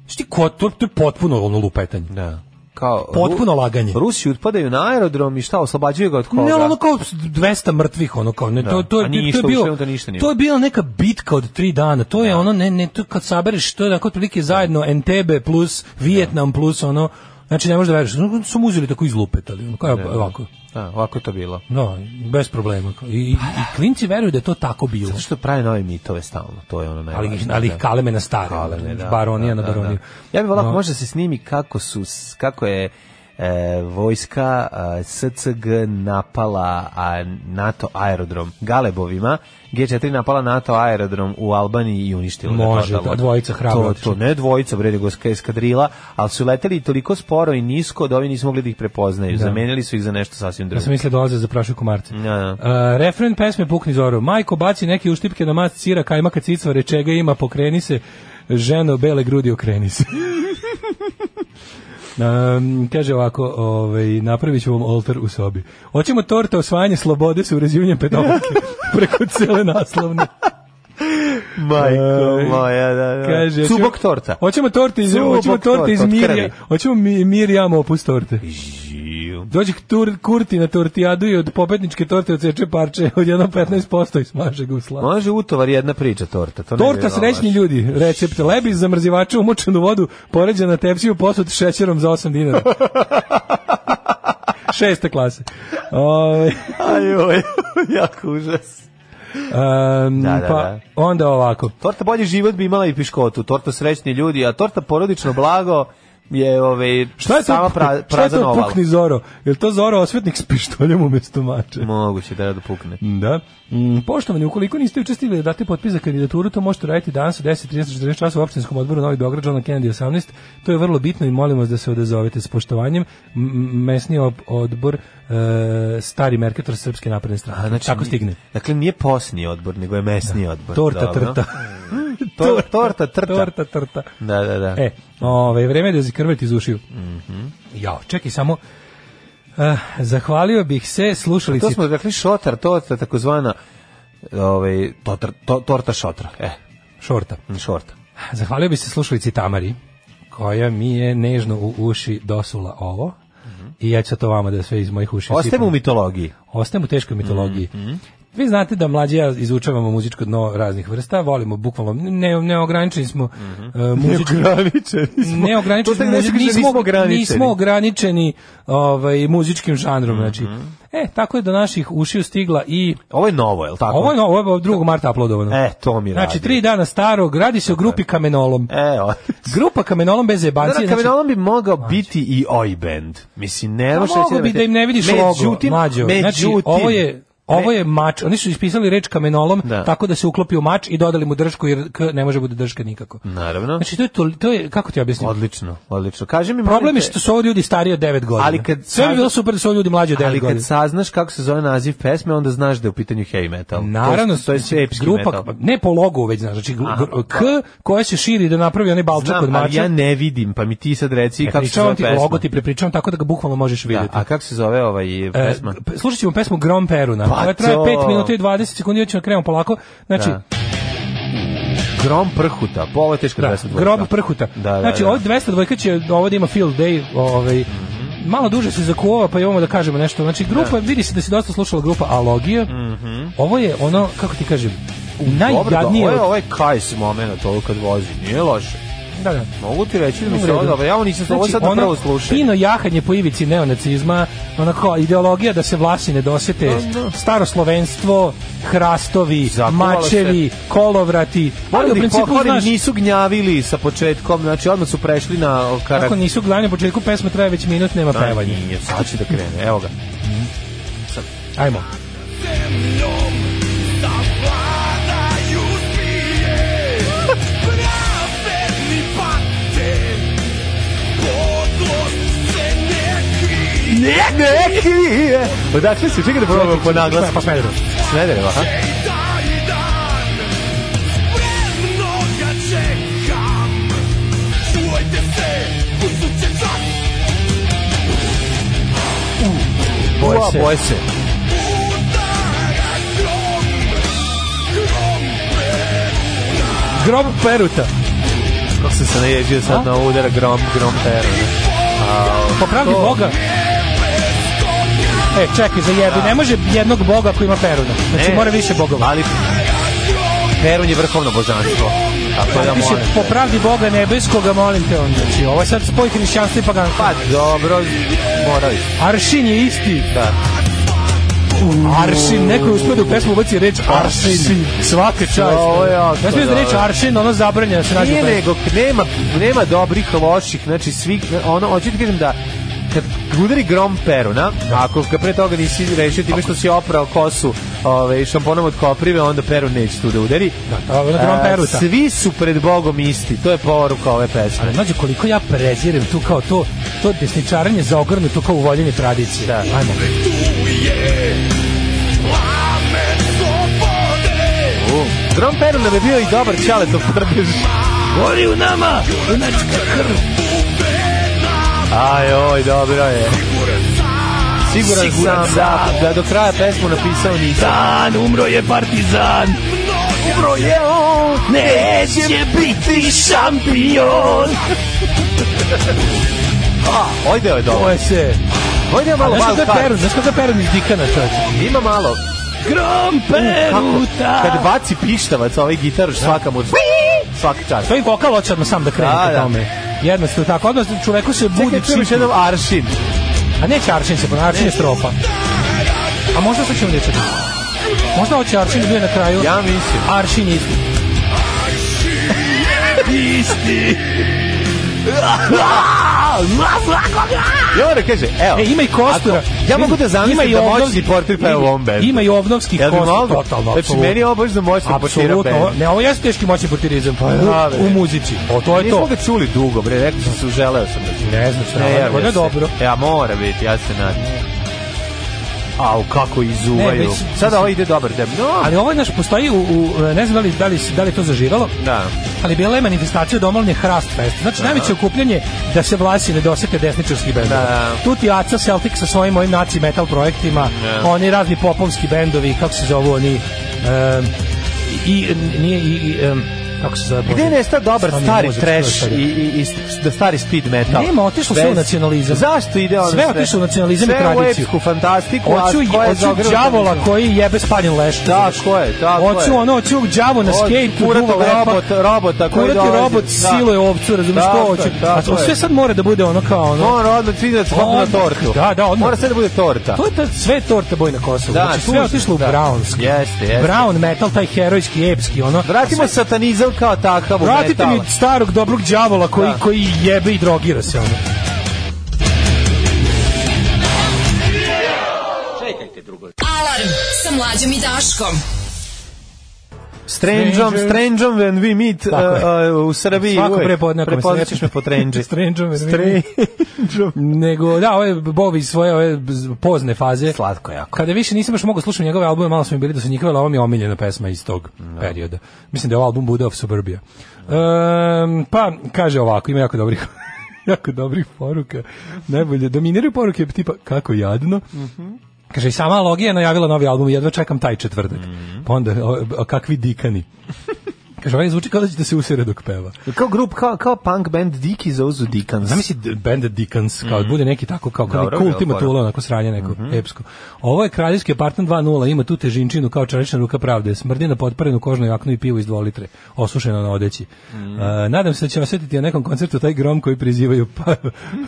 Šti ko to, to je potpuno ono lupetanje.
Da. Kao, Ru-
Potpuno laganje.
Rusi utpadaju na aerodrom i šta, oslobađaju ga od koga?
Ne, ono kao 200 mrtvih, ono kao, ne, to, to,
a
je-
nije
to,
išlo,
je bio,
uopšte ništa nije.
to je bila neka bitka od tri dana, to je ono, ne, ne, to kad sabereš, to je tako otprilike zajedno Entebbe plus Vijetnam plus ono, znači ne možeš da veruješ, Ono, su mu uzeli tako izlupetali, ono, kao ovako,
Da, ovako je to bilo.
no, bez problema, kao. I, i,
Pa
i klinci veruju da je to tako bilo.
Zato što prave nove mitove stalno, to je ono najvažnije.
Ali, ih- ali ih kaleme na stare,
Kalene, da,
baronija
da,
na
da,
baroniju.
da. Ja bih volao
No.
no. možda se snimi kako su s- kako je e, vojska e, SCG napala a, NATO aerodrom Galebovima. G4 napala NATO aerodrom u Albaniji i uništila ga
Može,
totalno.
da, dvojica hrabro
To,
otišla.
to ne dvojica, bre, nego ska- eskadrila, ali su leteli toliko sporo i nisko da ovi nisu mogli da ih prepoznaju. Zamenili su ih za nešto sasvim
Ja
drugo.
sam mislio dolaze za prašu komarce.
Da, da.
A, refren pesme Pukni Zoro. Majko baci neke uštipke na mast sira, kajma kad cicvare, čega ima, pokreni se. Ženo, bele grudi, okreni
(laughs)
se. Um, kaže ovako, ovaj, napravit ću vam oltar u sobi. Hoćemo torta osvajanje slobode sa urezivanjem
(laughs)
pedofilke preko cele naslovne.
Majko
Ej,
moja, da, da.
Kaže, hoćemo-
Cubok torta.
Hoćemo torte iz,
Cubok
hoćemo torte iz
torta od
Mirja,
krvi.
hoćemo mi, Mirjam opus torte.
Žiju.
Dođe tur, Kurti na tortijadu i od pobedničke torte odseče parče od jedno 15% i smaže ga u slavu.
Može utovar jedna priča torta. To ne bi
Torta
bilo
srećni
loše.
ljudi, recept lebi zamrzivača umočen u vodu, poređena tepsiju posut šećerom za 8 dinara.
(laughs)
Šeste klase. Ove,
Ajoj, (laughs) jako užas.
um,
Da, da,
pa
da.
onda ovako.
Torta bolji život bi imala i piškotu, torta srećni ljudi, a torta porodično blago je ovaj
Šta je to,
sama pra,
šta je
prazan
to
oval.
pukni Zoro? Je li to Zoro osvetnik s pištoljem umesto mače?
Moguće da da pukne.
Da. Mm, poštovani, ukoliko niste juče stigli da date potpis za kandidaturu, to možete raditi danas u 10, 30, 40 časa u opštinskom odboru Novi Beograd, John Kennedy 18. To je vrlo bitno i molim vas da se odazovete s poštovanjem. M- m- mesni ob- odbor e, Stari Merkator Srpske napredne strane.
A, znači,
Tako stigne.
Dakle, nije posni odbor, nego je mesni odbor.
Torta
Dobro.
trta.
(laughs) Tor, torta trta.
Torta trta.
Da, da, da. Mhm.
E, ovaj vreme je da zakrvati iz ušiju. Jao, čekaj samo. Eh, zahvalio bih se slušalici
To smo rekli šotar, torta takozvana ovaj, totar, to, torta šotra. E,
Šorta.
šorta.
Zahvalio bi se slušalici Tamari, koja mi je nežno u uši dosula ovo. I ja ću sad to vama da sve iz mojih uši
Ostajemo
sipam.
u Mm, mitologiji.
Ostajemo u teškoj mitologiji. Vi znate da mlađi ja izučavamo muzičko dno raznih vrsta, volimo bukvalno, ne, neograničeni smo e, muzički-
Ograničeni Mhm. smo.
neograničeni
To
smo
tako ne se
muzički,
kaže,
nismo,
nismo ograničeni.
nismo ograničeni ovaj, muzičkim žanrom. znači.
Mhm.
E, tako je do naših ušiju stigla i
Ovo je novo, je li tako?
ovo je, novo, ovo je 2. marta uploadovano.
E, to mi
Znači,
radi.
tri dana starog, radi se o grupi Kamenolom.
E,
(laughs)
o...
Grupa Kamenolom bez jebancije.
Zara
znači-
Kamenolom bi mogao biti i oj band. Mislim, ne
Pa
može
mogu bi da im ne vidiš
međutim,
logo, mlađo.
Međutim,
znači, ovo je Ovo je mač, oni su ispisali reč kamenolom
Da.
tako da se uklopio mač i dodali mu dršku jer k ne može bude drška nikako.
Naravno.
Znači to je, to, to je kako ti objasnim?
Odlično, odlično. Kaži mi,
Problem
molim
je
te,
što su ovo ljudi stariji od 9 godina.
Ali kad
Sve bi
sad-
bilo super da su ovo ljudi mlađi od 9
Ali
godina.
kad saznaš kako se zove naziv pesme, onda znaš da je u pitanju heavy metal.
Naravno,
to, je- to je epski
grupa,
metal.
ne po logu već, znaš, znači
Aha, pa
gr- K koja se širi da napravi onaj balčak od
Znam, ali
mača.
ja ne vidim, pa mi ti sad reci
E,
kako se zove
Pričavam ti,
pesma.
logo ti prepričavam tako da ga bukvalno možeš
da,
vidjeti.
a kako se zove ovaj
E,
pesma?
p- slušat ćemo pesmu Grom Peruna.
Pa
Koja traje
to.
5 minuta i 20 sekundi, ja ćemo krenemo polako. Znači,
Da. Grom prhuta, pa ovo je teška
da,
22.
grob prhuta.
Da, da,
znači,
da.
ovo 202 će ovo da ima field day, ovaj, malo duže se zakuva, pa imamo da kažemo nešto. Znači, grupa, vidi se da se dosta slušala grupa Alogija. Ovo je ono, kako ti kažem,
Mhm. Dobro, da, ovo
najjadnije...
je ovaj kajs moment, ovo kad vozi, nije loše.
da, da.
Mogu ti reći da mi
U
se ovo
redu.
dobro, ja ovo nisam, ovo sad
ono
prvo slušaj.
Fino jahanje po ivici neonacizma, onako ideologija da se vlasi ne dosete, staroslovenstvo, hrastovi,
Zakuvala
mačevi, kolovrati, ali
Moram
u
da ih
principu
pohvalim,
znaš,
nisu gnjavili sa početkom, znači odmah su prešli na
ako
karakter.
nisu glavni u početku pesma traje već minut, nema pevanja.
Nije, sad će da krene, evo ga.
Ajmo.
Ne, neki! Odakle si, čekaj da probamo po naglasku.
Pa Smederevo.
Smedereva, ha?
Da, i da,
Boje se.
boje se.
Grob peruta. Kako sam se naježio sad na ovo udara grom, grom peruta. Po pravdi
to-
Boga.
E, čekaj, za jebi. Ne može jednog boga koji ima peruna. Znači,
Ne.
mora više bogova.
Ali Perun je vrhovno božanstvo. Tako da
Piše,
molim.
po pravdi Boga nebeskoga, molim te on. Znači, ovo je sad spoj hrišćanstva i paganstva.
Pa dobro, morali.
Aršin je isti.
Da.
Aršin, neko je uspio da u pesmu ubaci reč aršin.
Aršin.
Svaka čast.
Ovo je jako
Ne smiješ da reč
dobro.
aršin, ono zabranjeno da se nađe u
Nije
pesmi.
nego, nema, nema dobrih, loših, znači svi, ono, hoću ti kažem da kad udari grom peruna, ako ga pre toga nisi rešio time što si oprao kosu ove, šamponom od koprive, onda perun neće tu da udari.
Da, to je ono grom
A,
peruta.
Svi su pred Bogom isti, to je poruka ove pesme.
Ali mlađe, koliko ja prezirem tu kao to, to desničaranje za ogrnu, to kao uvoljenje tradicije.
Da.
Ajmo.
U. Grom perun nam je bio i dobar čaletov prdež.
Gori u nama, junačka krv.
Aj, oj, dobro je. Siguran,
Siguran
sam
sam.
da, da do kraja pesmu napisao nisam.
Dan, umro je partizan. Umro je on, neće biti šampion.
(laughs) A, oj, deo je
Ovo
dobar.
je se...
Oj, deo je
A
malo
znaš kako
wild
je
card.
Perun, znaš kako je Perun iz Dikana, čovječe?
Ima malo.
Grom
Kako?
peruta.
Kad baci pištavac ovaj gitar, svaka mu svaka čast.
To je vokal hoće odmah sam da krene
Da,
po
da.
tome. Jednostavno tako, odnosno čoveku se budi
Čekaj, čujem još
psihu.
jednom aršin.
A neće Aršin se, pa Aršin je strofa. A možda sad ćemo dječati. Možda hoće Aršin da bio na kraju.
Ja mislim.
Aršin je isti.
I onda kaže, evo.
E, ima i kostura.
Ako- ja mogu da zamislim da moćni portir peva u ovom bendu.
Ima i ovnovski
Jel bi
kostur,
mogao?
totalno,
Znači, meni je ovo baš za moćni portira
Apsolutno.
bend.
ovo- Ne, ovo jeste teški moćni portirizam. pa
da,
u,
bre.
u muzici. O, to je
Nismo
to.
ga čuli dugo, bre, rekao sam se, želeo sam da ću.
Ne znam šta,
Ne,
ovo
javlja
je
se.
dobro.
Ja, mora biti, ja se nadam. Au, kako
Ne,
izuvaju.
već-
Sada ovo ide dobar dem. No,
Ali ovo je, znaš, postoji u, u, ne znam da li, da li, da li je to zaživalo,
da.
ali bila je manifestacija domolnje Hrast Fest. Znači, najveće okupljanje da se vlasi ne dosete desničarskih bendova.
Da.
Tu ti Aca Celtic sa svojim ovim naci metal projektima,
Da.
oni razni popovski bendovi, kako se zovu oni, em, i, i- nije, i, i em, kako se zove?
E, Gde
Bože?
je nestao dobar
Stani,
stari
Bože,
trash
čovječe.
i, i, i st- da stari speed metal?
Nema, otišlo sve
Bez-
u nacionalizam.
Zašto ide ono
Sve otišlo u nacionalizam i
Sve u
tradiciju.
epsku fantastiku, a
Hoću,
ko je
hoću
zaogrnuto-
đavola koji jebe spaljen leš.
Tako je, tako je.
Hoću ono, hoću đavo na
Hoću
skejtu,
kuratog
duva lepa.
robota- robota koji
Kurati
dolazi,
robot
da.
siluje ovcu, razumiješ
Tako
što
je,
hoću. A
tako
to
je.
sve sad mora da bude ono kao ono.
Mora odmah sviđa se na
Odmah,
tortu.
da, da, odmah.
Mora sve da bude torta.
To je ta, sve je torta boj na Kosovu.
Da,
znači, sve je
tužno,
otišlo u
da.
brownski.
Jeste, jeste.
Brown metal, taj herojski, epski, ono.
Vratimo satanizam kao takav u
Vratite
metal.
mi starog dobrog đavola koji,
Da.
koji jebe i drogira se, ono.
(laughs)
Alarm sa mlađom i Daškom.
Strangeom, strangeom when we meet uh,
Tako je.
uh, u Srbiji.
Svako
uvek.
prepodne ako me
Prepoznaćeš
sretneš.
me po
(laughs)
trenđi.
Strangeom when we
Strange-
Nego, da, ove bovi iz svoje ove z- pozne faze.
(laughs) Slatko jako.
Kada više nisam baš mogao slušati njegove albume, malo smo mi bili da su njihove, ali ovo mi je omiljena pesma iz tog perioda. Mislim da je ovo album Buddha of Suburbia. Ehm, pa, kaže ovako, ima jako dobrih (laughs) jako dobrih poruka. Najbolje, dominiraju poruke tipa kako jadno, Kaže, i sama Logija je najavila novi album, jedva čekam taj četvrtak. Pa onda, o, o, kakvi dikani. Kaže, ovaj zvuči kao da ćete se usire dok peva.
Kao grup, kao, kao punk band Diki za Ozu Dikans.
Zamisli d- band Dickens, kao bude neki tako kao kao
Mhm. Dobro,
neki
dobro,
ultima
dobro.
tula, onako sranje neko
Mhm.
epsko. Ovo je kraljevski apartman 2.0, ima tu težinčinu kao čarična ruka pravde, smrdi na potparenu kožnu jaknu i pivu iz 2 litre, osušeno na odeći.
Mhm.
E, nadam se da će osjetiti na nekom koncertu taj grom koji prizivaju pa,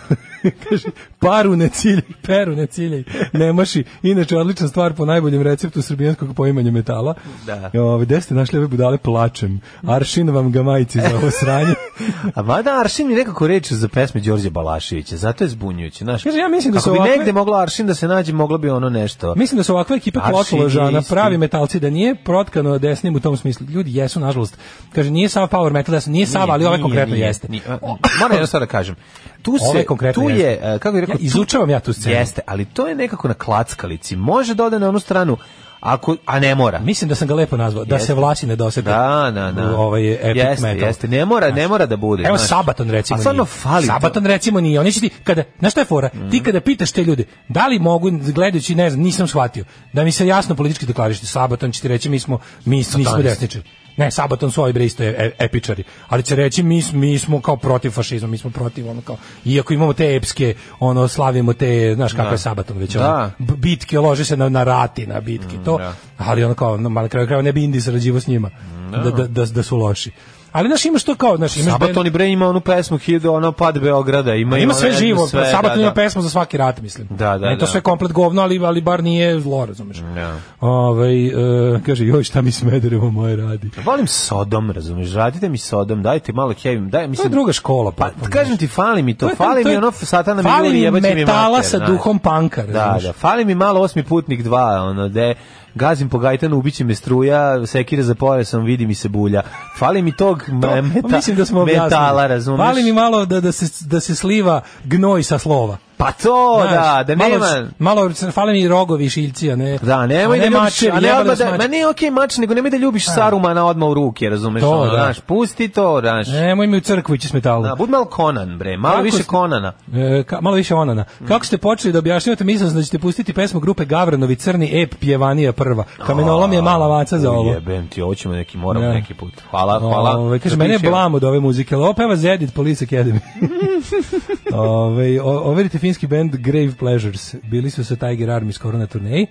(laughs) kaže, paru ne ciljaj, peru ne ciljaj, ne maši. Inače, odlična stvar po najboljem receptu srbijanskog poimanja metala.
Da.
Ove, gde ste našli ove budale plačem? Aršin vam ga majici za ovo sranje.
(laughs) A mada Aršin je nekako reč za pesme Đorđe Balaševića, zato je zbunjujuće. Znaš,
Kaže, ja mislim da
Ako
su
bi
ovakve-
negde moglo Aršin da se nađe, moglo bi ono nešto.
Pa Mislim da su ovakva ekipa
Aršin je
klotoložana,
isti.
pravi metalci, da nije protkano desnim u tom smislu. Ljudi jesu, nažalost. Kaže, nije sav power metal, desno, nije sav, ali ovaj
Nije,
konkretno
nije,
jeste.
nije. A, Moram jedno stvar da kažem. Tu se,
Ovaj konkretno
tu je,
jeste.
e, kako bih rekao,
Ja izučavam ja tu scenu.
Jeste, ali to je nekako na klackalici. Može da ode na onu stranu Ako, a ne mora.
Mislim da sam ga lepo nazvao, da
Jeste.
se vlasi ne dosete.
Da, da, da.
Ovaj je epic
Jeste,
metal.
jeste. Ne mora- ne mora da bude,
Evo
znaš.
Sabaton recimo.
A stvarno
nije.
fali to. Mhm.
Sabaton recimo nije. Oni će ti kada, znaš šta je fora? Ti kada pitaš te ljude, da li mogu gledajući, ne znam, nisam shvatio. Da mi se jasno politički deklarište Sabaton će ti reći mi smo mi nismo
Satanisti.
desničari. Ne, Sabaton su ovi bre isto e- e- epičari, ali će reći mi, s- mi smo kao protiv fašizma, mi smo protiv ono kao, iako imamo te epske, ono, slavimo te, znaš kako je Sabaton već, ono,
Da. Mm,
b- bitke, lože se na, na rati, na bitke, to, ali ono kao, no, ma na kraju krajeva ne bi Indi sarađivo s njima, da, da, da, da su loši. Ali, znaš, imaš to kao, znaš, imaš band-
Sabaton i bre ima onu pesmu Hido, ono pad Beograda, ima
ima
ono,
sve
ne znam,
živo,
sve,
Sabaton
da,
ima
da.
pesmu za svaki rat, mislim.
Da, da,
Meni to
da. Mm.
sve komplet govno, ali, ali bar nije zlo, razumeš.
Da.
Ovaj, e, kaže, joj, šta mi Smederevo moje radi.
Volim Sodom, razumiješ, radite mi Sodom, dajte malo heavy, daj,
To je
mislim,
druga škola.
pa
potpuno.
kažem ti, fali mi to,
je-
fali mi
je-
ono satana mi
fali
juri, jebaće mi
metala
mater,
sa
znaš.
duhom panka,
Da,
razumeš?
da, fali mi malo osmi putnik dva, ono, de, gazim po gajtanu, ubiće me struja, sekira za pojasom, vidi mi se bulja. Fali mi tog me-
Pa
e, meta,
mislim da smo objasnili.
metala, razumeš?
Fali mi malo da, da, se, da se sliva gnoj sa slova.
Pa to,
Znaš,
da, da nema...
Malo, malo fale mi rogovi i šiljci, a ne...
Da, nemoj
a
da
ne
ljubiš,
mačevi,
a ne
jebali
odmah
vas
da, ma
mačevi.
ne okej mač, nego nemoj da ljubiš Sarumana odmah u ruke, razumeš,
E. To,
ono,
da.
znaš, pusti to, znaš.
Nemoj mi u crkvu ići s metalom.
Da, bud malo Conan, bre, malo
Kako
više
ste-
Conana.
E, ka, malo više onana.
Mm.
Kako ste počeli da objašnjavate, mislio sam da ćete pustiti pesmu grupe Gavranovi Crni Ep Pjevanija prva. Kamenolom je mala vaca za ovo.
Jebem ti, ovo ćemo neki, moramo
Da.
neki put. Hvala, hvala.
Ove, kaže, mene je
Zapiši-
blam od ove muzike, ali ovo peva Zedit Police
(laughs)
Academy. Ove, o- overite finski band Grave Pleasures. Bili su sa Tiger Army skoro na turneji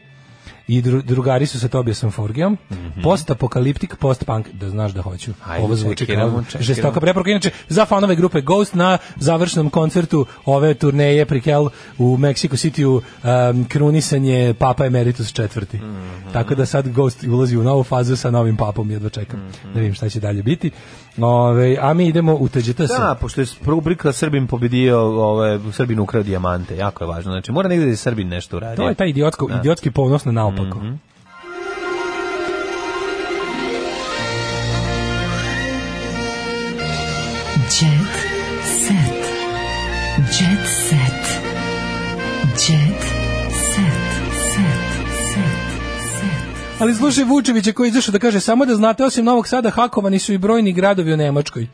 i dru- drugari su sa Tobiasom Forgeom. Post-apokaliptik, post-punk, da znaš da hoću.
Mhm. Ajde,
ovo zvuči
čekiramo,
kao
čekiramo.
žestoka preporuka. Inače, za fanove grupe Ghost na završnom koncertu ove turneje Prikel u Mexico City u krunisanje Papa Emeritus četvrti. Tako da sad Ghost ulazi u novu fazu sa novim papom, jedva čekam. Da vidim šta će dalje biti. Ove, a mi idemo u TGTS.
Da, pošto je rubrika Srbin pobedio, ove, Srbin ukrao dijamante, jako je važno. Znači, mora negdje da je Srbin nešto uradi.
To je taj idiotsko, idiotski ponos na naopako.
Mhm.
Jet set. Jet set. Jet set. Set. Set.
Ali slušaj Vučevića koji je izašao da kaže samo da znate osim Novog Sada hakovani su i brojni gradovi u
(laughs)
Nemačkoj.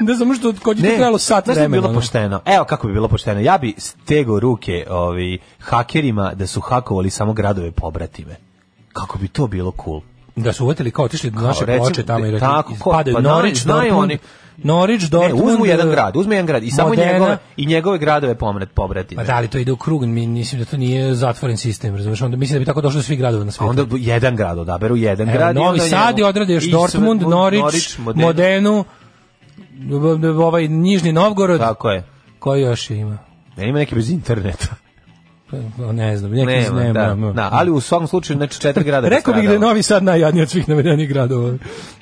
ne znam što kod njih je trebalo sat
znaš šta bi
vremena.
bilo
ono.
pošteno. Evo kako bi bilo pošteno. Ja bi stego ruke ovi hakerima da su hakovali samo gradove pobratime. Kako bi to bilo cool.
Da su uvatili kao otišli do naše
recimo,
ploče tamo i rekli,
tako, ko-
padaju
pa
Norwich,
znaju- znaju
Dortmund,
oni.
Norwich,
Ne,
Dortmund,
uzmu jedan
eh,
grad, uzmu jedan grad i samo
Modena.
njegove i njegove gradove pomret pobratime.
Pa da li to ide u krug, mi mislim da to nije zatvoren sistem, razumiješ, onda mislim da bi tako došlo do svih gradova na
A
svijetu.
onda jedan grad odaberu, jedan
Evo,
grad. i
Novi
onda
Sad i
njegov-
odrade još
i
Dortmund,
Dortmund,
Norwich,
Norwich, Modena.
Modenu, b- b- ovaj Nižni Novgorod,
Tako je.
koji još ima?
Ne ima neki bez interneta.
Pa, Ne znam, neki iz
Nema,
nema.
da,
ma-
da, ali u svakom slučaju znači četiri grada.
Rekao bih da je
nastradalo.
Novi Sad najjadniji od svih navedenih gradova.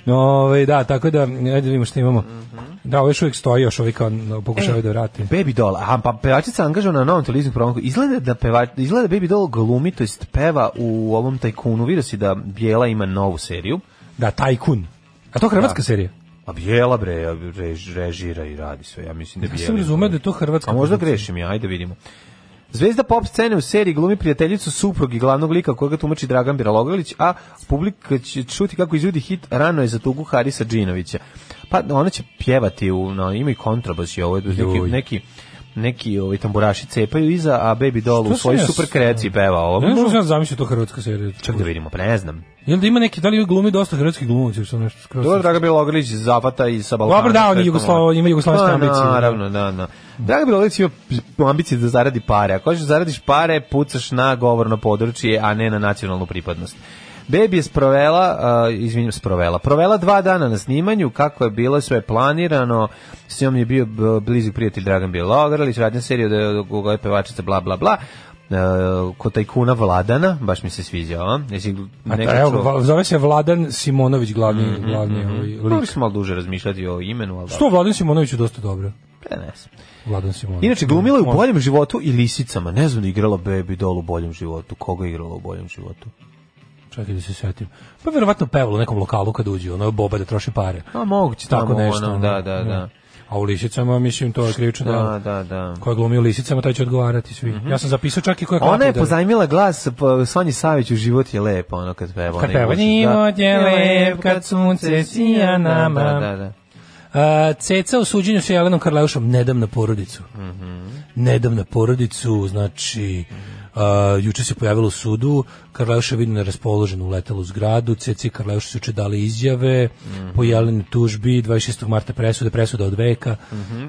Ove, da, tako da, ajde vidimo što imamo.
Mhm.
Da, ovo još uvijek stoji, još ovi kao no, pokušavaju da vrati.
Baby Doll, a pa pevačica angažovana na novom televizijskom programu, izgleda da peva, izgleda Baby Doll glumi, to jest peva u ovom tajkunu, vidio si da Bijela ima novu seriju,
Da, Tajkun. A to hrvatska serija?
a Bijela bre, rež- režira i radi sve, ja mislim da
Ja
Bijela.
sam razumeo da je to hrvatska.
A možda
produkcija.
grešim ja, ajde vidimo. Zvezda pop scene u seriji glumi prijateljicu suprug i glavnog lika koga tumači Dragan Biralogalić, a publika će čuti kako izvodi hit Rano je za tugu Harisa Džinovića. Pa ona će pjevati, u, no, ima i kontrabas i ovo, neki,
Joj.
neki neki ovaj tamburaši cepaju iza, a Baby Doll
Što
u
sam
svojoj
ja s-
super kreaciji peva ovo.
Ne znam što sam zamislio to hrvatska serija.
Čak da vidimo, pa ne znam.
Jel da ima neki, da li glumi dosta hrvatskih glumaca ili sam nešto skroz?
Dobro, Dragan Bilogrlić zapata i sa Balkana.
Dobro, da, on je
sve što
Jugoslavo-
može.
ima jugoslavenske
Pa,
ambicije, da.
Naravno, da, da. Dragan Bilogrlić ima ambicije da zaradi pare. Ako hoćeš da zaradiš pare, pucaš na govorno područje, a ne na nacionalnu pripadnost. Bebi je sprovela, uh, izvinjam, sprovela, provela dva dana na snimanju, kako je bilo sve planirano, s njom je bio b- blizu prijatelj Dragan Bilogrlić, radnja serija da je koga je pevačica, bla, bla, bla, E, kod tajkuna Vladana, baš mi se sviđao, a? Jesi
A
neko
ta, evo,
čuo?
va- zove se Vladan Simonović, glavni,
Mhm,
glavni ovaj
Mogli
lik.
smo malo duže razmišljati o imenu, ali
Što Vladan Simonović je dosta dobro?
Pa ne znam.
Vladan Simonović.
Inače, glumila je u boljem životu i lisicama. Ne znam da je igrala Baby Doll u boljem životu. Koga je igrala u boljem životu?
Čekaj da se setim. Pa verovatno pevala u nekom lokalu kad uđe, ono boba da troši pare.
A moguće
Tako
tamo
nešto,
ono,
ono,
da, da, da.
da. A u lisicama, mislim, to je krivično delo.
Da, da, da.
Ko je glumio u lisicama, taj će odgovarati svi. Ja sam zapisao čak i koje kako.
Ona je pozajmila glas po Sonji Savić u život je lep, ono kad peva.
Kad
onaj
peva,
gušt, da.
"Život je lep kad sunce sija nama."
Da, da, da.
Uh, ceca u suđenju sa Jelenom Karleušom, ne dam na porodicu.
Mhm.
Ne dam na porodicu, znači, uh, juče se pojavilo u sudu, Karleuša je vidim neraspoložen uletela u zgradu, Ceci i Karleuša su juče dali izjave,
Mhm.
po Jeleni tužbi, 26. marta presude, presuda od veka.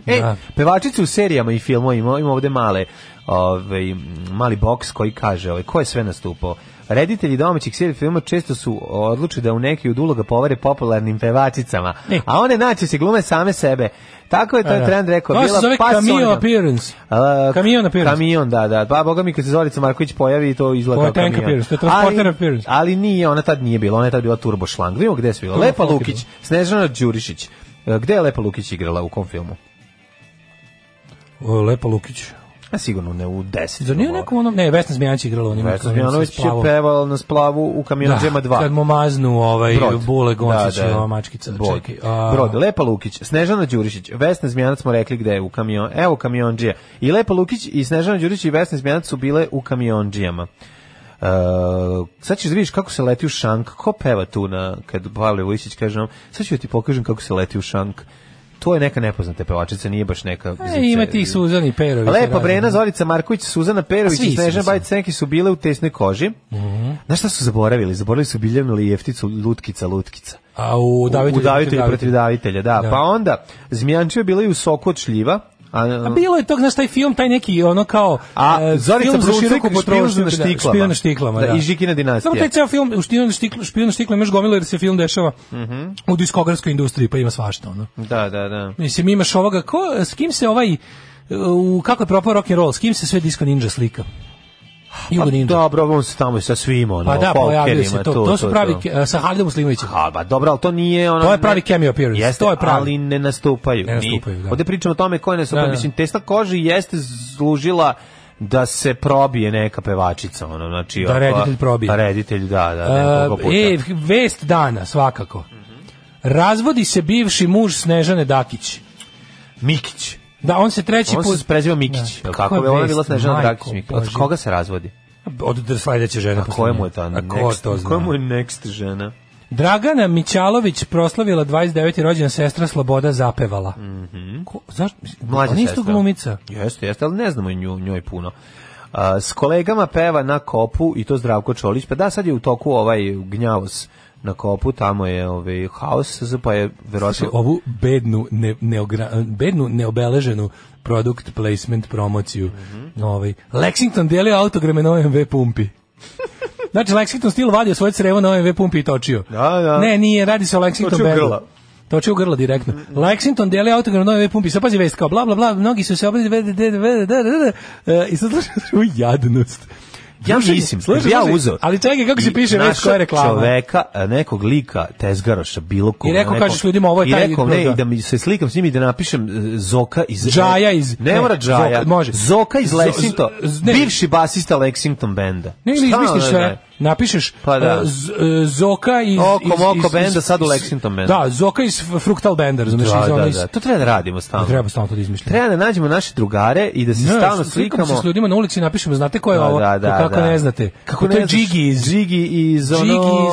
E,
Da.
pevačice u serijama i filmovima, ima, ima ovde male, ovaj, m, mali boks koji kaže, ovaj, ko je sve nastupao? Reditelji domaćih serija i filma često su odlučili da u neki od uloga povare popularnim pevačicama,
E.
a one naći se glume same sebe. Tako je to
Da.
trend rekao.
To
bila
se zove
pa
cameo
Sonja.
appearance.
A,
Kamion appearance.
Kamion, da, da. Pa boga mi kad se Zorica Marković pojavi to izgleda
Ovo
kao
je tank
kamion.
appearance, to je transporter
Ali-
appearance.
Ali nije, ona tad nije bila, ona je tad bila turbo šlang. Vidimo gde je bila.
Turbo
Lepa
šlang je
Lukić, Snežana Đurišić. E, Gde je Lepa Lukić igrala u kom filmu?
O, Lepa Lukić.
A sigurno ne u ono, 10.
Zar nije u nekom onom, ne, Vesna Zmijanić igrala u njemu.
Vesna Zmijanović je pevala na splavu u kamionu Džema 2.
kad mu maznu ovaj Bule Goncić,
Da, da.
ova mačkica.
Brod.
Čekaj, a-
Brod, Lepa Lukić, Snežana Đurišić, Vesna Zmijanac smo rekli gde je u kamion, evo kamionđija. I Lepa Lukić i Snežana Đurišić i Vesna Zmijanac su bile u kamionđijama. Uh, sad ćeš da vidiš kako se leti u šank ko peva tu na, kad Pavle Vujsić kaže nam, sad ću da ti pokažem kako se leti u šank to je neka nepoznata pevačica nije baš neka
E, ima tih Suzani Perović.
Lepa Brena, Zorica Marković, Suzana Perović
A Pa svi
i Snežana
su, Mhm. mislim.
Bajić neki su bile u tesnoj koži. Znaš šta su zaboravili? Zaboravili su Biljanu Lijefticu, Lutkica, Lutkica.
A u Davidu
u Davitelju protiv Davitelja, da.
Da.
Pa onda, Zmijančeva je bila i u soku od šljiva. A,
A bilo je tog, znaš, taj film, taj neki, ono kao...
A,
e,
Zorica
film za
Bruncek,
široku
Špijun
potrošnju,
na
da,
štiklama.
Špijun na štiklama, da.
Da, i Žikina dinastija.
Samo taj ceo film, u Špijun na štiklama, Špijun na štiklama još gomila jer se film dešava
Mhm.
u diskografskoj industriji, pa ima svašta, ono.
da, da, da.
Mislim, imaš ovoga, ko, s kim se ovaj, e, u, kako je propao rock'n'roll, s kim se sve disco ninja slika? Jugo
Pa,
ninja.
dobro, on se tamo i sa svim, ono,
pa da, pojavio se
folkerima,
to. To, su pravi, ke- e, sa Halidom Slimovićem.
A, ba, dobro, ali to nije ono...
To je pravi cameo appearance,
Jeste,
to je pravi.
ali ne nastupaju.
Ne nastupaju,
Ni-
da.
Ovde pričamo o tome koje ne nastupaju.
Da, da.
Mislim, Tesla koži jeste služila da se probije neka pevačica, ono, znači...
Da
ova-
reditelj probije.
Da reditelj, da, da, nekoliko puta.
E, vest dana, svakako. Razvodi se bivši muž Snežane Dakić.
Mikić.
Da, on se treći
On
put...
Ono se preziva Mikić.
Da.
Da.
Kakva
Kako je ona
vest,
bila Snežana
majko
Drakić Mikić? Pa Od
Božja.
koga se razvodi?
Od dr- sledeće žene.
A koja mu je ta
Pa A ko to
next,
zna?
koja mu je next žena?
Dragana Mićalović proslavila 29. rođena sestra Sloboda Zapevala. Ko, zašto?
Mhm. Mlađa
Ona isto
sestra.
glumica.
Jeste, jeste, ali ne znamo nju, njoj puno. A, s kolegama peva na kopu i to Zdravko Čolić, pa da, sad je u toku ovaj gnjavos na kopu, tamo je ovaj haos, pa je
Slušaj,
verovatno...
Znači, ovu bednu, ne, neogra- bednu neobeleženu product placement promociju.
Mhm.
ovaj. Lexington delio autograme na OMV
(laughs)
pumpi. Znači, Lexington stil vadio svoje crevo na OMV pumpi i točio.
Da, da.
Ne, nije, radi se o Lexington
Točio u
Bandu.
grla. Mhm.
Točio u grla direktno. Lexington delio autogram na OMV pumpi. Sad pazi vest kao bla, bla, bla, mnogi su se obradili, vede, vede, vede, vede, vede, e, i sad slušaj ovu jadnost.
Ja
Slušaj,
mislim,
slušaj,
slušaj, ja
slušaj,
uzeo.
Ali čekaj, kako se
i
piše vest
našao
koja je reklama.
Čoveka, e, nekog lika, tezgaroša, bilo
I
koga.
rekao,
nekog-
kažeš ljudima, ovo je taj
I rekao, ne,
program.
i da mi se slikam s njim i da napišem e, Zoka iz...
Džaja iz-
Ne,
ne,
mora Džaja.
Zoka, može.
Zoka iz
Zo-
Lexington.
z- ne.
bivši basista Lexington benda.
Ne, ili
Šta
izmisliš
ono
sve,
je?
napišeš
Pa da.
e, Z- e, Zoka iz...
Oko
iz-
Moko
iz- iz-
benda, sad u
iz-
Lexington benda.
Da, Zoka iz F- Fructal benda, razumiješ?
Da, da, da. To treba da radimo stalno.
Treba stalno to da izmišljamo.
Treba da nađemo naše drugare i da se
Ne,
stalno
slikamo se
slikamo.
s ljudima na ulici i napišemo, znate ko je ovo?
Da, da,
To
da,
kako
da.
ne znate?
Kako
Pa to
ne
je
znaš?
Jigi iz...
Džigi iz ono...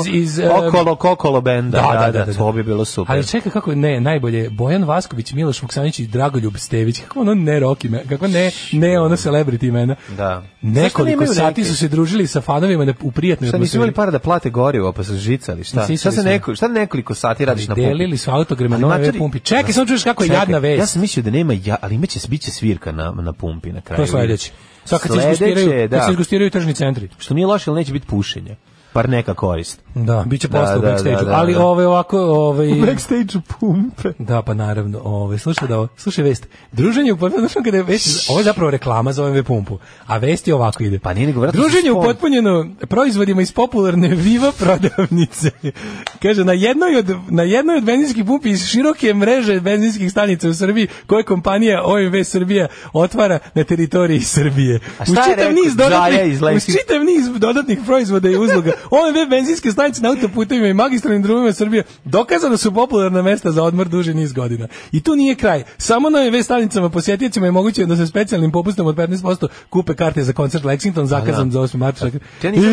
Džigi iz- iz, em,
Okolo, kokolo benda.
Da, da, da, da.
To bi bilo super.
Ali čekaj kako ne, najbolje je Bojan Vasković, Miloš Vuksanić i Dragoljub Stević. Kako ono ne rock ime, kako ne, ne ono celebrity imena.
Da. Zašto
Nekoliko
nemaju
sati
neke?
su se družili sa fanovima na- u prijatnoj
Šta nisu
atmosferi.
imali pa- para da plate gorivo, pa su žicali, šta?
Sisali
Šta, se
su.
neko, šta nekoliko sati radiš na pumpi?
Delili su autograme
Ali
na ove
Pa matori-
pumpi. Čekaj, samo čuješ kako je
Čekaj,
jadna vest.
Ja sam mislio da nema, ja, ali imaće, bit će svirka na, na pumpi na kraju.
To je sledeće. Sad kad se
Pa Sledeće,
izgustiraju, kad
da.
se izgustiraju tržni centri.
Što nije loše, ali neće biti pušenja. Par neka korist.
Da, biće
Da,
posle u
da,
backstage-u.
da, da,
ali
da.
ove ovako, ove
Backstage pumpe.
Da, pa naravno. Ove, slušaj da, ovo- slušaj vest. Druženje u potpunjenom kada je vest, ovo je zapravo reklama za OMV pumpu, a vest je ovako ide.
Pa nije nego, vratno
Druženje
su spon-
upotpunjeno proizvodima iz popularne Viva prodavnice. (laughs) Kaže, na jednoj od, na jednoj od benzinskih pumpi iz široke mreže benzinskih stanica u Srbiji, koje kompanija OMV Srbija otvara na teritoriji Srbije. je.
A šta je rekao
niz
Džaja
dodatnih,
iz
uz
Lejsi?
čitav niz dodatnih proizvoda i uzloga. Ove benzinske stanice na autoputevima i magistralnim drumima Srbije dokazano su popularna mesta za odmor duži niz godina. I tu nije kraj. Samo na ve stanicama posjetioćima je moguće da se specijalnim popustom od 15% kupe karte za koncert Lexington zakazan za 8. marta.
Ja nisam-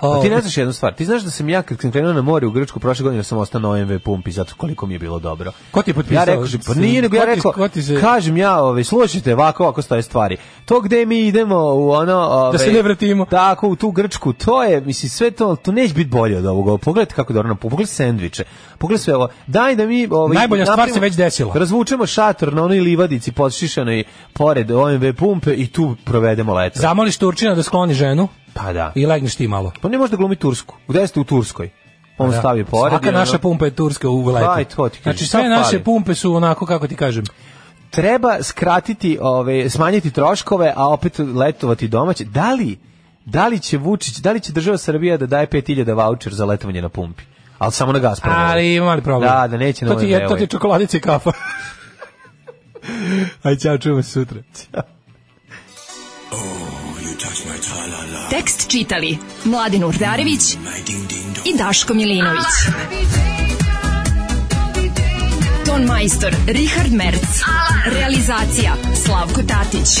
A ti ne znaš jednu stvar. Ti znaš da sam ja kad sam krenuo na more u Grčku prošle godine sam ostao na OMV pumpi zato koliko mi je bilo dobro.
Ko ti je potpisao?
Ja rekao, pa nije nego ja
Ko ti-
rekao,
ko ti se-
kažem ja, ovaj slušajte, ovako ovako stoje stvari. To gde mi idemo u ono, ovaj,
Da se ne vratimo.
Tako u tu Grčku, to je mislim sve to, to neće biti bolje od ovoga. Pogledajte kako dobro napu- pogledajte sendviče. Pogledaj sve ovo. Daj da mi ovaj
Najbolja stvar
napravimo-
se već desila.
Razvučemo šator na onoj livadici podšišanoj pored OMV pumpe i tu provedemo leto.
Zamoliš Turčina da skloni ženu
Pa da.
i legneš ti malo.
Pa ne može da glumi Tursku. Gde ste u Turskoj? On
Pa Da.
stavi pored. i
Svaka
ono-
naša pumpa je turska u letu.
Aj, to ti kažem.
Znači
Šta
sve naše
fali?
pumpe su onako kako ti kažem.
Treba skratiti, ove, smanjiti troškove, a opet letovati domaće. Da li, da li će Vučić, da li će država Srbija da daje 5000 voucher za letovanje na pumpi? Ali samo na Gazpromu.
Ali ima mali problem.
Da, da neće na
to ti je,
OMV-ovoj.
to ti je čokoladica i kafa. (laughs) Aj, čao, čujemo se sutra.
Tekst čitali Mladin Urdarević i Daško Milinović. Ton majstor Richard Merc. Realizacija Slavko Tatić.